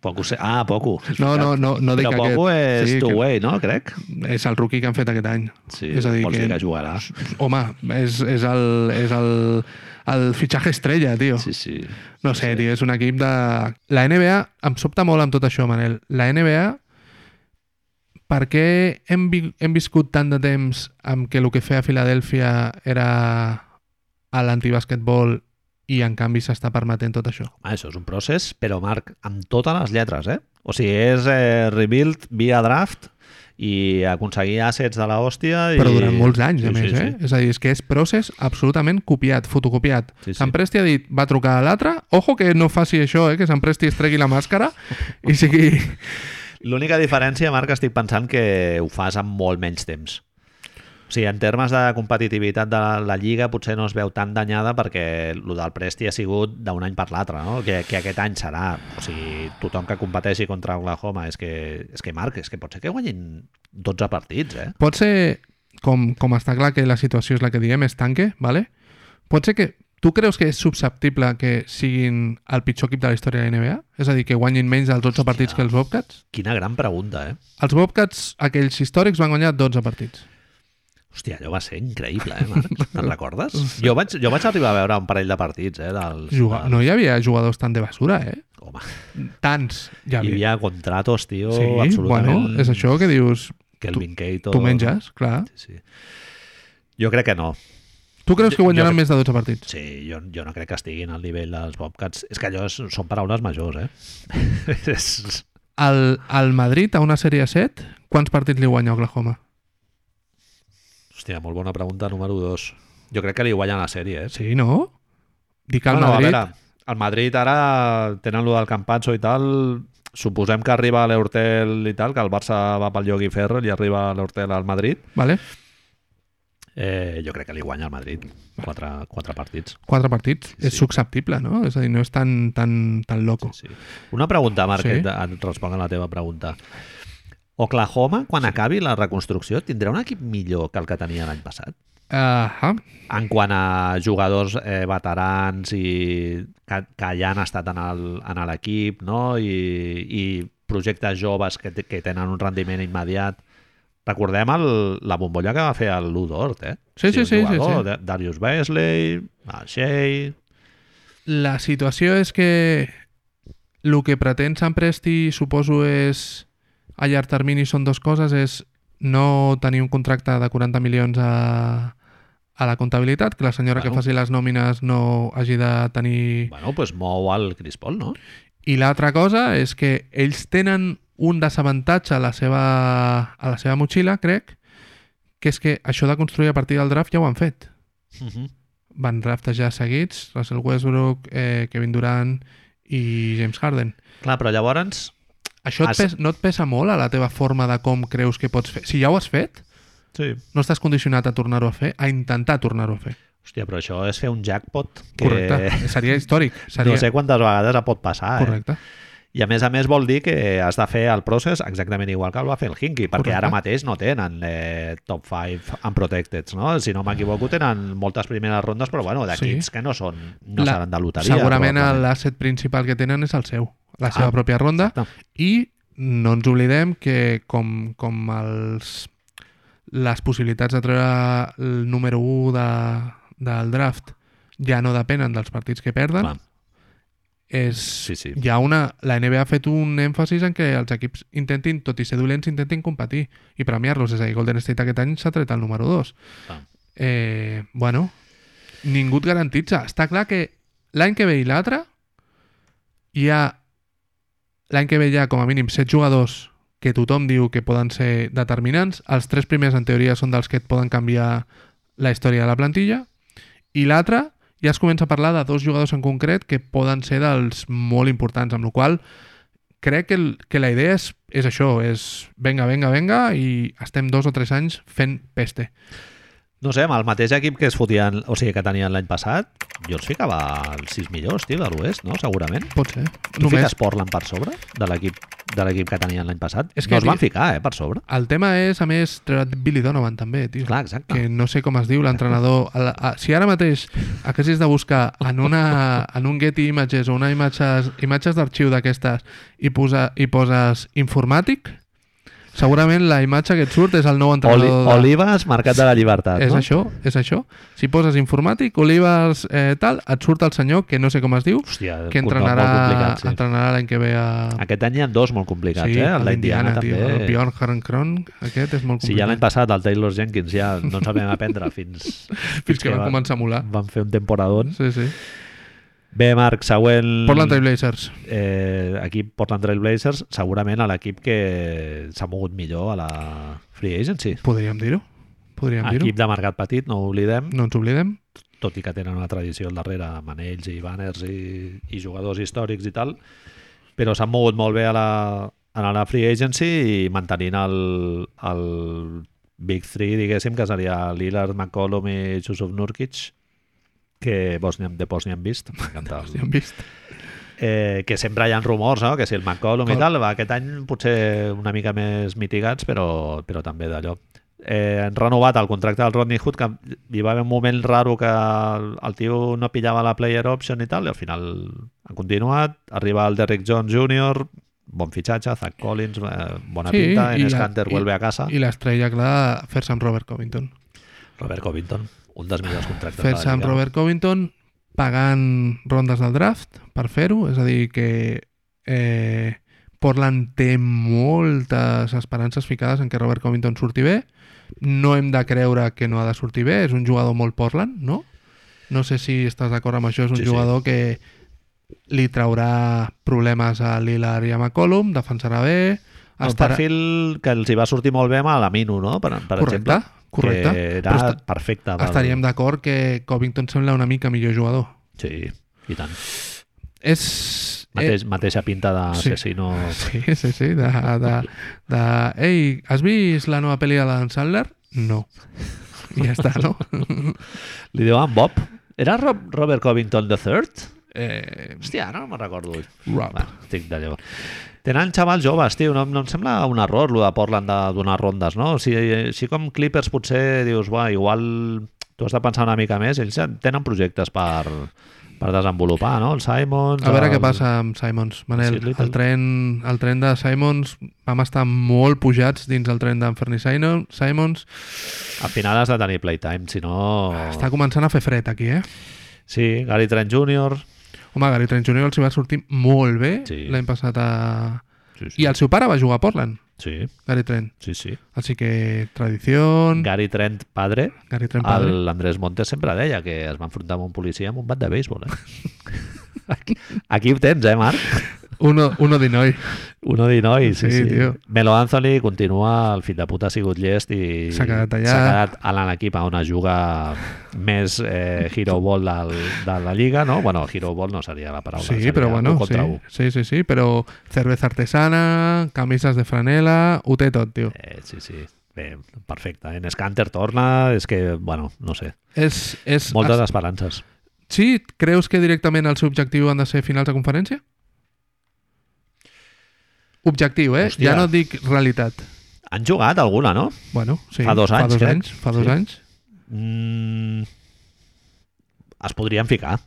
A: Poco se... Ah, poco. és
B: No, no,
A: veritat.
B: no, no dic
A: Però poco és
B: aquest.
A: eh?
B: Sí,
A: sí,
B: que-
A: two-way, no? Crec.
B: És el rookie que han fet aquest any.
A: Sí,
B: és a dir,
A: vols
B: que,
A: dir que jugarà.
B: home, és, és, el, és el, el fitxatge estrella, tio.
A: Sí, sí.
B: No sé, tio, és un equip de... La NBA, em sobta molt amb tot això, Manel. La NBA, per què hem, vi hem viscut tant de temps amb que el que feia Filadèlfia era a l'antibasquetbol i en canvi s'està permetent tot això.
A: Ah, això és un procés, però Marc, amb totes les lletres, eh? O sigui, és eh, rebuild via draft i aconseguir assets de la hòstia... I...
B: Però durant molts anys,
A: sí,
B: a més,
A: sí,
B: eh? És a dir, és que és procés absolutament copiat, fotocopiat.
A: Sí, sí.
B: Sant Presti ha dit, va trucar a l'altre, ojo que no faci això, eh? Que Sant Presti es tregui la màscara i sigui...
A: Sí. L'única diferència, Marc, estic pensant que ho fas amb molt menys temps. O sigui, en termes de competitivitat de la Lliga potser no es veu tan danyada perquè el del Presti ha sigut d'un any per l'altre, no? Que, que aquest any serà... O sigui, tothom que competeixi contra Oklahoma és que, és que Marc, és que pot ser que guanyin 12 partits, eh?
B: Pot ser, com, com està clar que la situació és la que diem, es tanque, ¿vale? pot ser que tu creus que és susceptible que siguin el pitjor equip de la història de la NBA? És a dir, que guanyin menys dels 12 partits que els Bobcats?
A: Quina gran pregunta, eh?
B: Els Bobcats, aquells històrics, van guanyar 12 partits.
A: Hòstia, allò va ser increïble, eh, Marc? Te'n recordes? Jo vaig, jo vaig arribar a veure un parell de partits, eh? Dels,
B: Juga... No hi havia jugadors tan de basura, eh?
A: Home,
B: Tants hi
A: hi
B: havia.
A: havia contratos, tio,
B: Sí,
A: absolutament...
B: bueno, és això que dius,
A: Kelvin Cato...
B: tu menges, clar.
A: Sí, sí. Jo crec que no.
B: Tu creus que
A: Jo-
B: guanyaran
A: jo-
B: més de 12 partits?
A: Sí, jo, jo no crec que estiguin al nivell dels Bobcats. És que allò és, són paraules majors, eh? és...
B: El, el Madrid a una sèrie 7, quants partits li guanya Oklahoma?
A: Hòstia, molt bona pregunta número 2. Jo crec que li guanyen la sèrie, eh?
B: Sí, no? Dic al
A: Bueno,
B: Madrid...
A: a veure, el Madrid ara tenen lo del Campazzo i tal, suposem que arriba a l'Hortel i tal, que el Barça va pel Llogui Ferro i arriba a l'Hortel al Madrid.
B: Vale?
A: Eh, jo crec que li guanya el Madrid. Quatre, quatre partits.
B: Quatre partits.
A: Sí.
B: És susceptible, no? És a dir, no és tan, tan, tan loco.
A: Sí. Una pregunta, Marc,
B: Sí.
A: sí. et responc a la teva pregunta. Oklahoma, quan sí. acabi la reconstrucció, tindrà un equip millor que el que tenia l'any passat?
B: Ahà.
A: En quant a jugadors eh, veterans i que, que ja han estat en el- en l'equip no? I, i projectes joves que, te- que tenen un rendiment immediat. Recordem el, la bombolla que va fer el Lou Dort, eh?
B: Sí, sí,
A: un
B: sí, sí,
A: jugador,
B: sí.
A: Da- Darius Beasley, el Shea...
B: La situació és que el que pretén Sant Presti, suposo, és a llarg termini són dues coses, és no tenir un contracte de 40 milions a, a la comptabilitat, que la senyora
A: Bueno.
B: que faci les nòmines no hagi de tenir
A: Bueno, pues mou el Chris Paul, no?
B: I l'altra cosa és que ells tenen un desavantatge a la seva, a la seva motxilla, crec, que és que això de construir a partir del draft ja ho han fet.
A: Uh -huh.
B: Mhm. Van draftejar seguits Russell Westbrook, eh, Kevin Durant i James Harden.
A: Clar, però llavors...
B: Això et
A: Has-
B: pes, no et pesa molt a la teva forma de com creus que pots fer? Si ja ho has fet,
A: Sí.
B: no estàs condicionat a tornar-ho a fer, a intentar tornar-ho a fer.
A: Hòstia, però això és fer un jackpot que...
B: Correcte. Seria històric. Seria...
A: No sé quantes vegades et pot passar, eh?
B: Correcte.
A: I a més a més vol dir que has de fer el procés exactament igual que el va fer el Hinky, perquè
B: Correcte.
A: ara mateix no tenen eh, top 5 unprotected, no? Si no
B: Ah.
A: m'equivoco tenen moltes primeres rondes, però bueno, d'equips que no són no
B: La-
A: seran de loteria.
B: Segurament
A: probablement.
B: l'asset principal que tenen és el seu, la seva
A: Ah,
B: pròpia ronda.
A: Exacte.
B: I no ens oblidem que com, com els, les possibilitats de treure el número 1 de, del draft ja no depenen dels partits que perden,
A: Clar,
B: és,
A: Sí, sí.
B: Hi ha una, la NBA ha fet un èmfasis en que els equips intentin, tot i ser dolents, intentin competir i premiar-los. És a dir, Golden State aquest any s'ha tret el número 2.
A: Ah.
B: Eh, bueno, ningú et garantitza. Està clar que l'any que ve i l'altre hi ha l'any que ve hi ha com a mínim 7 jugadors que tothom diu que poden ser determinants. Els tres primers, en teoria, són dels que et poden canviar la història de la plantilla. I l'altre, ja es comença a parlar de dos jugadors en concret que poden ser dels molt importants, amb la qual cosa crec que, el, que la idea és, és això, és venga, venga, venga, i estem dos o tres anys fent peste.
A: No sé, amb el mateix equip que es fotien, o sigui, que tenien l'any passat, jo els ficava els 6 millors, tio, de l'Oest, no? Segurament.
B: Pot ser.
A: Tu Només... fiques Portland per sobre de l'equip de l'equip que tenien l'any passat?
B: És
A: És
B: que
A: que no es van
B: aquí-
A: ficar, eh, per sobre.
B: El tema és, a més, treure Billy Donovan també, tio.
A: Clar, exacte.
B: que no sé com es diu l'entrenador. A la- a- Si ara mateix haguessis de buscar en, una, en un Getty Images o una imatges, imatges d'arxiu d'aquestes i, posa, i poses informàtic, segurament la imatge que et surt és el nou
A: Oli,
B: entrenador. de-
A: Olives, mercat de la llibertat,
B: És
A: no?
B: això, és això. Si poses informàtic, olives, eh, tal, et surt el senyor, que no sé com es diu,
A: Hòstia,
B: que
A: un nom
B: entrenarà
A: molt complicat, sí.
B: entrenarà l'any que ve a...
A: Ah. Aquest any hi ha dos molt complicats, eh? El d'Indiana
B: tio, el
A: també.
B: Bjorn Herrenkron, aquest és molt complicat.
A: Si ja l'any passat el Taylor Jenkins ja no ens el vam aprendre fins,
B: Fins que van començar a molar.
A: van fer un temporadón.
B: Sí, sí.
A: Bé, Marc, següent...
B: Portland Trail Blazers.
A: eh, equip Portland Trail Blazers, segurament a l'equip que s'ha mogut millor a la Free Agency.
B: Podríem dir-ho. Podríem dir-ho.
A: Equip de mercat petit, no ho oblidem,
B: No ens oblidem.
A: tot i que tenen una tradició al darrere amb anells i banners i, i jugadors històrics i tal, però s'han mogut molt bé a la, a la Free Agency i mantenint el, el Big 3, diguéssim, que seria Lillard, McCollum i Jusuf Nurkic, que vos n'hi hem- de post n'hi hem vist. M'encanta el,
B: Ja hem vist.
A: eh, que sempre hi ha rumors, no? que si el McCollum i
B: Clar.
A: tal, va, aquest any potser una mica més mitigats, però, però també d'allò. Eh, han renovat el contracte del Rodney Hood, que hi va haver un moment raro que el, el tio no pillava la player option i tal, i al final han continuat, arriba el Derrick Jones Jr., bon fitxatge, Zach Collins, eh, bona
B: Sí,
A: sí, pinta,
B: i
A: Enes
B: la-
A: Kanter
B: i-
A: vuelve a casa,
B: I l'estrella clara, fer-se amb Robert Covington.
A: Doncs Robert Covington, un dels millors contractes
B: Fer-se amb
A: Lliga.
B: Robert Covington pagant rondes del draft per fer-ho, és a dir, que eh, Portland té moltes esperances ficades en que Robert Covington surti bé. No hem de creure que no ha de sortir bé, és un jugador molt Portland, no? No sé si estàs d'acord amb això, és un
A: Sí,
B: sí,
A: sí.
B: jugador sí. que li traurà problemes a Lillard i a McCollum, defensarà bé,
A: Un
B: estarà...
A: perfil que els hi va sortir molt bé amb la Minu, no? Per, per
B: correcte,
A: exemple,
B: correcte.
A: que
B: Però
A: era
B: esta-
A: perfecte. pel-
B: Estaríem d'acord que Covington sembla una mica millor jugador.
A: Sí, i tant.
B: És...
A: Mateix, mateixa pinta
B: Eh. sí.
A: d'assassino. Sí.
B: Sí, sí, sí. De, de, de... Ei, has vist la nova pel·li de l'Adam Sandler? No. I ja està, no?
A: Li diuen Bob. Era Rob, Robert Covington III?
B: Eh,
A: Hòstia, no me'n recordo.
B: Rob.
A: Va, estic d'allò. Tenen xavals joves, tio. No, no em sembla un error, lo de Portland, de donar rondes, no? Si, si com Clippers potser dius, va, igual tu has de pensar una mica més. Ells ja tenen projectes per, per desenvolupar, no? El Simons...
B: A veure
A: el...
B: què passa amb Simons, Manel.
A: Doncs Sí, Little.
B: El tren, el tren de Simons vam estar molt pujats dins el tren d'en Fernie Sino- Simons.
A: Al final has de tenir playtime, si no...
B: Ah, Està començant a fer fred aquí, eh?
A: Sí, Gary Trent Jr.
B: Home, Gary Trent Jr. els hi va sortir molt bé
A: Sí.
B: l'any passat a...
A: Sí, sí.
B: I el seu pare va jugar a Portland,
A: Sí,
B: Gary Trent.
A: sí, sí.
B: Així que, tradició...
A: Gary Trent, padre,
B: Gary Mm. Trent padre.
A: el- l'Andrés Montes sempre deia que es va enfrontar amb un policia amb un bat de béisbol. Eh? Aquí, aquí ho tens, eh, Marc?
B: Uno, uno de noi.
A: Uno de noi, sí, sí.
B: Sí,
A: sí.
B: tio.
A: Melo Anthony continua, el fill de puta ha sigut llest i
B: S'ha quedat allà.
A: s'ha quedat a l'equip on es juga més eh, Hero Ball del, de la Lliga, no? Bueno, Hero Ball no seria la paraula.
B: Sí,
A: seria
B: pero
A: u
B: bueno, sí,
A: contra u.
B: sí, sí, sí, pero cerveza artesana, camisas de franela, ho té tot, tio.
A: Eh, sí, sí. Bé, perfecte. En Scanter torna, és que, bueno, no sé.
B: És, és,
A: Moltes
B: es-
A: esperances.
B: Sí, creus que directament el seu objectiu han de ser finals de conferència? Objectiu, eh?
A: Hòstia.
B: Ja no et dic realitat.
A: Han jugat alguna, no?
B: Bueno, sí.
A: Fa dos
B: Fa
A: anys,
B: dos
A: crec.
B: anys. Fa dos
A: Sí.
B: anys.
A: Mm, es podrien ficar.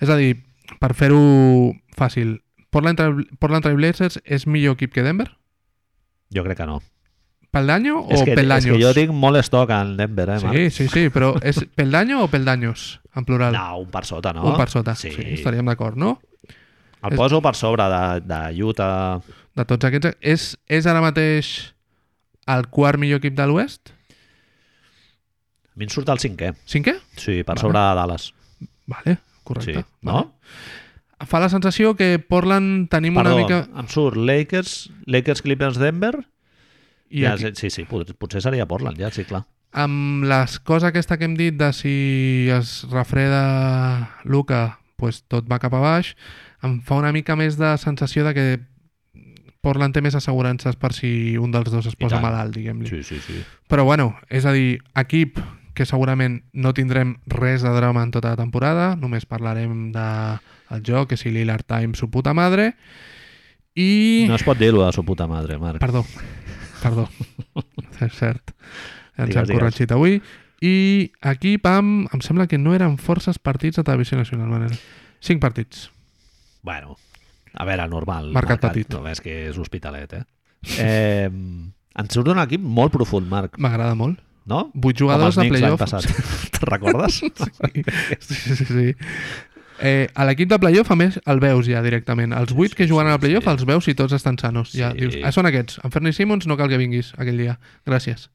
B: És a dir, per fer-ho fàcil, Portland, Trail- Portland Trail Blazers és millor equip que Denver?
A: Jo crec que no.
B: Pel daño o
A: és, que,
B: pel
A: és
B: daños?
A: que jo tinc molt estoc en Denver, eh, Marc?
B: Sí, sí, sí, però és pel daño o pel daños? En plural.
A: No, un per sota, no?
B: Un per sota.
A: Sí.
B: Sí. sí estaríem d'acord, no?
A: El poso per sobre de, de Utah.
B: De tots aquests... És, és ara mateix el quart millor equip de l'Oest?
A: A mi em surt el cinquè.
B: Cinquè?
A: Sí, per
B: Vale.
A: sobre de Dallas.
B: Vale,
A: Sí,
B: correcte.
A: no?
B: Vale. Fa la sensació que Portland tenim
A: Perdó,
B: una mica...
A: em surt Lakers, Lakers Clippers Denver.
B: I
A: ja,
B: aquí,
A: Sí, sí, pot, potser seria Portland, ja, sí, clar.
B: amb les coses aquesta que hem dit de si es refreda Luca, pues tot va cap a baix, em fa una mica més de sensació de que Portland té més assegurances per si un dels dos es
A: I
B: posa
A: tant.
B: malalt, diguem-li.
A: Sí, sí, sí.
B: Però bueno, és a dir, equip que segurament no tindrem res de drama en tota la temporada, només parlarem de el joc, que si Lillard Time su puta madre, i...
A: No es pot dir-ho de su puta madre, Marc.
B: Perdó, perdó, és cert. Ens
A: Digues,
B: hem
A: digues.
B: corregit avui. I aquí, pam, em sembla que no eren forces partits de Televisió Nacional, Manel. Cinc partits.
A: Bueno, a veure, normal.
B: Mercat petit.
A: No, és que és hospitalet, eh? eh ens surt un equip molt profund, Marc,
B: M'agrada molt.
A: no?
B: Vuit jugadors
A: Com
B: de
A: els Knicks l'any
B: playoff.
A: passat. Te'n recordes?
B: sí, sí, sí. Eh, a l'equip de playoff, a més, el veus ja directament. Els vuit que juguen a la playoff
A: sí.
B: els veus si tots estan sanos. Ja
A: Sí.
B: dius, ah, són aquests. En Fernie Simmons no cal que vinguis aquell dia. Gràcies.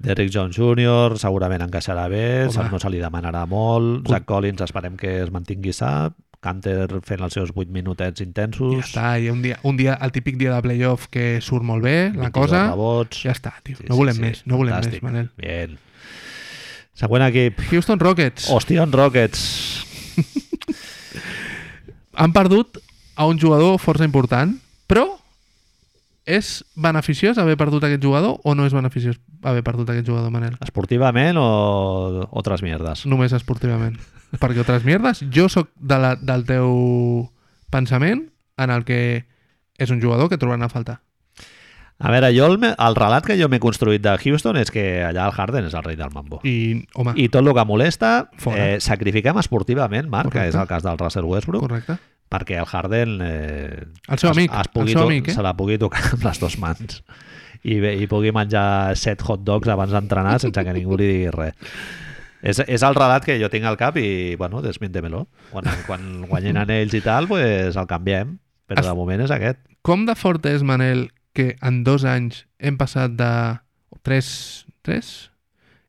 A: Derrick Jones Jr. segurament encaixarà bé,
B: Home.
A: Home. no se li demanarà molt,
B: Con-
A: Zach Collins esperem que es mantingui sa, Canter fent els seus 8 minutets intensos.
B: I ja està, i un dia, un dia, el típic dia de playoff que surt molt bé, la cosa,
A: Rebots.
B: ja està, tio. no volem més, no volem
A: fantàstic.
B: més, Manel.
A: Bien. Següent equip.
B: Houston Rockets
A: Ostion Rockets.
B: han perdut a un jugador força important, però és beneficiós haver perdut aquest jugador o no és beneficiós haver perdut aquest jugador, Manel?
A: Esportivament o otras mierdas?
B: Només esportivament. Perquè altres mierdes, jo sóc de la, del teu pensament en el que és un jugador que trobaran a faltar.
A: A veure, jo el, me- el relat que jo m'he construït de Houston és que allà el Harden és el rei del mambo. I,
B: I, home, I...
A: I tot el que molesta,
B: Ah. Fora.
A: eh, sacrifiquem esportivament, Marc, que
B: Correcte.
A: és el cas del Russell Westbrook,
B: correcte.
A: perquè el Harden eh,
B: El seu amic,
A: es
B: el
A: pugui
B: seu
A: to-
B: amic, eh?
A: se la pugui tocar amb les dues mans i, bé, i pugui menjar set hot dogs abans d'entrenar sense que ningú li digui res. És, és el relat que jo tinc al cap i, bueno, desmiéntemelo. Quan, quan guanyen anells i tal, pues el canviem. Però
B: Es-
A: de moment és aquest.
B: Com de fort és, Manel, que en dos anys hem passat de... Tres? Tres?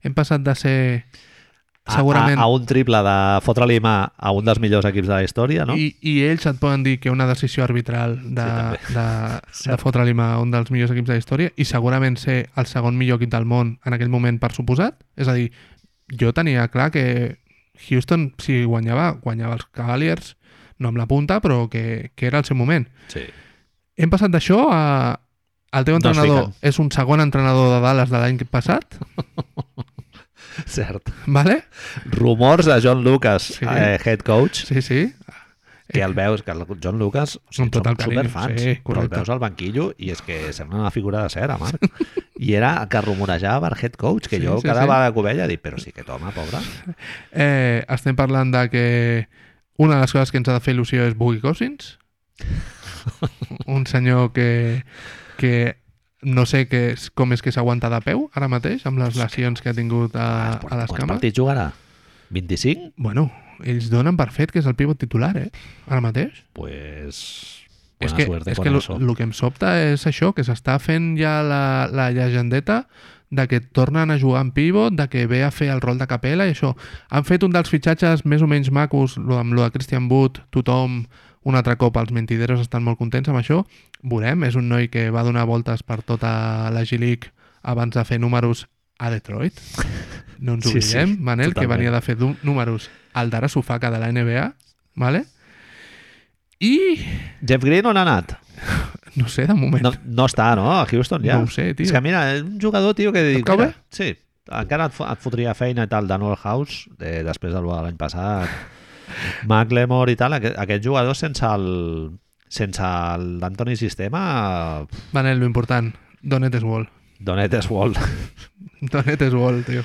B: Hem passat de ser...
A: A,
B: Segurament.
A: A, a un triple de fotre-li mà a un dels millors equips de la història, no?
B: I, I ells et poden dir que una decisió arbitral de,
A: Sí,
B: sí, de, de fotre-li mà a un dels millors equips de la història i segurament ser el segon millor equip del món en aquell moment per suposat. És a dir, jo tenia clar que Houston, si guanyava, guanyava els Cavaliers, no amb la punta, però que, que era el seu moment.
A: Sí.
B: Hem passat d'això a... El teu
A: Doncs
B: entrenador
A: fica'n.
B: és un segon entrenador de Dallas de l'any passat,
A: Cert.
B: vale?
A: Rumors de John Lucas, sí.
B: Sí.
A: eh, head coach,
B: Sí, sí.
A: que el veus, que el John Lucas, o sigui,
B: Amb tot
A: som
B: el carinyo,
A: superfans,
B: sí,
A: però el
B: correcte.
A: veus al banquillo i és que sembla una figura de cera, Marc. I era el que rumorejava per head coach, que
B: Sí,
A: sí, jo
B: sí,
A: sí, cada
B: sí.
A: sí. vegada que ho veia dic, però sí que toma, pobre.
B: Eh, estem parlant de que una de les coses que ens ha de fer il·lusió és Boogie Cousins. Un senyor que, que no sé que és, com és que s'aguanta de peu ara mateix amb les lesions que ha tingut
A: Ah,
B: a, a les
A: Quants
B: cames.
A: partits jugarà? 25?
B: Bueno, ells donen per fet que és el pivot titular, eh? Ara mateix.
A: Pues...
B: és
A: Buena
B: que,
A: suerte
B: és
A: con
B: que
A: eso.
B: el que em sobta és això, que s'està fent ja la, la llegendeta de que tornen a jugar en pivot, de que ve a fer el rol de capella i això. Han fet un dels fitxatges més o menys macos, lo- amb lo de Christian Wood, tothom un altre cop, els mentideros estan molt contents amb això. Veurem, és un noi que va donar voltes per tota la G-League abans de fer números a Detroit. No ens
A: Sí,
B: oblidem,
A: sí,
B: Manel, que
A: totalment.
B: venia de fer du- números al Dara Sufaka de la NBA, ¿vale? i
A: Jeff Green on ha anat?
B: no sé, de moment.
A: No, no està, no? A Houston ja.
B: No ho sé, tio.
A: És que mira, és un jugador, tio, que... dic,
B: cau
A: mira,
B: bé?
A: Sí, encara et, fo- et fotria feina i tal de Noel House, eh, després del de l'any passat. McLemore i tal, aquest, aquest jugador sense el sense el d'Antoni Sistema pff,
B: Manel, lo important, Donet és Wall.
A: Donet és Wall
B: Donet és Wall, tio.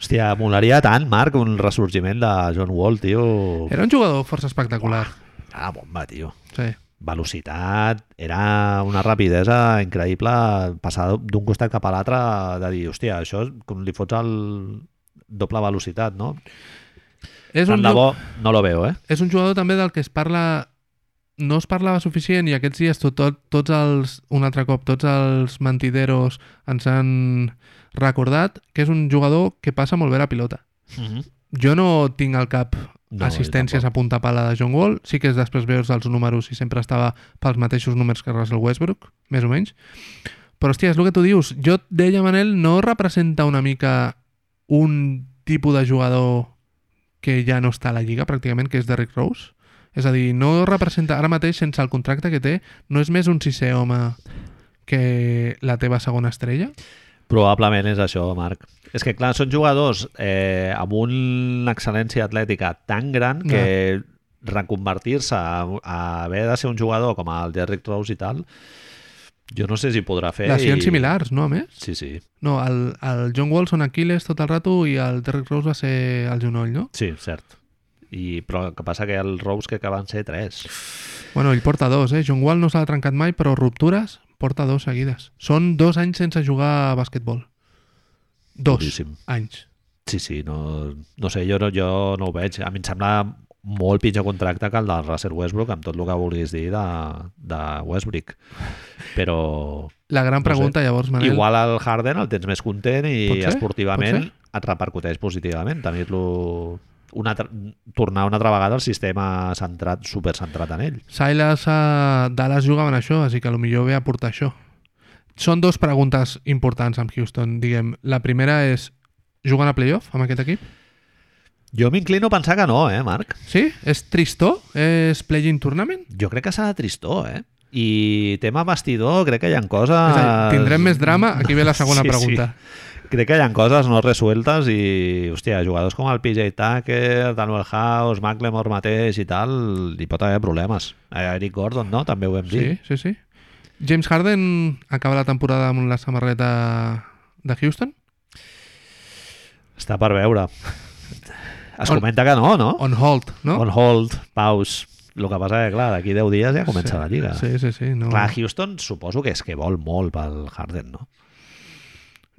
A: hòstia, molaria tant Marc un ressorgiment de John Wall tio,
B: Era un jugador força espectacular.
A: ah, bomba tio
B: Sí.
A: velocitat, era una rapidesa increïble passar d'un costat cap a l'altre de dir, hòstia, això és com li fots el doble velocitat, no?
B: És
A: Tant
B: un,
A: de
B: ju-
A: bo, no lo veo, eh?
B: és un jugador també del que es parla no es parlava suficient i aquests dies tot, tot, tots els, un altre cop, tots els mentideros ens han recordat que és un jugador que passa molt bé la pilota. Jo no tinc al cap
A: No,
B: no, Mhm. assistències a punta pala de John Wall. Sí que és després veus els números i sempre estava pels mateixos números que Russell Westbrook, més o menys. Però, hòstia, és el que tu dius. Jo et deia, Manel, no representa una mica un tipus de jugador que ja no està a la Lliga, pràcticament, que és Derrick Rose? És a dir, no representa... Ara mateix, sense el contracte que té, no és més un sisè home que la teva segona estrella?
A: Probablement és això, Marc. És que, clar, són jugadors eh, amb una excel·lència atlètica tan gran que reconvertir-se a, a haver de ser un jugador com el Derrick Rose i tal, jo no sé si podrà fer...
B: Lesions
A: i...
B: similars, no, a més?
A: Sí, sí.
B: No, el, el John Wall són Aquiles tot el rato i el Derrick Rose va ser el genoll, no?
A: Sí, cert. I, però el que passa que el Rose que acaben ser tres.
B: Bueno, ell porta dos, eh? John Wall no se l'ha trencat mai, però ruptures porta dos seguides. Són dos anys sense jugar a basquetbol. Dos
A: Duríssim.
B: anys.
A: Sí, sí, no, no sé, jo no, jo no ho veig. A mi em sembla molt pitjor contracte que el del Russell Westbrook, amb tot el que vulguis dir de, de Westbrook. Però
B: La gran
A: No
B: pregunta, llavors, Manel...
A: igual el Harden el tens més content i
B: Pot ser,
A: esportivament
B: pot
A: et repercuteix positivament tenir-lo una, altra- tornar una altra vegada al sistema centrat, supercentrat en ell.
B: Silas a Dallas jugaven això, així que millor ve a portar això. Són dues preguntes importants amb Houston, diguem. La primera és, juguen a playoff amb aquest equip?
A: Jo m'inclino a pensar que no, eh, Marc?
B: Sí? És tristó? És play-in tournament?
A: Jo crec que serà tristó, eh? I tema vestidor, crec que hi ha
B: És a dir,
A: coses...
B: tindrem més drama? Aquí ve la segona
A: Ah. Sí, sí.
B: pregunta.
A: Crec que hi ha coses no resueltes i, hòstia, jugadors com el PJ Tucker, Daniel House, McLemore mateix i tal, hi pot haver problemes. A Eric Gordon, no? També ho vam dir.
B: Sí, sí, sí. James Harden acaba la temporada amb la samarreta de Houston?
A: Està per veure. Es
B: On-
A: comenta que no, no?
B: On hold, no?
A: On hold, paus. El que passa que, clar, d'aquí 10 dies ja comença la lliga.
B: Sí, sí, sí. No.
A: Clar, Houston suposo que és que vol molt pel Harden, no?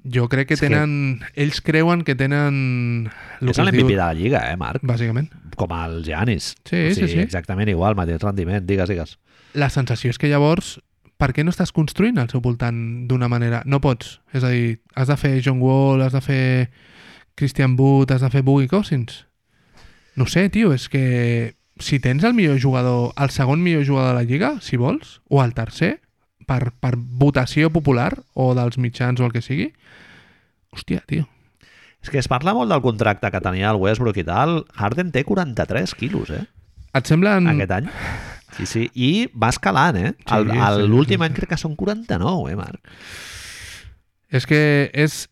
B: Jo crec que
A: És que-
B: tenen... Ells creuen que tenen... el
A: és
B: que es
A: l'MVP
B: diu-
A: de la lliga, eh, Marc?
B: Bàsicament.
A: Com el Giannis.
B: Sí,
A: o
B: sí,
A: sigui,
B: sí.
A: Exactament igual, mateix rendiment, digues, digues.
B: La sensació és que llavors per què no estàs construint al seu voltant d'una manera? No pots. És a dir, has de fer John Wall, has de fer Christian Wood, has de fer Boogie Cousins. No ho sé, tio, és que si tens el millor jugador, el segon millor jugador de la Lliga, si vols, o el tercer, per, per votació popular o dels mitjans o el que sigui, hòstia, tio.
A: És que es parla molt del contracte que tenia el Westbrook i tal. Harden té 43 quilos, eh?
B: Et semblen...
A: Mm. Aquest any. Sí, sí. I va escalant, eh?
B: Sí,
A: El-
B: sí,
A: el-
B: sí,
A: L'últim
B: sí,
A: any crec que són 49, eh, Marc?
B: És que és...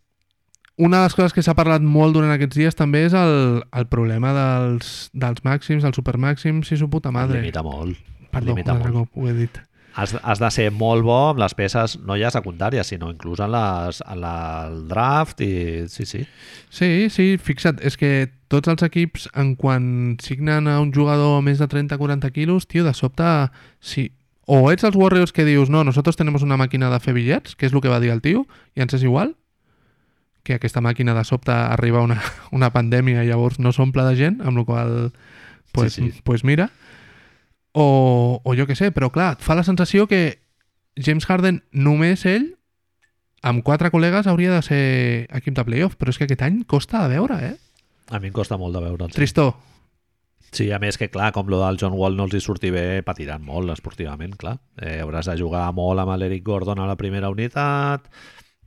B: Una de les coses que s'ha parlat molt durant aquests dies també és el, el problema dels, dels màxims, dels supermàxims i su puta madre.
A: Limita molt.
B: Perdó, un
A: limita
B: altre
A: molt.
B: cop ho he dit.
A: Has, has de ser molt bo amb les peces, no ja secundàries, sinó inclús en, les, en la, el draft i... Sí, sí.
B: Sí, sí, fixa't, és que tots els equips, en quan signen a un jugador a més de 30-40 quilos, tio, de sobte, sí, o ets els Warriors que dius, no, nosotros tenemos una màquina de fer bitllets, que és el que va dir el tio, i ens és igual, que aquesta màquina de sobte arriba una, una pandèmia i llavors no s'omple de gent, amb la qual pues,
A: Sí,
B: sí,
A: sí.
B: sí. pues mira. O, o jo que sé, però clar, et fa la sensació que James Harden, només ell, amb quatre col·legues hauria de ser equip de playoff, però és que aquest any costa de veure, eh?
A: A mi em costa molt de veure'l. Sí.
B: Tristó.
A: sí, a més que, clar, com lo del John Wall no els hi sortir bé, patiran molt esportivament, clar. Eh, hauràs de jugar molt amb l'Eric Gordon a la primera unitat,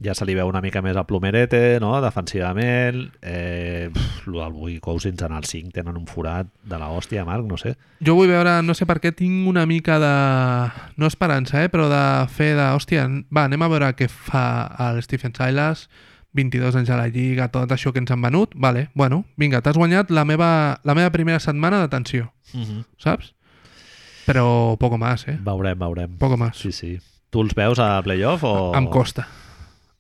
A: ja se li veu una mica més a Plumerete, no?, defensivament. Eh, pf, lo del Bui Cousins en el 5 tenen un forat de la hòstia, Marc, no sé.
B: Jo vull veure, no sé per què, tinc una mica de... No esperança, eh? Però de fer de... Hòstia, va, anem a veure què fa el Stephen Silas, 22 anys a la Lliga, tot això que ens han venut. Vale, bueno, vinga, t'has guanyat la meva, la meva primera setmana d'atenció,
A: Mm -hmm.
B: saps? Però poco más, eh?
A: Veurem, veurem.
B: Poco más.
A: Sí, sí. Tu els veus a playoff o...?
B: Em costa.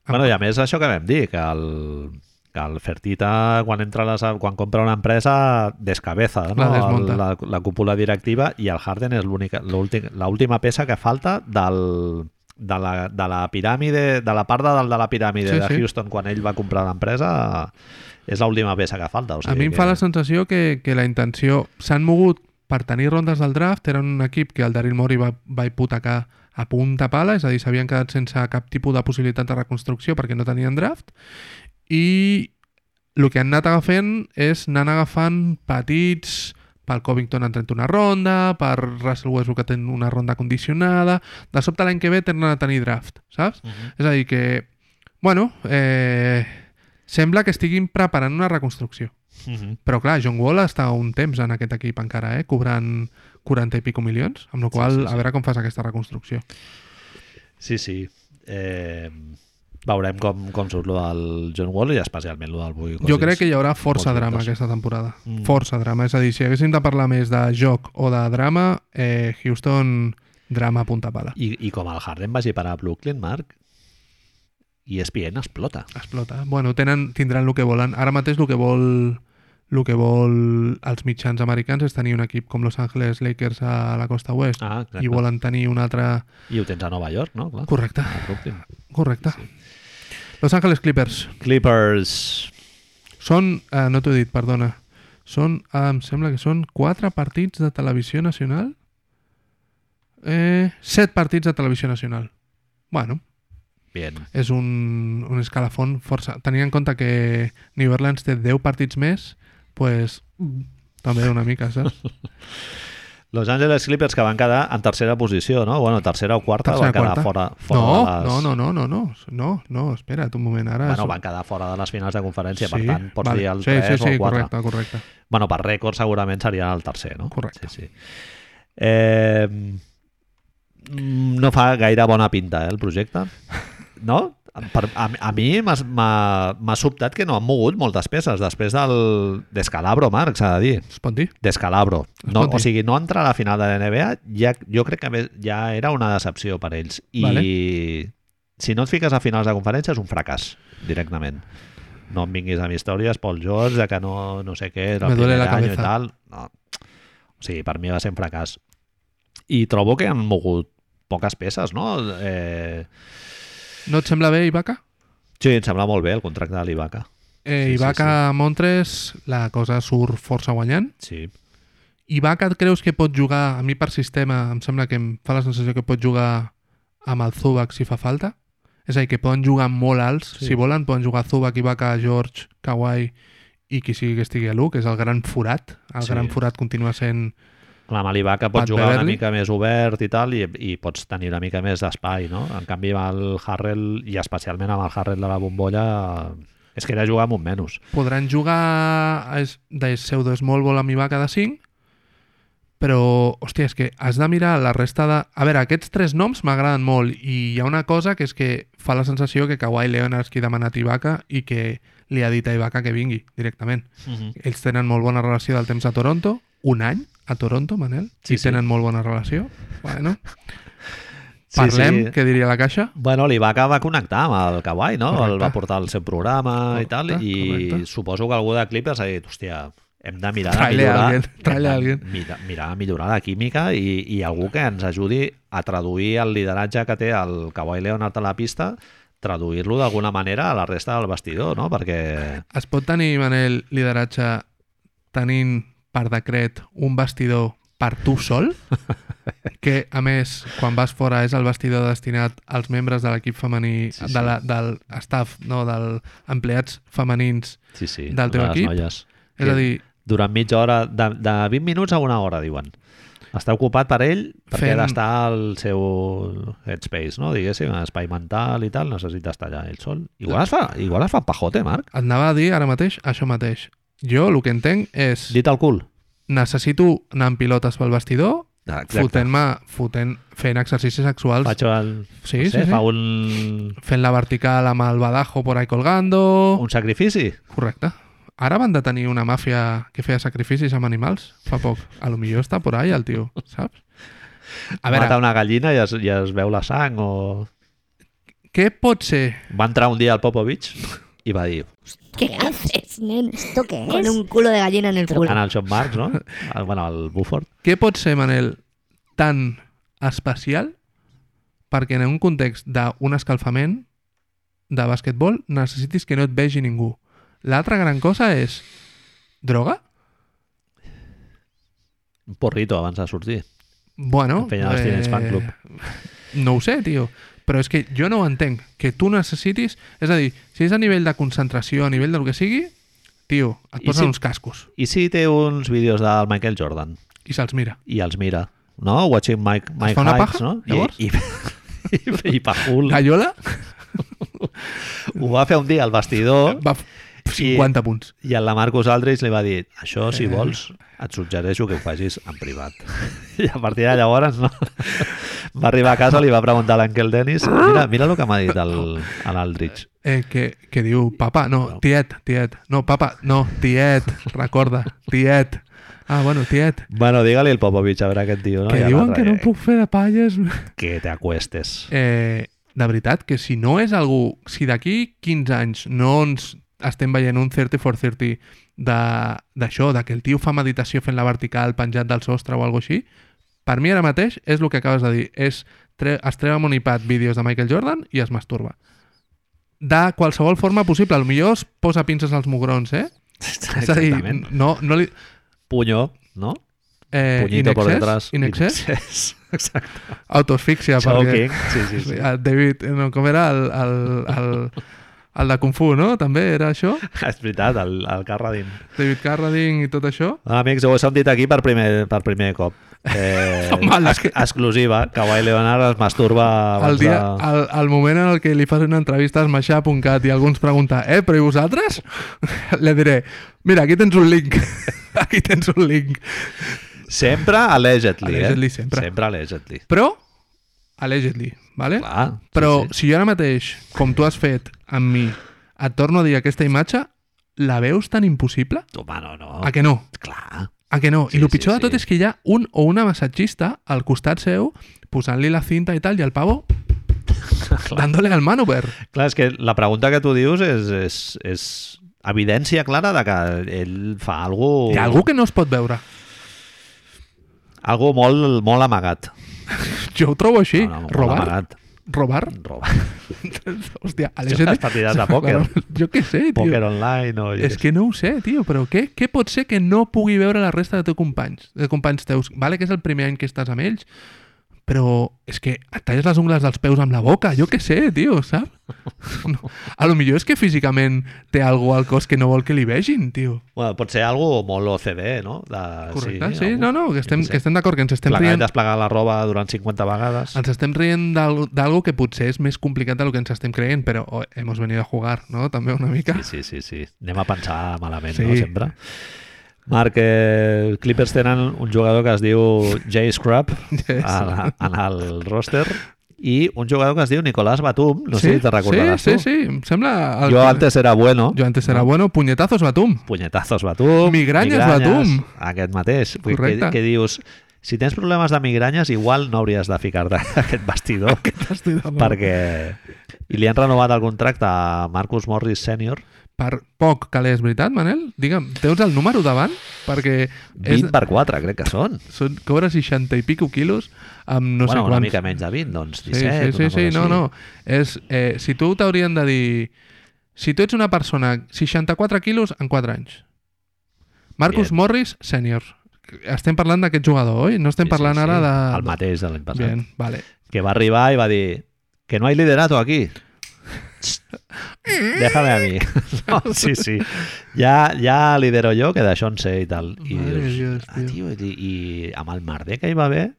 A: Bueno, i a més això que vam dir, que el, que el Fertita, quan, entra a les, quan compra una empresa, descabeza no?
B: La desmunta.
A: El- la, la cúpula directiva i el Harden és l'única- l'últim- l'última peça que falta del, de, la, de la piràmide, de la part de dalt de la piràmide
B: Sí,
A: sí, de
B: sí.
A: Houston quan ell va comprar l'empresa és l'última peça que falta. O sigui
B: A mi em
A: que...
B: fa la sensació que, que la intenció... S'han mogut per tenir rondes del draft, eren un equip que el Daryl Morey va, va hipotecar a punta pala, és a dir, s'havien quedat sense cap tipus de possibilitat de reconstrucció perquè no tenien draft, i el que han anat agafant és anant agafant petits pel Covington han tret una ronda, per Russell Westbrook que tenen una ronda condicionada, de sobte l'any que ve tenen a tenir draft, saps?
A: Mhm.
B: És a dir, que, bueno, eh, sembla que estiguin preparant una reconstrucció.
A: Mhm.
B: Però clar, John Wall està un temps en aquest equip encara, eh? cobrant 40 i pico milions, amb la qual
A: Sí, sí,
B: sí, sí,
A: sí.
B: a veure com fas aquesta reconstrucció.
A: Sí, sí. Eh, veurem com, com surt lo del John Wall i especialment lo del Bui.
B: jo crec que hi haurà força
A: molts
B: drama
A: dubtes.
B: aquesta temporada.
A: Mm.
B: Mm. Força drama. És a dir, si haguéssim de parlar més de joc o de drama, eh, Houston, drama a punta pala.
A: I, I com el Harden vagi parar a Brooklyn, Marc, i E ESPN explota.
B: Explota. Bueno, tenen, tindran el que volen. Ara mateix el que vol el que vol els mitjans americans és tenir un equip com Los Angeles Lakers a la costa oest
A: Ah,
B: i volen tenir un altre...
A: I ho tens a Nova York, no? Clar.
B: Correcte,
A: A Brooklyn.
B: correcte. Los Angeles Clippers.
A: Clippers.
B: Són, eh, no t'ho he dit, perdona, són, eh, em sembla que són quatre partits de televisió nacional, eh, set partits de televisió nacional. Bueno,
A: Bien.
B: és un, un escalafón força... Tenint en compte que New Orleans té 10 partits més pues, mm, també una mica, saps?
A: Los Angeles Clippers que van quedar en tercera posició, no? Bueno, tercera o quarta van
B: Tercera,
A: quedar
B: quarta.
A: fora, fora
B: no,
A: de les...
B: no, no, no, no, no, no, no, espera't un moment, ara...
A: Bueno, van quedar fora de les finals de conferència, sí, per
B: Sí,
A: tant, pots
B: vale.
A: dir el
B: sí,
A: 3
B: sí, sí,
A: o el 4.
B: correcte, correcte.
A: Bueno, per rècord segurament seria el tercer, no?
B: Correcte.
A: Sí, sí. Eh, mm, no fa gaire bona pinta, eh, el projecte. No? Per, a, a mi m'ha- m'ha m'ha sobtat que no han mogut moltes peces després del d'Escalabro, Marc, s'ha de dir.
B: Es pot dir?
A: D'Escalabro.
B: Es
A: No,
B: pot
A: o
B: dir.
A: sigui, no entrar a la final de la NBA ja, jo crec que més- ja era una decepció per ells. I
B: Vale.
A: si no et fiques a finals de conferència és un fracàs, directament. No em vinguis amb històries, Paul George, de que no, no sé què, del
B: Me duele
A: primer
B: la
A: año i
B: cabeza.
A: tal. No. O sigui, per mi va ser un fracàs. I trobo que han mogut poques peces, no? Eh,
B: No et sembla bé, Ibaka?
A: sí, em sembla molt bé el contracte de l'Ibaka. Sí,
B: Eh,
A: sí,
B: Ibaka a Montres, la cosa surt força guanyant.
A: Sí.
B: Ibaka et creus que pot jugar, a mi per sistema, em sembla que em fa la sensació que pot jugar amb el Zubac si fa falta. És a dir, que poden jugar molt alts,
A: Sí.
B: si volen, poden jugar Zubac, Ibaka, George, Kawhi i qui sigui que estigui a l'1, que és el gran forat. El
A: Sí.
B: gran forat continua sent...
A: Clar, amb l'Ibaka pots
B: Pat
A: jugar una
B: Beverly.
A: mica més obert i tal, i, i pots tenir una mica més d'espai, no? En canvi, amb el Harrell, i especialment amb el Harrell de la bombolla, és que era jugar amb un menys.
B: Podran jugar es- de pseudo-small ball amb Ibaka de 5, però, hòstia, és que has de mirar la resta de... A veure, aquests tres noms m'agraden molt i hi ha una cosa que és que fa la sensació que Kawhi Leonard és qui ha demanat Ibaka i que li ha dit a Ibaka que vingui directament.
A: Uh -huh.
B: Ells tenen molt bona relació del temps a Toronto, un any a Toronto, Manel,
A: Sí,
B: sí, i
A: sí.
B: tenen molt bona relació. Bueno, parlem, sí, sí. què diria la caixa?
A: Bueno, l'Ibaka va connectar amb el Kawhi, no? Correcte.
B: Correcte.
A: El va portar al seu programa i tal,
B: Correcte,
A: i
B: correcte.
A: suposo que algú de Clippers ha dit, hòstia, hem de mirar
B: Traile
A: a millorar...
B: alguien, traile
A: hem de
B: alguien."
A: Mirar, mirar a millorar la química i, i algú que ens ajudi a traduir el lideratge que té el Kawhi Leonard a la pista traduir-lo d'alguna manera a la resta del vestidor, no? Perquè...
B: Es pot tenir, Manel, lideratge tenint per decret un vestidor per tu sol? Que, a més, quan vas fora és el vestidor destinat als membres de l'equip
A: Sí,
B: femení, sí,
A: sí.
B: sí. De la, del staff, no, dels empleats femenins.
A: Sí, sí.
B: del teu
A: les
B: equip.
A: Noies.
B: És a dir,
A: Durant mitja hora, de, de 20 minuts a una hora, diuen. Està ocupat per ell perquè
B: Fent-
A: ha d'estar al seu headspace, no? Diguéssim, espai mental i tal, necessita estar allà ell sol. Igual es fa, igual es fa pajote, Marc.
B: et anava a dir ara mateix això mateix. Jo el que entenc és
A: Dit al cul.
B: necessito anar amb pilotes pel vestidor
A: Exacte.
B: fotent-me, fotent, fent exercicis sexuals,
A: Faig el,
B: Sí,
A: no sé,
B: sí, sí.
A: fa un,
B: fent la vertical amb el badajo por ahí colgando...
A: un sacrifici.
B: Correcte. Ara van de tenir una màfia que feia sacrificis amb animals fa poc. A lo millor està por ahí el tio, saps? A veure,
A: Mata una gallina i es, i es veu la sang o...
B: què pot ser?
A: Va entrar un dia al Popovich i va dir,
D: ¿Qué haces, nen? ¿Esto qué es?
E: Con un culo de gallina en el culo.
A: en el John Marks, no? El, bueno, el Buford.
B: Què pot ser, Manel, tan especial perquè en un context d'un escalfament de basquetbol necessitis que no et vegi ningú. L'altra gran cosa és... Droga?
A: Un porrito abans de sortir.
B: Bueno, eh,
A: Penya dels Teenage Fan Club.
B: No ho sé, tio. Però és que jo no ho entenc. Que tu necessitis... És a dir, si és a nivell de concentració, a nivell del que sigui, tio, et
A: I si-
B: posen uns cascos
A: I sí, té uns vídeos del Michael Jordan
B: i se'ls mira.
A: i els mira, no? Watching Mike, Mike
B: fa una
A: Hikes,
B: paja,
A: no?
B: llavors?
A: I, i, i, i Pajul
B: Gallola
A: ho va fer un dia al vestidor
B: va f- 50 punts.
A: i el Lamarcus Aldridge li va dir això,
B: Eh.
A: si vols, et suggereixo que ho facis en privat. I a partir de llavors no? va arribar a casa, li va preguntar a l'Ankel Dennis mira, mira el que m'ha dit el- a l'Aldridge.
B: Eh, que, que diu, papa, no, tiet, tiet. No, papa, no, tiet. Recorda, tiet. Ah, bueno, tiet.
A: Bueno, digue-li el Popovich a veure aquest tio. No?
B: que
A: I a
B: diuen
A: l'altre,
B: que no
A: eh,
B: em puc fer de palles.
A: Que te acuestes.
B: Eh, de veritat, que si no és algú... Si d'aquí 15 anys no ens estem veient un 30 for 30 de- d'això, de, que el tio fa meditació fent la vertical penjat del sostre o alguna així, per mi ara mateix és el que acabes de dir. És, tre es treu amb un iPad vídeos de Michael Jordan i es masturba. De qualsevol forma possible. Al millor es posa pinces als mugrons, eh? És a dir,
A: Exactament.
B: no, no li...
A: Punyó, no?
B: Eh,
A: Punyito
B: in
A: por
B: excess,
A: detrás.
B: in excess,
A: Excess. Exacte.
B: autoasfíxia.
A: Choking.
B: perquè- eh,
A: Sí, sí, sí.
B: El David, no, com era el, el, el, El de Kung Fu, no? També era això?
A: És veritat, el, el Carradine.
B: David Carradine i tot això?
A: Amics, ho heu sentit aquí per primer, per primer cop. Eh,
B: Home, la
A: ex
B: que-
A: exclusiva. Kawhi Leonard es masturba
B: El,
A: abans
B: dia,
A: de...
B: el, el moment en el que li fas una entrevista al Maixà.cat i algú ens pregunta eh, però i vosaltres? Li diré mira, aquí tens un link aquí tens un link
A: Sempre allegedly,
B: Allegedly,
A: eh?
B: sempre.
A: Sempre allegedly.
B: però, allegedly, vale?
A: Clar, sí,
B: però
A: sí.
B: si jo ara mateix, com tu has fet amb mi, et torno a dir aquesta imatge la veus tan impossible?
A: Home, no, no.
B: A que no?
A: Clar.
B: A que no?
A: Sí,
B: I el
A: sí,
B: pitjor de tot
A: sí.
B: és que hi ha un o una massatgista al costat seu posant-li la cinta i tal, i el pavo dándole al manover.
A: Clar, és que la pregunta que tu dius és, és, és evidència clara de que ell fa algo,
B: Hi ha algú que no es pot veure.
A: algo molt, molt amagat.
B: Jo ho trobo així.
A: No, no, molt
B: robar?
A: Amagat.
B: Robar?
A: Robar.
B: Hòstia, a
A: Això és partides de pòquer.
B: Jo què sé, tio.
A: Poker online o... jo
B: És que no ho sé, tio, però què, què pot ser que no pugui veure la resta de teus companys, de companys teus? Vale que és el primer any que estàs amb ells, però és que et talles les ungles dels peus amb la boca, jo què sé, tio, saps? No. A lo millor és que físicament té algú al cos que no vol que li vegin, tio.
A: Bueno, pot ser algo molt OCD, no? De,
B: Correcte, sí,
A: Ah, algú-
B: no, no, que estem,
A: jo què
B: que
A: sé,
B: estem d'acord, que ens estem
A: Plegar i
B: rient,
A: desplegar la roba durant 50 vegades.
B: ens estem rient d'al- d'algo que potser és més complicat del que ens estem creient, però oh, hemos venido a jugar, no? També una mica.
A: Sí, sí, sí, sí. Anem a pensar malament,
B: Sí.
A: sí. no? Sempre. Marc, eh, els Clippers tenen un jugador que es diu Jay Scrub
B: Yes.
A: a la, en el roster i un jugador que es diu Nicolás Batum, no sé si te recordaràs
B: sí,
A: tu.
B: sí, sí, em sembla...
A: Yo antes era bueno.
B: Yo antes era bueno, puñetazos Batum.
A: Punyetazos Batum.
B: Migranyes Batum.
A: Aquest mateix. Vull dir,
B: Correcte.
A: Que, que dius, si tens problemes de migranyes, igual no hauries de ficar-te en aquest vestidor.
B: Estic d'acord.
A: perquè... I li han renovat el contracte a Marcus Morris sènior.
B: Per poc calés, veritat, Manel? Digue'm, tens el número davant? Perquè
A: 20 per 4, crec que són.
B: són, cobra 60 i pico quilos amb no
A: No bueno,
B: sé
A: una
B: quants.
A: mica menys de 20, doncs
B: sí,
A: 17.
B: sí, sí, sí,
A: una cosa
B: no,
A: així.
B: no. És, eh, si tu t'haurien de dir... Si tu ets una persona, 64 quilos en 4 anys. Marcus
A: Bien.
B: Morris, sènior. Estem parlant d'aquest jugador, oi? No estem
A: Sí, sí,
B: parlant
A: sí.
B: ara de...
A: El mateix de l'any passat.
B: Bien, vale.
A: Que va arribar i va dir que no hay liderato aquí. Déjame a mi. No, sí, sí. Ja, ja lidero jo, que d'això en sé i tal. I
B: Madre
A: dius,
B: Dios,
A: ah, tio, i, i amb el merder que hi va haver,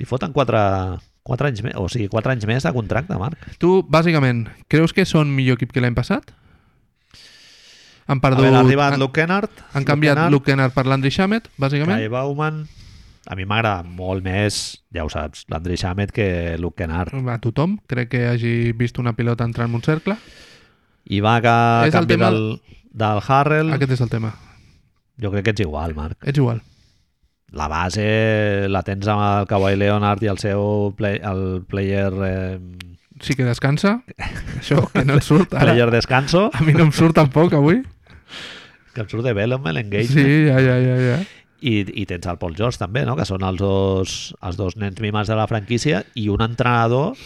A: li foten 4, 4 anys més, o sigui, 4 anys més de contracte, Marc.
B: Tu, bàsicament, creus que són millor equip que l'any passat? Han
A: A
B: perdut...
A: veure, ha arribat
B: han,
A: Luke eh. Kennard.
B: han canviat Luke Kennard per l'Andri Shamet, bàsicament.
A: Kai Bauman. A mi m'agrada molt més, ja ho saps, l'Andre Shamet que Luke Kennard.
B: A tothom, crec que hagi vist una pilota entrar en un cercle.
A: I va que
B: És el
A: canvi
B: tema-
A: del, del Harrell.
B: Aquest és el tema.
A: Jo crec que ets igual, Marc.
B: Ets igual.
A: la base la tens amb el Kawhi Leonard i el seu play, el player eh,
B: Sí que descansa. Això que no et surt ara. Ah.
A: player descanso
B: A mi no em surt tampoc avui.
A: que em surt de Bellomel Engagement sí.
B: Sí, ja, ja, ja. ja.
A: I, i tens el Paul George també no? que són els dos, els dos nens mimes de la franquícia i un entrenador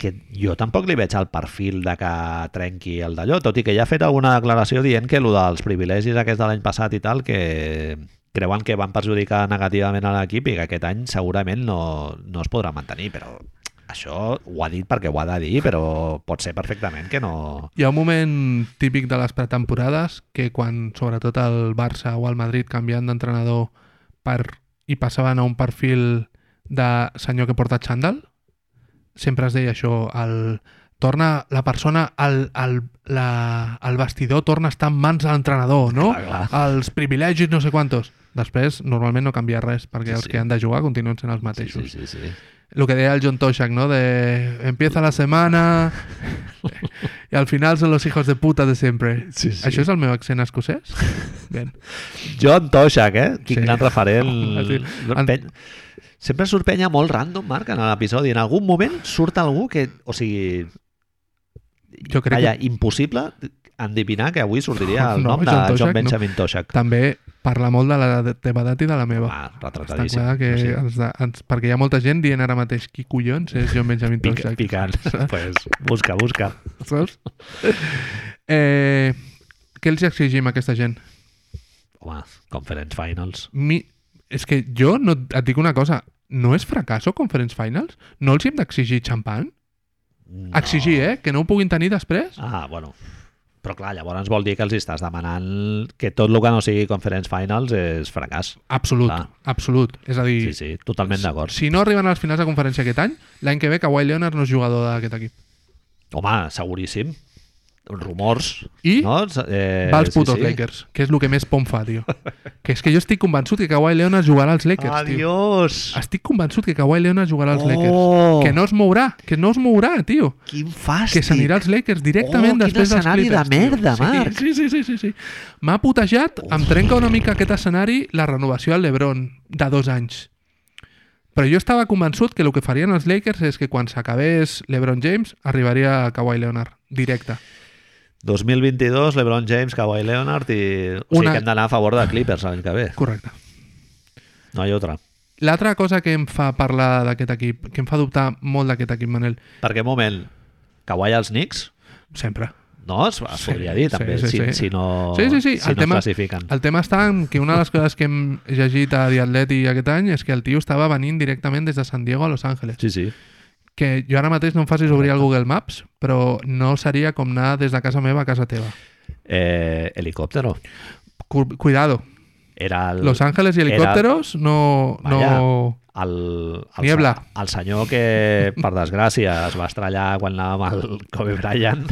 A: que jo tampoc li veig el perfil de que trenqui el d'allò, tot i que ja ha fet alguna declaració dient que el dels privilegis aquests de l'any passat i tal, que creuen que van perjudicar negativament a l'equip i que aquest any segurament no, no es podrà mantenir, però això ho ha dit perquè ho ha de dir, però pot ser perfectament que no...
B: Hi ha un moment típic de les pretemporades que quan sobretot el Barça o el Madrid canvien d'entrenador per i passaven a un perfil de senyor que porta xandall, sempre es deia això, el, torna la persona, el, el, la, el vestidor torna a estar en mans de l'entrenador, no?
A: Clar,
B: Els privilegis no sé quantos. Després, normalment no canvia res, perquè
A: Sí,
B: els
A: sí.
B: que han de jugar continuen sent els mateixos
A: Sí, sí, sí.
B: lo que deia el John Toshak, ¿no? De empieza la semana y al final son los hijos de puta de siempre.
A: Sí, sí.
B: Això és el meu accent escocès? Bien.
A: John Toshak, eh? Quin
B: Sí.
A: sí. gran referent.
B: Sí. En-
A: Pen... Sempre surt penya molt random, Marc, en l'episodi. En algun moment surt algú que... O sigui,
B: Jo crec
A: Vaja,
B: que
A: impossible endevinar que avui sortiria el
B: No,
A: nom de
B: John
A: John,
B: Toshak, no.
A: Benjamin Toshak.
B: també parla molt de la de- teva edat i de la meva.
A: Va,
B: Està
A: retratadíssim.
B: clar que
A: O sigui,
B: ens, de- ens, perquè hi ha molta gent dient ara mateix qui collons és John Benjamin
A: pica,
B: Toshak.
A: picant. pues, busca, busca.
B: Saps? Eh, què els hi exigim a aquesta gent?
A: Home, Conference Finals.
B: Mi... És que jo no, et dic una cosa, no és fracasso Conference Finals? No els hi hem d'exigir xampan? Exigir, eh? Que no ho puguin tenir després.
A: Ah, bueno. Però clar, llavors vol dir que els estàs demanant que tot el que no sigui Conference Finals és fracàs.
B: Absolut,
A: Clar.
B: absolut. És a dir,
A: Sí, sí, totalment d'acord.
B: si no arriben a les finals de conferència aquest any, l'any que ve Kawhi Leonard no és jugador d'aquest equip.
A: Home, seguríssim. Rumors.
B: I
A: No? Eh,
B: Va als putos Lakers, que és el que més pom fa, tio. Que és que jo estic convençut que Kawhi Leonard jugarà als Lakers, tio.
A: Adiós!
B: Estic convençut que Kawhi Leonard jugarà als
A: Oh!
B: Lakers. Que no es mourà, que no es mourà, tio.
A: Quin fàstic!
B: Que s'anirà als Lakers directament
A: Oh, quin
B: després dels
A: escenari de
B: Clippers. tio.
A: merda,
B: sí,
A: Marc.
B: Sí, sí, sí, sí. sí. M'ha putejat, em trenca una mica aquest escenari la renovació al LeBron de dos anys. Però jo estava convençut que el que farien els Lakers és que quan s'acabés LeBron James arribaria a Kawhi Leonard, directe.
A: 2022, LeBron James, Kawhi Leonard i... O sigui
B: Una-
A: que hem d'anar a favor de Clippers l'any que ve.
B: Correcte.
A: No hi ha altra.
B: L'altra cosa que em fa parlar d'aquest equip, que em fa dubtar molt d'aquest equip, Manel,
A: Perquè, un moment, Kawhi als Knicks?
B: sempre.
A: No, es, es
B: Sí,
A: podria dir, també,
B: sí, sí,
A: si,
B: sí.
A: si no,
B: Sí, sí, sí.
A: Si
B: el,
A: no
B: tema,
A: es classifiquen.
B: el tema està en que una de les coses que hem llegit a The Atleti aquest any és que el tio estava venint directament des de San Diego a Los Angeles.
A: Sí, sí.
B: Que jo ara mateix no em facis obrir el Google Maps, però no seria com anar des de casa meva a casa teva.
A: Eh, helicòptero.
B: Cu- Cuidado.
A: Era el...
B: Los Ángeles i
A: Eh, era-
B: helicòpteros no... no...
A: El, el,
B: Niebla.
A: El senyor que, per desgràcia, es va estrellar quan anàvem al Kobe Bryant.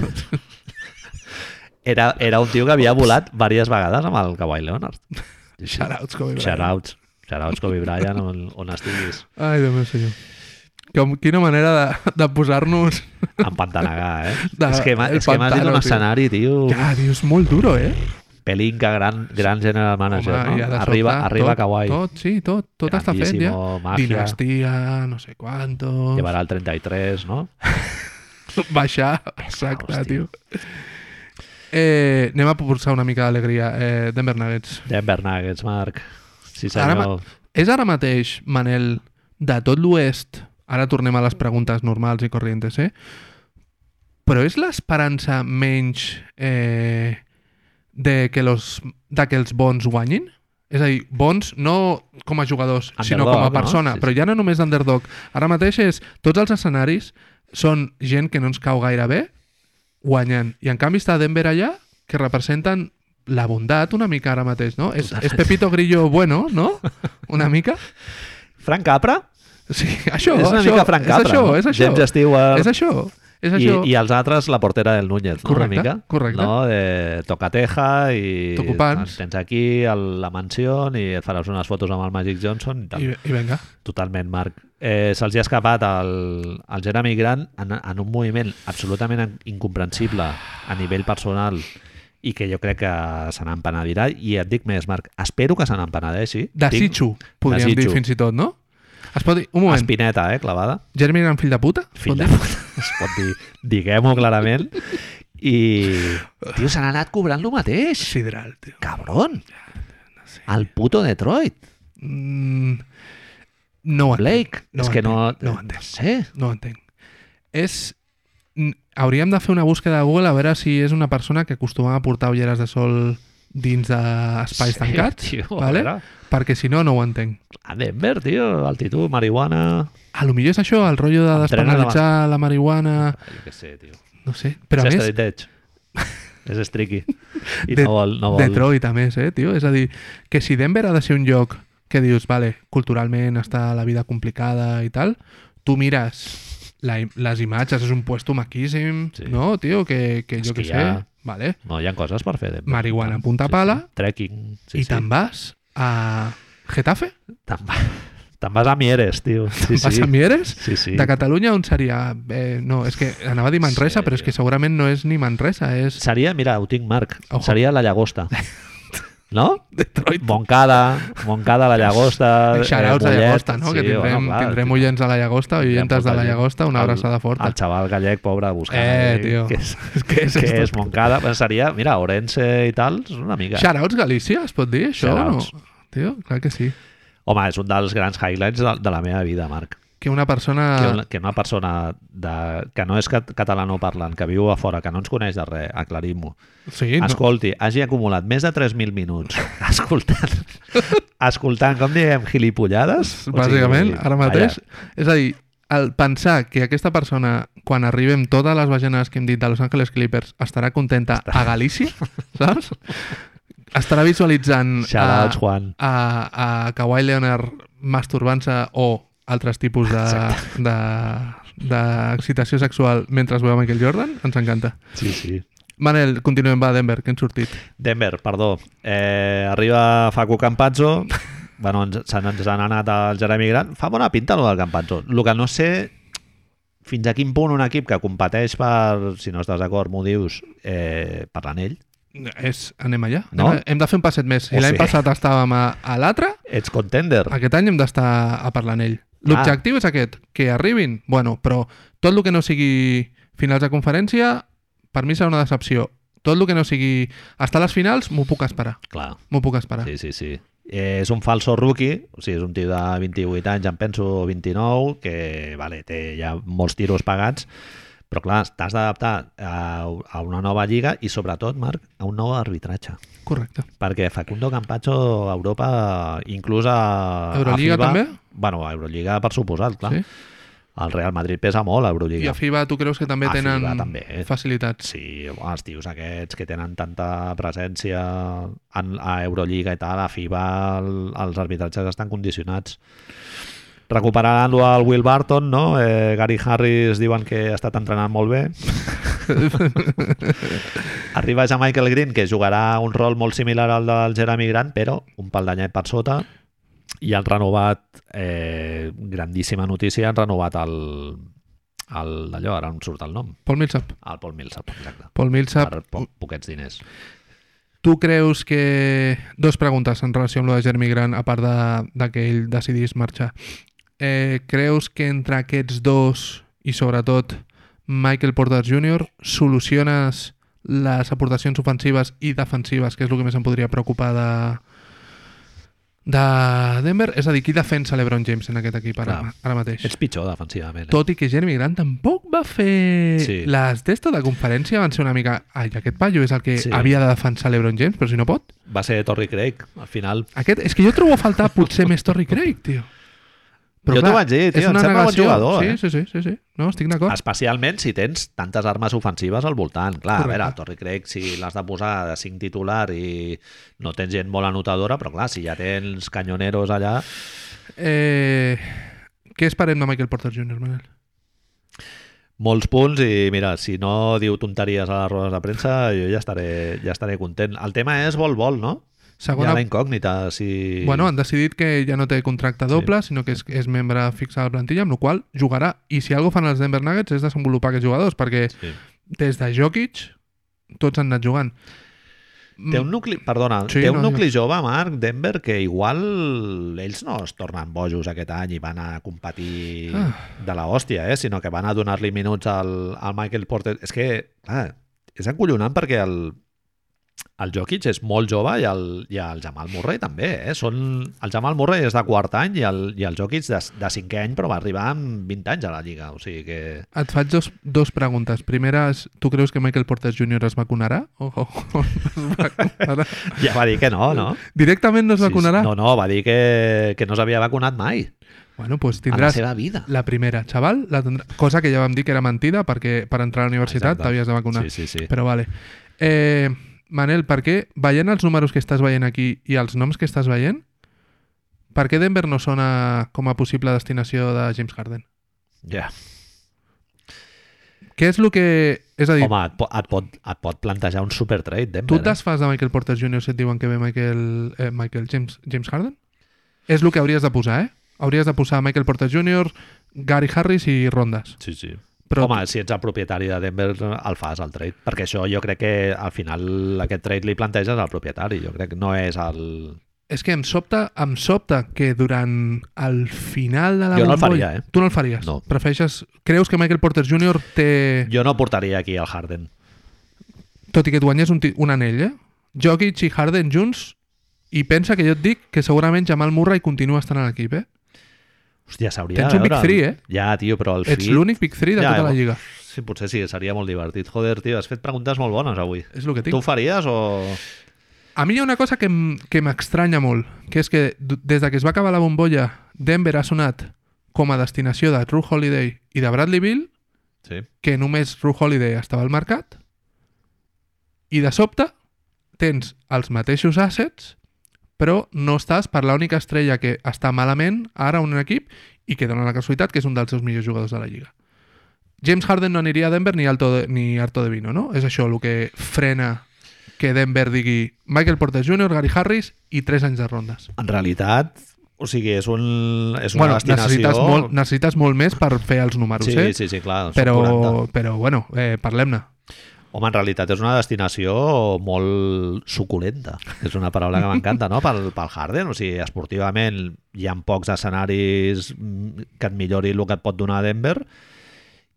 A: Era, era un tio que havia volat diverses vegades amb el Kawhi Leonard.
B: Shoutouts, Kobe Bryant.
A: Shoutouts. Shoutouts Kobe Bryant on, on estiguis.
B: Ai, Déu meu senyor. Com, quina manera de, de posar-nos...
A: En Pantanagar, eh?
B: De-
A: és que m'ha-
B: el
A: és que m'has dit
B: pantano,
A: un
B: tio.
A: escenari, tio.
B: Ja, tio, és molt duro, eh?
A: Pelinka, gran, gran general manager,
B: Home,
A: no?
B: i ha de
A: arriba,
B: sobte,
A: arriba
B: tot,
A: Kawhi.
B: Tot, sí, tot, tot està fet ja.
A: Grandíssimo, màgia.
B: Dinastia, no sé quantos...
A: Llevarà el 33, no?
B: Baixar,
A: hòstia.
B: exacte, tio. Eh, anem a posar una mica d'alegria. Eh, Denver Nuggets.
A: Denver Nuggets, Marc. Sí,
B: Ara ma-
A: senyor.
B: És ara mateix, Manel, de tot l'oest, ara tornem a les preguntes normals i corrientes, eh? Però és l'esperança menys eh, de, que los, de que els bons guanyin? És a dir, bons no com a jugadors, sinó
A: Underdog,
B: com a
A: no?
B: persona.
A: Sí, sí.
B: Però ja no només d'underdog. Ara mateix és, tots els escenaris són gent que no ens cau gaire bé, guanyant. I en canvi està Denver allà, que representen la bondat una mica ara mateix, no? És, és Pepito Grillo bueno, no? Una mica?
A: Frank Capra?
B: Sí, això,
A: és una
B: això,
A: mica Frank Capra,
B: és això,
A: no?
B: és això.
A: James Stewart.
B: És això, és
A: I,
B: això.
A: I els altres, la portera del Núñez, no?
B: Correcte,
A: una mica.
B: correcte.
A: No? De Tocateja i...
B: Tocopans.
A: Tens aquí el, la mansió i et faràs unes fotos amb el Magic Johnson i tal.
B: I, i venga.
A: Totalment, Marc. Eh, Se'ls hi ha escapat el, el Jeremy Grant en, en un moviment absolutament incomprensible a nivell personal i que jo crec que se n'empenedirà i et dic més, Marc, espero que se n'empenedeixi.
B: Desitjo, podríem dir fins i tot, no? Es pot dir, un
A: tot.
B: moment,
A: Espineta, eh, clavada.
B: Jeremy Gran, fill de puta? Es
A: Fill
B: pot
A: de
B: dir?
A: puta. Es pot dir, diguem-ho clarament. I, tio, se n'ha anat cobrant lo mateix.
B: Sidral, tio.
A: Cabron. El puto Detroit.
B: Mm, no ho entenc.
A: Blake.
B: No
A: és
B: ho
A: que no...
B: entenc, no ho
A: no
B: entenc.
A: sé.
B: No ho entenc. És... n- Hauríem de fer una búsqueda a Google a veure si és una persona que acostuma a portar ulleres de sol dins d'espais
A: Sí,
B: tancats,
A: tio, a
B: vale?
A: veure.
B: perquè si no, no ho entenc.
A: A Denver, tio, altitud, marihuana...
B: A lo millor és això, el rotllo de
A: Entrena
B: despenalitzar la marihuana,
A: Jo què sé, tio.
B: no sé. Però a més,
A: És estriqui. I
B: De-
A: no vol... No vol.
B: Detroit a més, eh, tio? És a dir, que si Denver ha de ser un lloc que dius, vale, culturalment està la vida complicada i tal, tu mires la, im- les imatges, és un puesto maquíssim,
A: Sí.
B: no, tio? Que, que
A: És
B: jo
A: que
B: què
A: hi
B: sé,
A: ha-
B: vale?
A: No, hi ha coses per fer. Denver.
B: Marihuana, punta pala.
A: Sí. Trekking. Sí,
B: I
A: sí.
B: te'n vas a Getafe?
A: Te'n va... Te'n vas a Mieres, tio. Sí,
B: Vas
A: sí.
B: a Mieres?
A: Sí, sí.
B: De Catalunya on seria? Eh, no, és que anava a dir Manresa,
A: Sí,
B: però és que
A: tio.
B: segurament no és ni Manresa, és
A: Seria, mira, ho tinc, Marc.
B: Ojo.
A: Seria la llagosta. No?
B: Detroit.
A: Moncada, Moncada, la llagosta...
B: Shoutouts
A: eh,
B: a
A: Mollet.
B: Llagosta, no? que
A: Sí,
B: tindrem,
A: bueno, clar,
B: tindrem oients a la Llagosta,
A: tindrem
B: oientes de
A: molta
B: la
A: gent.
B: Llagosta, una
A: El-
B: abraçada
A: El
B: forta.
A: xaval gallec, pobre, buscant...
B: Eh,
A: ahí,
B: tio.
A: Què és,
B: Què és
A: què
B: esto?
A: és Moncada? Bueno, Seria, mira, Orense i tal, és una mica...
B: Shoutouts Galícia, es pot dir això? o
A: Shoutouts.
B: No? Tio, clar que sí.
A: Home, és un dels grans highlights de, de la meva vida, Marc.
B: Que una persona...
A: Que una, que una persona de, que no és cat, catalano parlant, que viu a fora, que no ens coneix de res, aclarim-ho,
B: Sí, no.
A: escolti, hagi acumulat més de 3.000 minuts escoltant, escoltant com diem, gilipollades. o sigui,
B: Bàsicament, ara mateix.
A: Calla,
B: És a dir, el pensar que aquesta persona, quan arribem totes les vagenes que hem dit de Los Angeles Clippers, estarà contenta a Galícia, saps? Estarà visualitzant eh,
A: Shoutouts,
B: Ah.
A: Juan.
B: a, a Kawhi Leonard masturbant-se o altres tipus de- de- d'excitació de, sexual mentre es veu Michael Jordan. Ens encanta.
A: Sí, sí.
B: Manel, continuem, va, Denver, que hem sortit.
A: Denver, perdó. Eh, arriba Facu Campazzo. bueno, ens, se n'ens han anat al Jeremy Grant. Fa bona pinta, el del Campazzo. El que no sé fins a quin punt un equip que competeix per, si no estàs d'acord, m'ho dius, eh, per l'anell,
B: És, anem allà?
A: No? Oh,
B: Hem, de- hem de fer un passet més. Si
A: O
B: l'any
A: sigui-
B: passat estàvem a, a l'altre,
A: ets contender.
B: Aquest any hem d'estar a Parlanell. L'objectiu és aquest, que arribin. Bueno, però tot el que no sigui finals de conferència, per mi serà una decepció. Tot el que no sigui estar a les finals, m'ho puc esperar.
A: Clar,
B: M'ho puc esperar. Sí.
A: sí, sí, sí. Eh, és un falso rookie, o sigui, és un tio de 28 anys, em penso, o 29, que vale, té ja molts tiros pagats, però clar, t'has d'adaptar a, a una nova lliga i sobretot, Marc, a un nou arbitratge.
B: Correcte.
A: Perquè Facundo Campacho a Europa, inclús a...
B: Euroliga,
A: a FIBA,
B: també?
A: Bueno, a Euroliga per suposat, clar.
B: Sí?
A: Sí? El Real Madrid pesa molt a
B: I
A: Euroliga.
B: a FIBA tu creus que també
A: A
B: tenen
A: FIBA també, eh?
B: facilitats?
A: Sí, home, els tios aquests que tenen tanta presència en, a Euroliga i tal, a FIBA el, els arbitratges estan condicionats. Recuperant-lo al Will Barton, no? Eh, Gary Harris diuen que ha estat entrenant molt bé. Arriba ja Michael Green, que jugarà un rol molt similar al del Jeremy Grant, però un pal d'anyet per sota. I han renovat, eh, grandíssima notícia, han renovat el, el d'allò, ara em surt el nom.
B: Paul Millsap.
A: El Paul Millsap, exacte.
B: Paul Millsap,
A: Per po poquets diners.
B: tu creus que... Dos preguntes en relació amb lo de Jeremy Grant, a part de, de que ell decidís marxar. Eh, creus que entre aquests dos i sobretot Michael Porter Jr. soluciones les aportacions ofensives i defensives, que és el que més em podria preocupar de, de Denver? És a dir, qui defensa l'Ebron James en aquest equip ara,
A: Clar.
B: ara mateix?
A: Ets pitjor defensivament. Eh?
B: Tot i que Jeremy Grant tampoc va fer...
A: Sí.
B: Les d'esto de conferència van ser una mica... Ai, aquest paio és el que
A: Sí.
B: havia de defensar l'Ebron James, però si no pot...
A: Va ser Torrey Craig, al final.
B: Aquest... És que jo trobo a faltar potser més Torrey Craig, tio.
A: Jo t'ho vaig dir, tio,
B: és
A: em
B: una
A: sembla bon
B: negació.
A: jugador,
B: sí,
A: eh?
B: sí, sí, sí, sí. No, estic d'acord.
A: Especialment si tens tantes armes ofensives al voltant. Clar,
B: Correcte.
A: a veure, Torrey Craig, si l'has de posar de 5 titular i no tens gent molt anotadora, però clar, si ja tens canyoneros allà...
B: Eh... Què esperem de Michael Porter Jr., Manel?
A: molts punts i mira, si no diu tonteries a les rodes de premsa, jo ja estaré, ja estaré content. El tema és vol-vol, no? Segona... Hi
B: Segona...
A: ha la incògnita, si...
B: Bueno, han decidit que ja no té contracte doble, sinó que és, és membre fix a la plantilla, amb la qual cosa jugarà. I si algo fan els Denver Nuggets és desenvolupar aquests jugadors, perquè
A: Sí.
B: des de Jokic tots han anat jugant.
A: Té un nucli, perdona,
B: Mm. Sí,
A: sí, té un
B: no,
A: no, nucli jove, Marc, Denver, que igual ells no es tornen bojos aquest any i van a competir
B: Ah.
A: ah. de la hòstia, eh? sinó que van a donar-li minuts al, al Michael Porter. És que, clar, és acollonant perquè el, el Jokic és molt jove i el, i el Jamal Murray també. Eh? Són, el Jamal Murray és de quart any i el, i el Jokic de, de cinquè any, però va arribar amb 20 anys a la Lliga. O sigui que...
B: Et faig dos, dos preguntes. Primera és, tu creus que Michael Porter Jr. es vacunarà? O, o, o no es vacunarà?
A: Ja va dir que no, no?
B: Directament no es
A: Sí, sí.
B: vacunarà?
A: No, no, va dir que, que no s'havia vacunat mai
B: Bueno, doncs
A: a
B: pues
A: la
B: tindràs la,
A: seva vida.
B: primera, xaval, la tindrà... cosa que ja vam dir que era mentida perquè per entrar a la universitat
A: Exacte.
B: t'havies de vacunar.
A: Sí, sí, sí.
B: Però vale. Eh, Manel, per què, veient els números que estàs veient aquí i els noms que estàs veient, per què Denver no sona com a possible destinació de James Harden?
A: Ja.
B: Què és el que... És a dir,
A: Home, et, po et, pot, et pot plantejar un super trade, Denver.
B: Tu
A: eh?
B: et desfas de Michael Porter Jr. si et diuen que ve Michael, eh, Michael James, James Harden? És el que hauries de posar, eh? Hauries de posar Michael Porter Jr., Gary Harris i rondes.
A: Sí, sí.
B: Però
A: Però Home, si ets el propietari de Denver, el fas, el trade. Perquè això jo crec que al final aquest trade li planteges al propietari. Jo crec que no és el...
B: és que em sobta, em sobta que durant el final de la
A: Jo no el
B: bombolla-
A: faria, eh?
B: Tu no el faries?
A: No.
B: Prefereixes... Creus que Michael Porter Jr. té...
A: Jo no portaria aquí el Harden.
B: Tot i que et guanyes un, ti- un anell, eh? Jokic i Harden junts i pensa que jo et dic que segurament Jamal Murray continua estant a l'equip, eh?
A: Hòstia, s'hauria
B: Tens
A: de
B: un Big
A: veure.
B: Three, eh?
A: Ja, tio, però el
B: Ets
A: fit...
B: l'únic Big 3 de
A: Ja,
B: tota
A: eh?
B: la lliga.
A: Sí, potser sí, seria molt divertit. Joder, tio, has fet preguntes molt bones avui.
B: És el que tinc.
A: Tu ho faries o...
B: A mi hi ha una cosa que em- que m'estranya molt, que és que d- des de que es va acabar la bombolla, Denver ha sonat com a destinació de True Holiday i de Bradleyville,
A: Sí.
B: que només True Holiday estava al mercat i de sobte tens els mateixos assets però no estàs per l'única estrella que està malament ara en un equip i que dona la casualitat que és un dels seus millors jugadors de la Lliga. James Harden no aniria a Denver ni, Alto de, ni Arto de Vino, no? És això el que frena que Denver digui Michael Porter Jr., Gary Harris i 3 anys de rondes.
A: En realitat, o sigui, és, un, és una
B: Bueno,
A: destinació...
B: necessites molt, necessites molt més per fer els números,
A: Sí,
B: eh?
A: sí, sí, clar. són
B: però,
A: 40.
B: però, bueno, eh, parlem-ne.
A: Home, en realitat és una destinació molt suculenta. És una paraula que m'encanta, no?, pel, pel Harden. O sigui, esportivament hi ha pocs escenaris mm, que et millori el que et pot donar Denver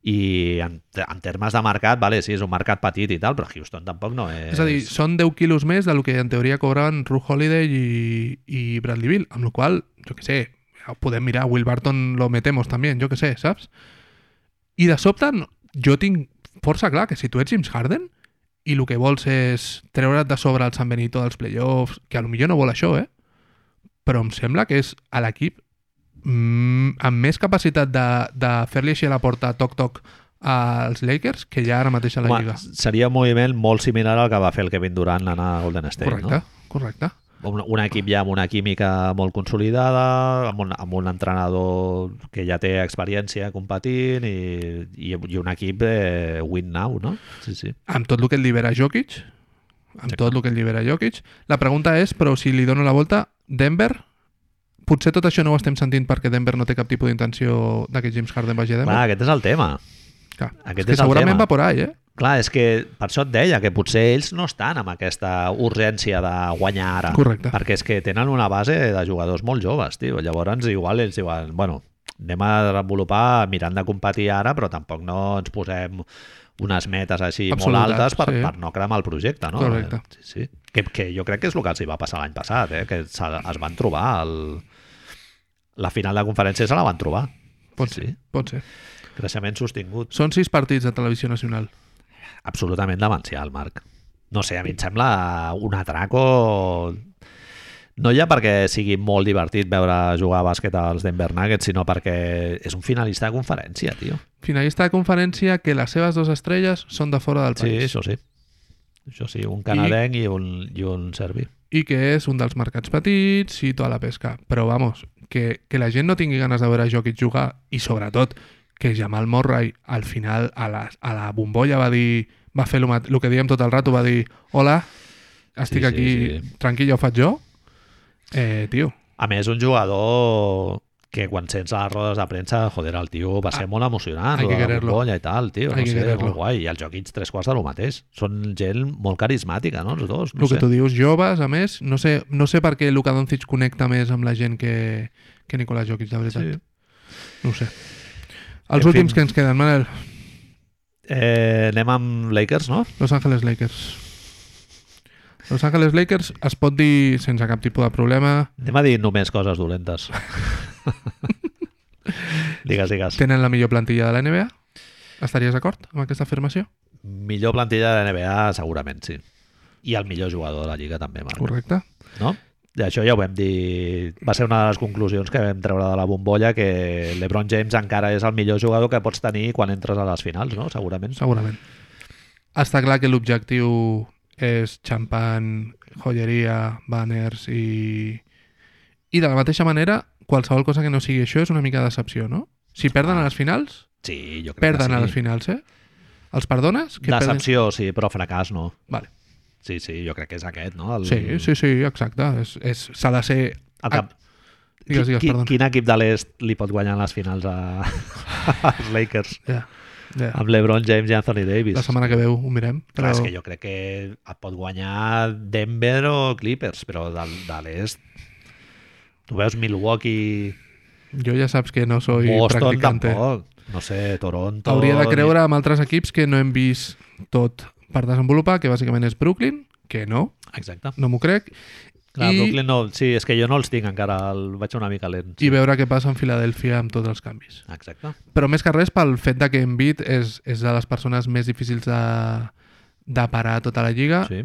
A: i en, en termes de mercat, vale, sí, és un mercat petit i tal, però Houston tampoc no és...
B: És a dir, són 10 quilos més del que en teoria cobraven Ru Holiday i, i Bradley Bill, amb la qual cosa, jo que sé, ja ho podem mirar, Will Barton lo metemos també, jo que sé, saps? I de sobte, no- jo tinc força clar que si tu ets James Harden i el que vols és treure't de sobre el San Benito dels playoffs, que a lo millor no vol això, eh? Però em sembla que és a l'equip mm, amb més capacitat de, de fer-li així a la porta toc-toc als Lakers que ja ara mateix a la
A: Home,
B: Lliga.
A: seria un moviment molt similar al que va fer el Kevin Durant anar a Golden State,
B: Correcte, correcte.
A: no? Un, un equip ja amb una química molt consolidada, amb un, amb un entrenador que ja té experiència competint i, i, i un equip eh, win now, no? Sí, sí.
B: amb tot el que et libera Jokic, amb tot el que et libera Jokic. La pregunta és, però si li dono la volta, Denver, potser tot això no ho estem sentint perquè Denver no té cap tipus d'intenció de que James Harden vagi a
A: Clar,
B: Denver.
A: aquest és el tema.
B: Clar,
A: aquest és
B: és que
A: el
B: segurament
A: tema.
B: va por ahí, eh?
A: Clar, és que per això et deia que potser ells no estan amb aquesta urgència de guanyar ara.
B: Correcte.
A: Perquè és que tenen una base de jugadors molt joves, tio. Llavors, igual ells diuen, bueno, anem a desenvolupar mirant de competir ara, però tampoc no ens posem unes metes així
B: Absolutes,
A: molt altes per,
B: sí.
A: per no cremar el projecte, no?
B: Correcte.
A: Sí, sí. Que, que jo crec que és el que els hi va passar l'any passat, eh? que se, es van trobar el... la final de conferència se la van trobar.
B: Pot
A: Sí,
B: ser,
A: sí.
B: pot ser.
A: Creixement sostingut.
B: Són sis partits de televisió nacional.
A: absolutament demencial, Marc. No sé, a mi em sembla un atraco... No ja perquè sigui molt divertit veure jugar a bàsquet als Denver Nuggets, sinó perquè és un finalista de conferència, tio.
B: Finalista de conferència que les seves dues estrelles són de fora del
A: Sí,
B: país
A: això sí. Això sí, un canadenc i, un, i un serbi.
B: i que és un dels mercats petits i tota la pesca. Però, vamos, que, que la gent no tingui ganes de veure Jokic jugar i, sobretot, que Jamal Murray al final a la, a la bombolla va dir va fer el que diem tot el rato, va dir hola, estic
A: Sí, sí,
B: sí, aquí,
A: sí.
B: sí. tranquil, ja ho faig jo. Eh, tio,
A: A més, un jugador que quan sents a les rodes de premsa, joder, el tio va ser molt emocionant,
B: hay
A: lo
B: que
A: de la
B: quererlo.
A: bombolla i tal, tio,
B: Hay
A: no
B: que
A: sé,
B: quererlo.
A: molt guai. I els Jokic, tres quarts de lo mateix. Són gent molt carismàtica, no, els dos?
B: el
A: No
B: que
A: sé.
B: tu dius, joves, a més, no sé, no sé per què Luka Doncic connecta més amb la gent que, que Nicolás Jokic, de veritat.
A: Sí.
B: No ho sé. Els
A: En fin.
B: últims que ens queden, Manel,
A: Eh, anem amb Lakers, no?
B: Los Angeles Lakers. Los Angeles Lakers es pot dir sense cap tipus de problema.
A: Anem a dir només coses dolentes. digues, digues.
B: Tenen la millor plantilla de la NBA? Estaries d'acord amb aquesta afirmació?
A: Millor plantilla de la NBA, segurament, sí. I el millor jugador de la Lliga, també, Marc.
B: Correcte.
A: No? I això ja ho vam dir... Va ser una de les conclusions que vam treure de la bombolla, que l'Ebron James encara és el millor jugador que pots tenir quan entres a les finals, no? Segurament.
B: Segurament. Està clar que l'objectiu és xampan, joieria, banners i... I de la mateixa manera, qualsevol cosa que no sigui això és una mica de decepció, no? Si perden a les finals,
A: Sí, jo Ah, crec
B: perden
A: que sí.
B: a les finals, eh? Els perdones? Que perdin-
A: Decepció, sí, però fracàs no.
B: Vale.
A: Sí, sí, jo crec que és aquest, no? El,
B: Sí, sí, sí, exacte. És- és- S'ha de ser...
A: El cap...
B: Digues, digues,
A: Qui- qui-
B: perdona.
A: Quin equip de l'est li pot guanyar les finals a... als Lakers?
B: Ja, ja.
A: Amb LeBron James i Anthony Davis.
B: La setmana que veu ho mirem. Però...
A: Clar, és que jo crec que et pot guanyar Denver o Clippers, però de, de l'est... Tu veus Milwaukee,
B: jo ja saps que no soy
A: Boston
B: practicante.
A: tampoc, no sé, Toronto...
B: Hauria de creure amb altres equips que no hem vist tot per desenvolupar, que bàsicament és Brooklyn, que no,
A: Exacte.
B: no m'ho crec,
A: Clar,
B: I-
A: Ah, Brooklyn no... Sí, és que jo no els tinc encara, el vaig una mica lent.
B: i veure què passa en Filadèlfia amb tots els canvis.
A: Exacte.
B: Però més que res pel fet de que Embiid és, és de les persones més difícils de, de parar a tota la lliga
A: Sí.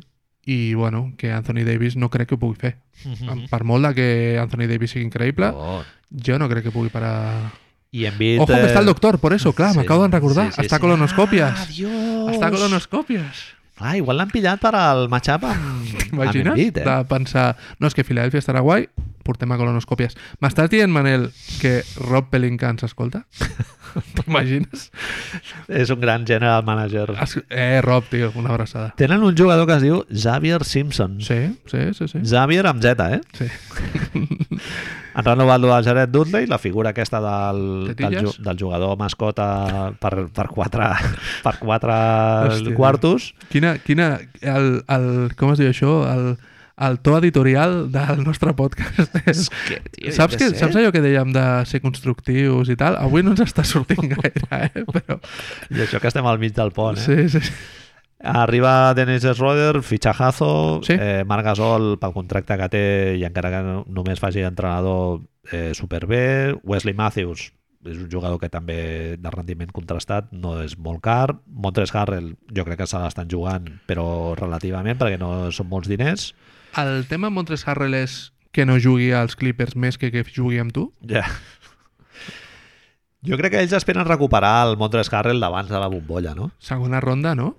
B: i bueno, que Anthony Davis no crec que ho pugui fer.
A: Mhm.
B: Per molt de que Anthony Davis sigui increïble,
A: Oh.
B: jo no crec que pugui parar
A: Y hem vist...
B: Ojo, que
A: eh,
B: está el doctor, por eso, claro,
A: sí,
B: me acabo de recordar.
A: sí, sí, sí.
B: Hasta
A: Ah,
B: colonoscopias.
A: Dios!
B: Hasta colonoscopias.
A: Ah, igual l'han pillat per al matchup amb, amb
B: Imagina't
A: Embiid, eh?
B: de pensar, no, és que Filadèlfia estarà guai, portem a colonoscòpies. M'estàs dient, Manel, que Rob Pelinka ens escolta? T'imagines?
A: És un gran general manager.
B: Es- Eh, Rob, tio, una abraçada.
A: Tenen un jugador que es diu Xavier Simpson.
B: Sí, sí, sí, sí.
A: Xavier amb Z, eh?
B: sí.
A: Han renovat el de Jared Dudley, la figura aquesta del, del,
B: Tetilles?
A: ju- del jugador mascota per, per quatre, per quatre
B: Hòstia.
A: quartos.
B: Quina, quina, el, el, com es diu això? El, el to editorial del nostre podcast. És
A: que, tio,
B: saps,
A: jo
B: que,
A: què sé.
B: saps allò que dèiem de ser constructius i tal? Avui no ens està sortint gaire, eh? Però,
A: I això que estem al mig del pont, eh?
B: sí, sí, sí.
A: Arriba Dennis Schroeder, fitxajazo,
B: Sí.
A: eh, Marc Gasol pel contracte que té i encara que no- només faci entrenador eh, superbé, Wesley Matthews és un jugador que també de rendiment contrastat no és molt car, Montres Harrell jo crec que se l'estan jugant però relativament perquè no són molts diners
B: El tema amb Montres Harrell és que no jugui als Clippers més que que jugui amb tu?
A: ja jo crec que ells esperen recuperar el Montres Harrell d'abans de la bombolla, no?
B: Segona ronda, no?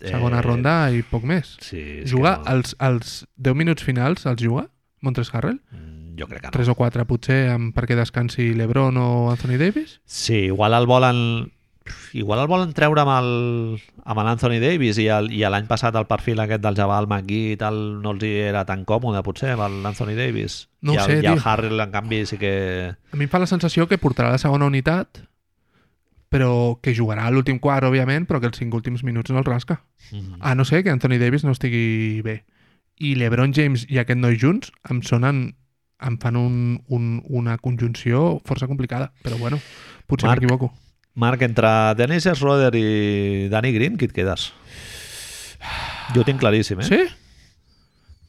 B: Segona ronda i poc més.
A: Eh, sí, és que
B: Juga
A: no.
B: als, als 10 minuts finals, els juga? Montres Harrell?
A: Mm, jo crec que no.
B: 3 o 4 potser amb, perquè descansi LeBron o Anthony Davis?
A: Sí, igual el volen igual el volen treure amb el, amb l'Anthony Davis i el- i l'any passat el perfil aquest del Jabal McGee i tal no els hi era tan còmode potser amb l'Anthony Davis I
B: No ho
A: el,
B: sé,
A: i el
B: tio.
A: Harrell en canvi sí que
B: A mi em fa la sensació que portarà la segona unitat però que jugarà a l'últim quart, òbviament, però que els cinc últims minuts no els rasca.
A: mm,
B: A no ser que Anthony Davis no estigui bé. I LeBron James i aquest noi junts em sonen em fan un, un, una conjunció força complicada, però bueno, potser
A: Marc.
B: m'equivoco.
A: Marc, entre Dennis Schroeder i Danny Green qui et quedes? Jo ho tinc claríssim, eh?
B: Sí?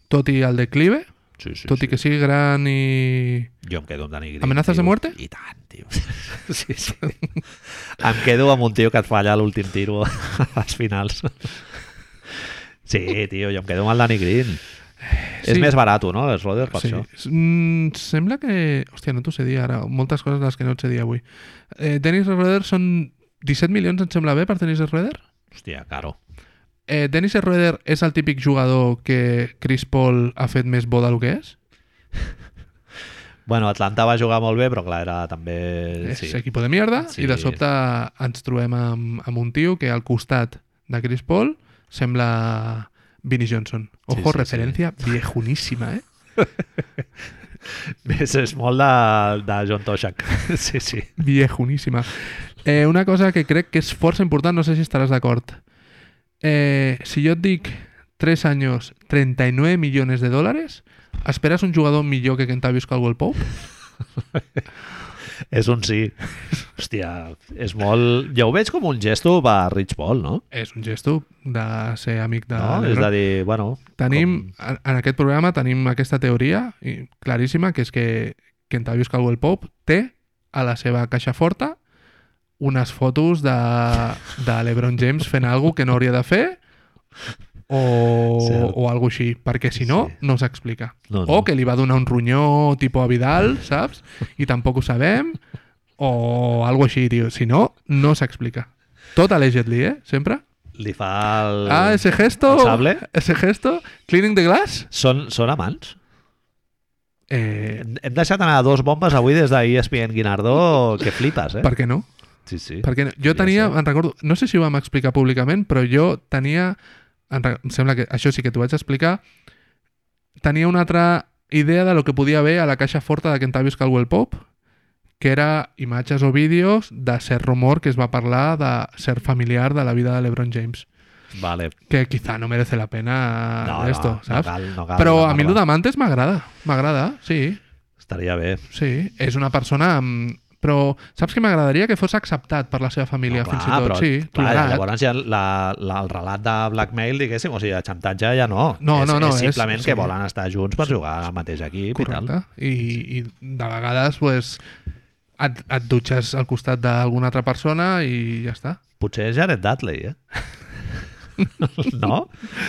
B: Tot i el declive,
A: sí, sí,
B: tot
A: sí.
B: i que sigui gran i...
A: Jo em quedo amb Danny Green.
B: Amenaces de
A: tio.
B: muerte?
A: I tant, tio. Sí, sí. em quedo amb un tio que et falla l'últim tiro als finals. Sí, tio, jo em quedo amb el Danny Green. Sí. És
B: Sí.
A: més barat, no, el Schroeder, per sí. això.
B: Mm, sembla que... Hòstia, no t'ho sé dir ara. Moltes coses de les que no et sé dir avui. Eh, Dennis Roeder són 17 milions, em sembla bé, per Dennis Roeder?
A: Hòstia, caro.
B: Eh, Dennis Roeder és el típic jugador que Chris Paul ha fet més bo del que és?
A: Bueno, Atlanta va jugar molt bé, però clar, era també...
B: és
A: Sí.
B: equip de mierda
A: Sí.
B: i de sobte ens trobem amb, amb un tio que al costat de Chris Paul sembla Vinnie Johnson.
A: sí,
B: Ojo,
A: sí.
B: referència viejuníssima, eh?
A: Més és molt de, de John Toshak. Sí, sí.
B: Viejuníssima. Eh, una cosa que crec que és força important, no sé si estaràs d'acord. Eh, si jo et dic 3 anys, 39 milions de dòlars, esperes un jugador millor que Kentavius Caldwell Pope?
A: És un sí. Hòstia, és molt... Jo ho veig com un gesto per Rich Paul, no?
B: És un gesto de ser amic de...
A: no? És
B: LeBron.
A: a dir, bueno...
B: Ah, Tenim, en, en aquest programa tenim aquesta teoria i- claríssima, que és que Kentavius Caldwell Pope té a la seva caixa forta unes fotos de, de l'Ebron James fent alguna que no hauria de fer o,
A: Cert.
B: o alguna així, perquè si no,
A: Sí.
B: no s'explica.
A: No, no.
B: O Oh, que li va donar un ronyó tipus a Vidal, saps? I tampoc ho sabem. O alguna així, tio. Si no, no s'explica. Tot allegedly, eh? Sempre.
A: Li fa el...
B: Ah, ese gesto.
A: el sable?
B: Ese gesto. Cleaning the glass.
A: Són, són amants?
B: Eh,
A: Hem hem deixat anar dos bombes avui des d'ESPN Guinardó que flipes, eh?
B: per què no?
A: Sí, sí.
B: Per què no? Jo
A: Ja
B: tenia,
A: sé.
B: en recordo, no sé si ho vam explicar públicament, però jo tenia, en re- em sembla que això sí que t'ho vaig explicar, tenia una altra idea de lo que podia haver a la caixa forta de Kentavius Caldwell Pop, que era imatges o vídeos de cert rumor que es va parlar de cert familiar de la vida de l'Ebron James,
A: Vale.
B: que quizá no merece la pena
A: No,
B: Ah, esto,
A: no, no
B: saps?
A: cal, no cal.
B: però a mi
A: no
B: el d'amantes m'agrada, m'agrada, sí.
A: Estaria bé.
B: Sí, és una persona amb... Però saps que m'agradaria que fos acceptat per la seva família,
A: no,
B: fins i tot, sí,
A: clar,
B: tolerat.
A: llavors ja la, la, el relat de blackmail, diguéssim, o sigui, de xantatge ja no.
B: No,
A: és,
B: no, no,
A: És
B: és-
A: simplement
B: sí.
A: que volen estar junts per jugar al mateix equip i tal.
B: Correcte. I, I de vegades pues, et, et dutxes al costat d'alguna altra persona i ja està.
A: Potser és Jared Dudley, eh? no?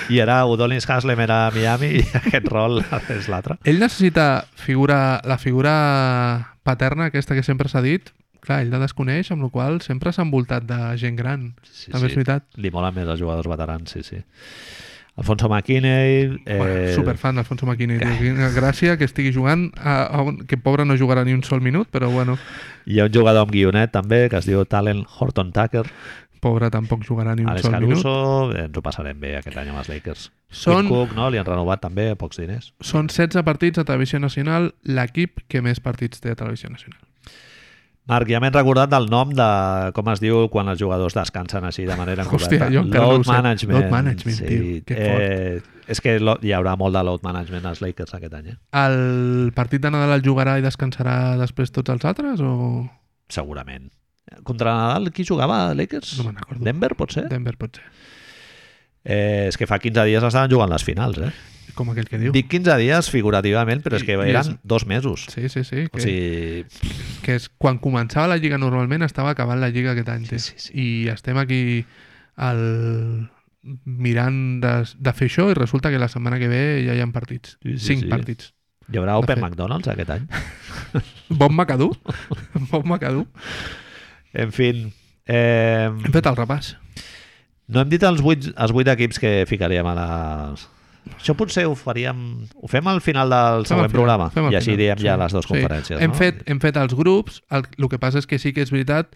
A: I era Udonis Haslem era a Miami i aquest rol és l'altre.
B: Ell necessita figura, la figura paterna aquesta que sempre s'ha dit clar, ell la desconeix, amb la qual cosa sempre s'ha envoltat de gent gran.
A: Sí,
B: També és veritat.
A: Li mola més els jugadors veterans, sí, sí. Alfonso McKinney... Eh,
B: Eh... Superfan, Alfonso Maquini. Quina gràcia que estigui jugant, a, a un, que pobre no jugarà ni un sol minut, però bueno,
A: Hi ha un jugador amb guionet també que es diu Talent Horton Tucker,
B: pobre tampoc jugarà ni un
A: Alex
B: sol minut.
A: Caruso, eh, ens ho passarem bé aquest any amb els Lakers. Tim
B: Són-
A: Cook, no? Li han renovat també a pocs diners.
B: Són 16 partits a Televisió Nacional, l'equip que més partits té a Televisió Nacional.
A: Marc, ja m'he recordat del nom de com es diu quan els jugadors descansen així de manera
B: Hòstia,
A: encoberta.
B: jo encara no ho
A: load
B: sé.
A: management.
B: Load management, tio, que
A: Eh, és que lo, hi haurà molt de load management als Lakers aquest any, eh?
B: El partit de Nadal el jugarà i descansarà després tots els altres? O...
A: segurament. Contra Nadal, qui jugava a Lakers?
B: No me'n recordo.
A: Denver, potser?
B: Denver potser.
A: Eh, és que fa 15 dies estaven jugant les finals, eh?
B: Com aquell que diu.
A: Dic 15 dies figurativament, però és que
B: I- i
A: eren
B: és-
A: dos mesos.
B: Sí, sí, sí.
A: O
B: Que,
A: sigui,
B: que és, quan començava la Lliga normalment estava acabant la Lliga aquest any.
A: Sí,
B: Sí,
A: sí, sí.
B: I estem aquí al mirant de, de fer això i resulta que la setmana que ve ja hi ha partits.
A: Sí, sí,
B: Cinc
A: sí.
B: partits.
A: hi haurà
B: De
A: Open
B: fet.
A: McDonald's aquest any?
B: Bon Macadú. bon Macadú.
A: En fi, eh,
B: Hem fet el repàs.
A: no hem dit els 8, els 8 equips que ficaríem a la... Això potser ho faríem... Ho fem al final del
B: Fem el
A: següent
B: final,
A: programa
B: fem el
A: i així
B: final,
A: diem ja
B: sí,
A: les dues
B: sí.
A: conferències.
B: Hem,
A: no?
B: fet, hem fet els grups, el, el que passa és que sí que és veritat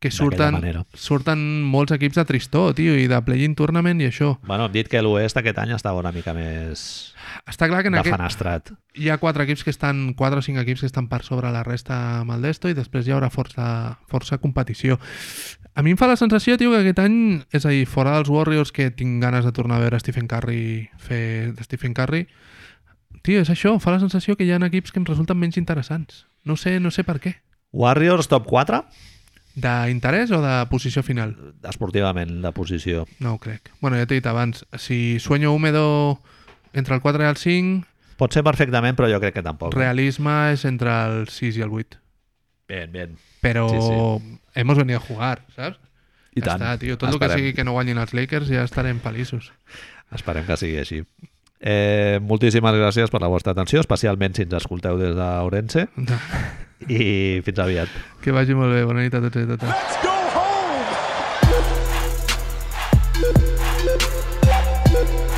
B: que
A: D'aquella
B: surten,
A: manera.
B: surten molts equips de tristor, tio, i de play-in tournament i això.
A: Bueno, hem dit que l'Oest aquest any estava una mica més
B: Està clar que en aquest,
A: defenestrat.
B: hi ha quatre equips que estan, quatre o cinc equips que estan per sobre la resta amb el Desto i després hi haurà força, força competició. A mi em fa la sensació, tio, que aquest any, és a dir, fora dels Warriors, que tinc ganes de tornar a veure Stephen Curry fer de Stephen Curry, tio, és això, em fa la sensació que hi ha equips que em resulten menys interessants. No sé, no sé per què.
A: Warriors top 4?
B: D'interès o de posició final?
A: Esportivament, la posició.
B: No ho crec. Bueno, ja t'he dit abans, si Sueño Húmedo entre el 4 i el 5,
A: Pot ser perfectament, però jo crec que tampoc.
B: realisme és entre el 6 i el 8.
A: Bien, bien.
B: Pero
A: Sí,
B: hemos venido a jugar, ¿sabes?
A: I
B: ja
A: tant.
B: està, tio. Tot el que
A: Esperem.
B: sigui que no guanyin els Lakers ja estarem palissos.
A: Esperem que sigui així. Eh, moltíssimes gràcies per la vostra atenció, especialment si ens escolteu des d'Orense i fins aviat.
B: Que vagi molt bé. Bona nit a tots i a totes.
F: Let's go home.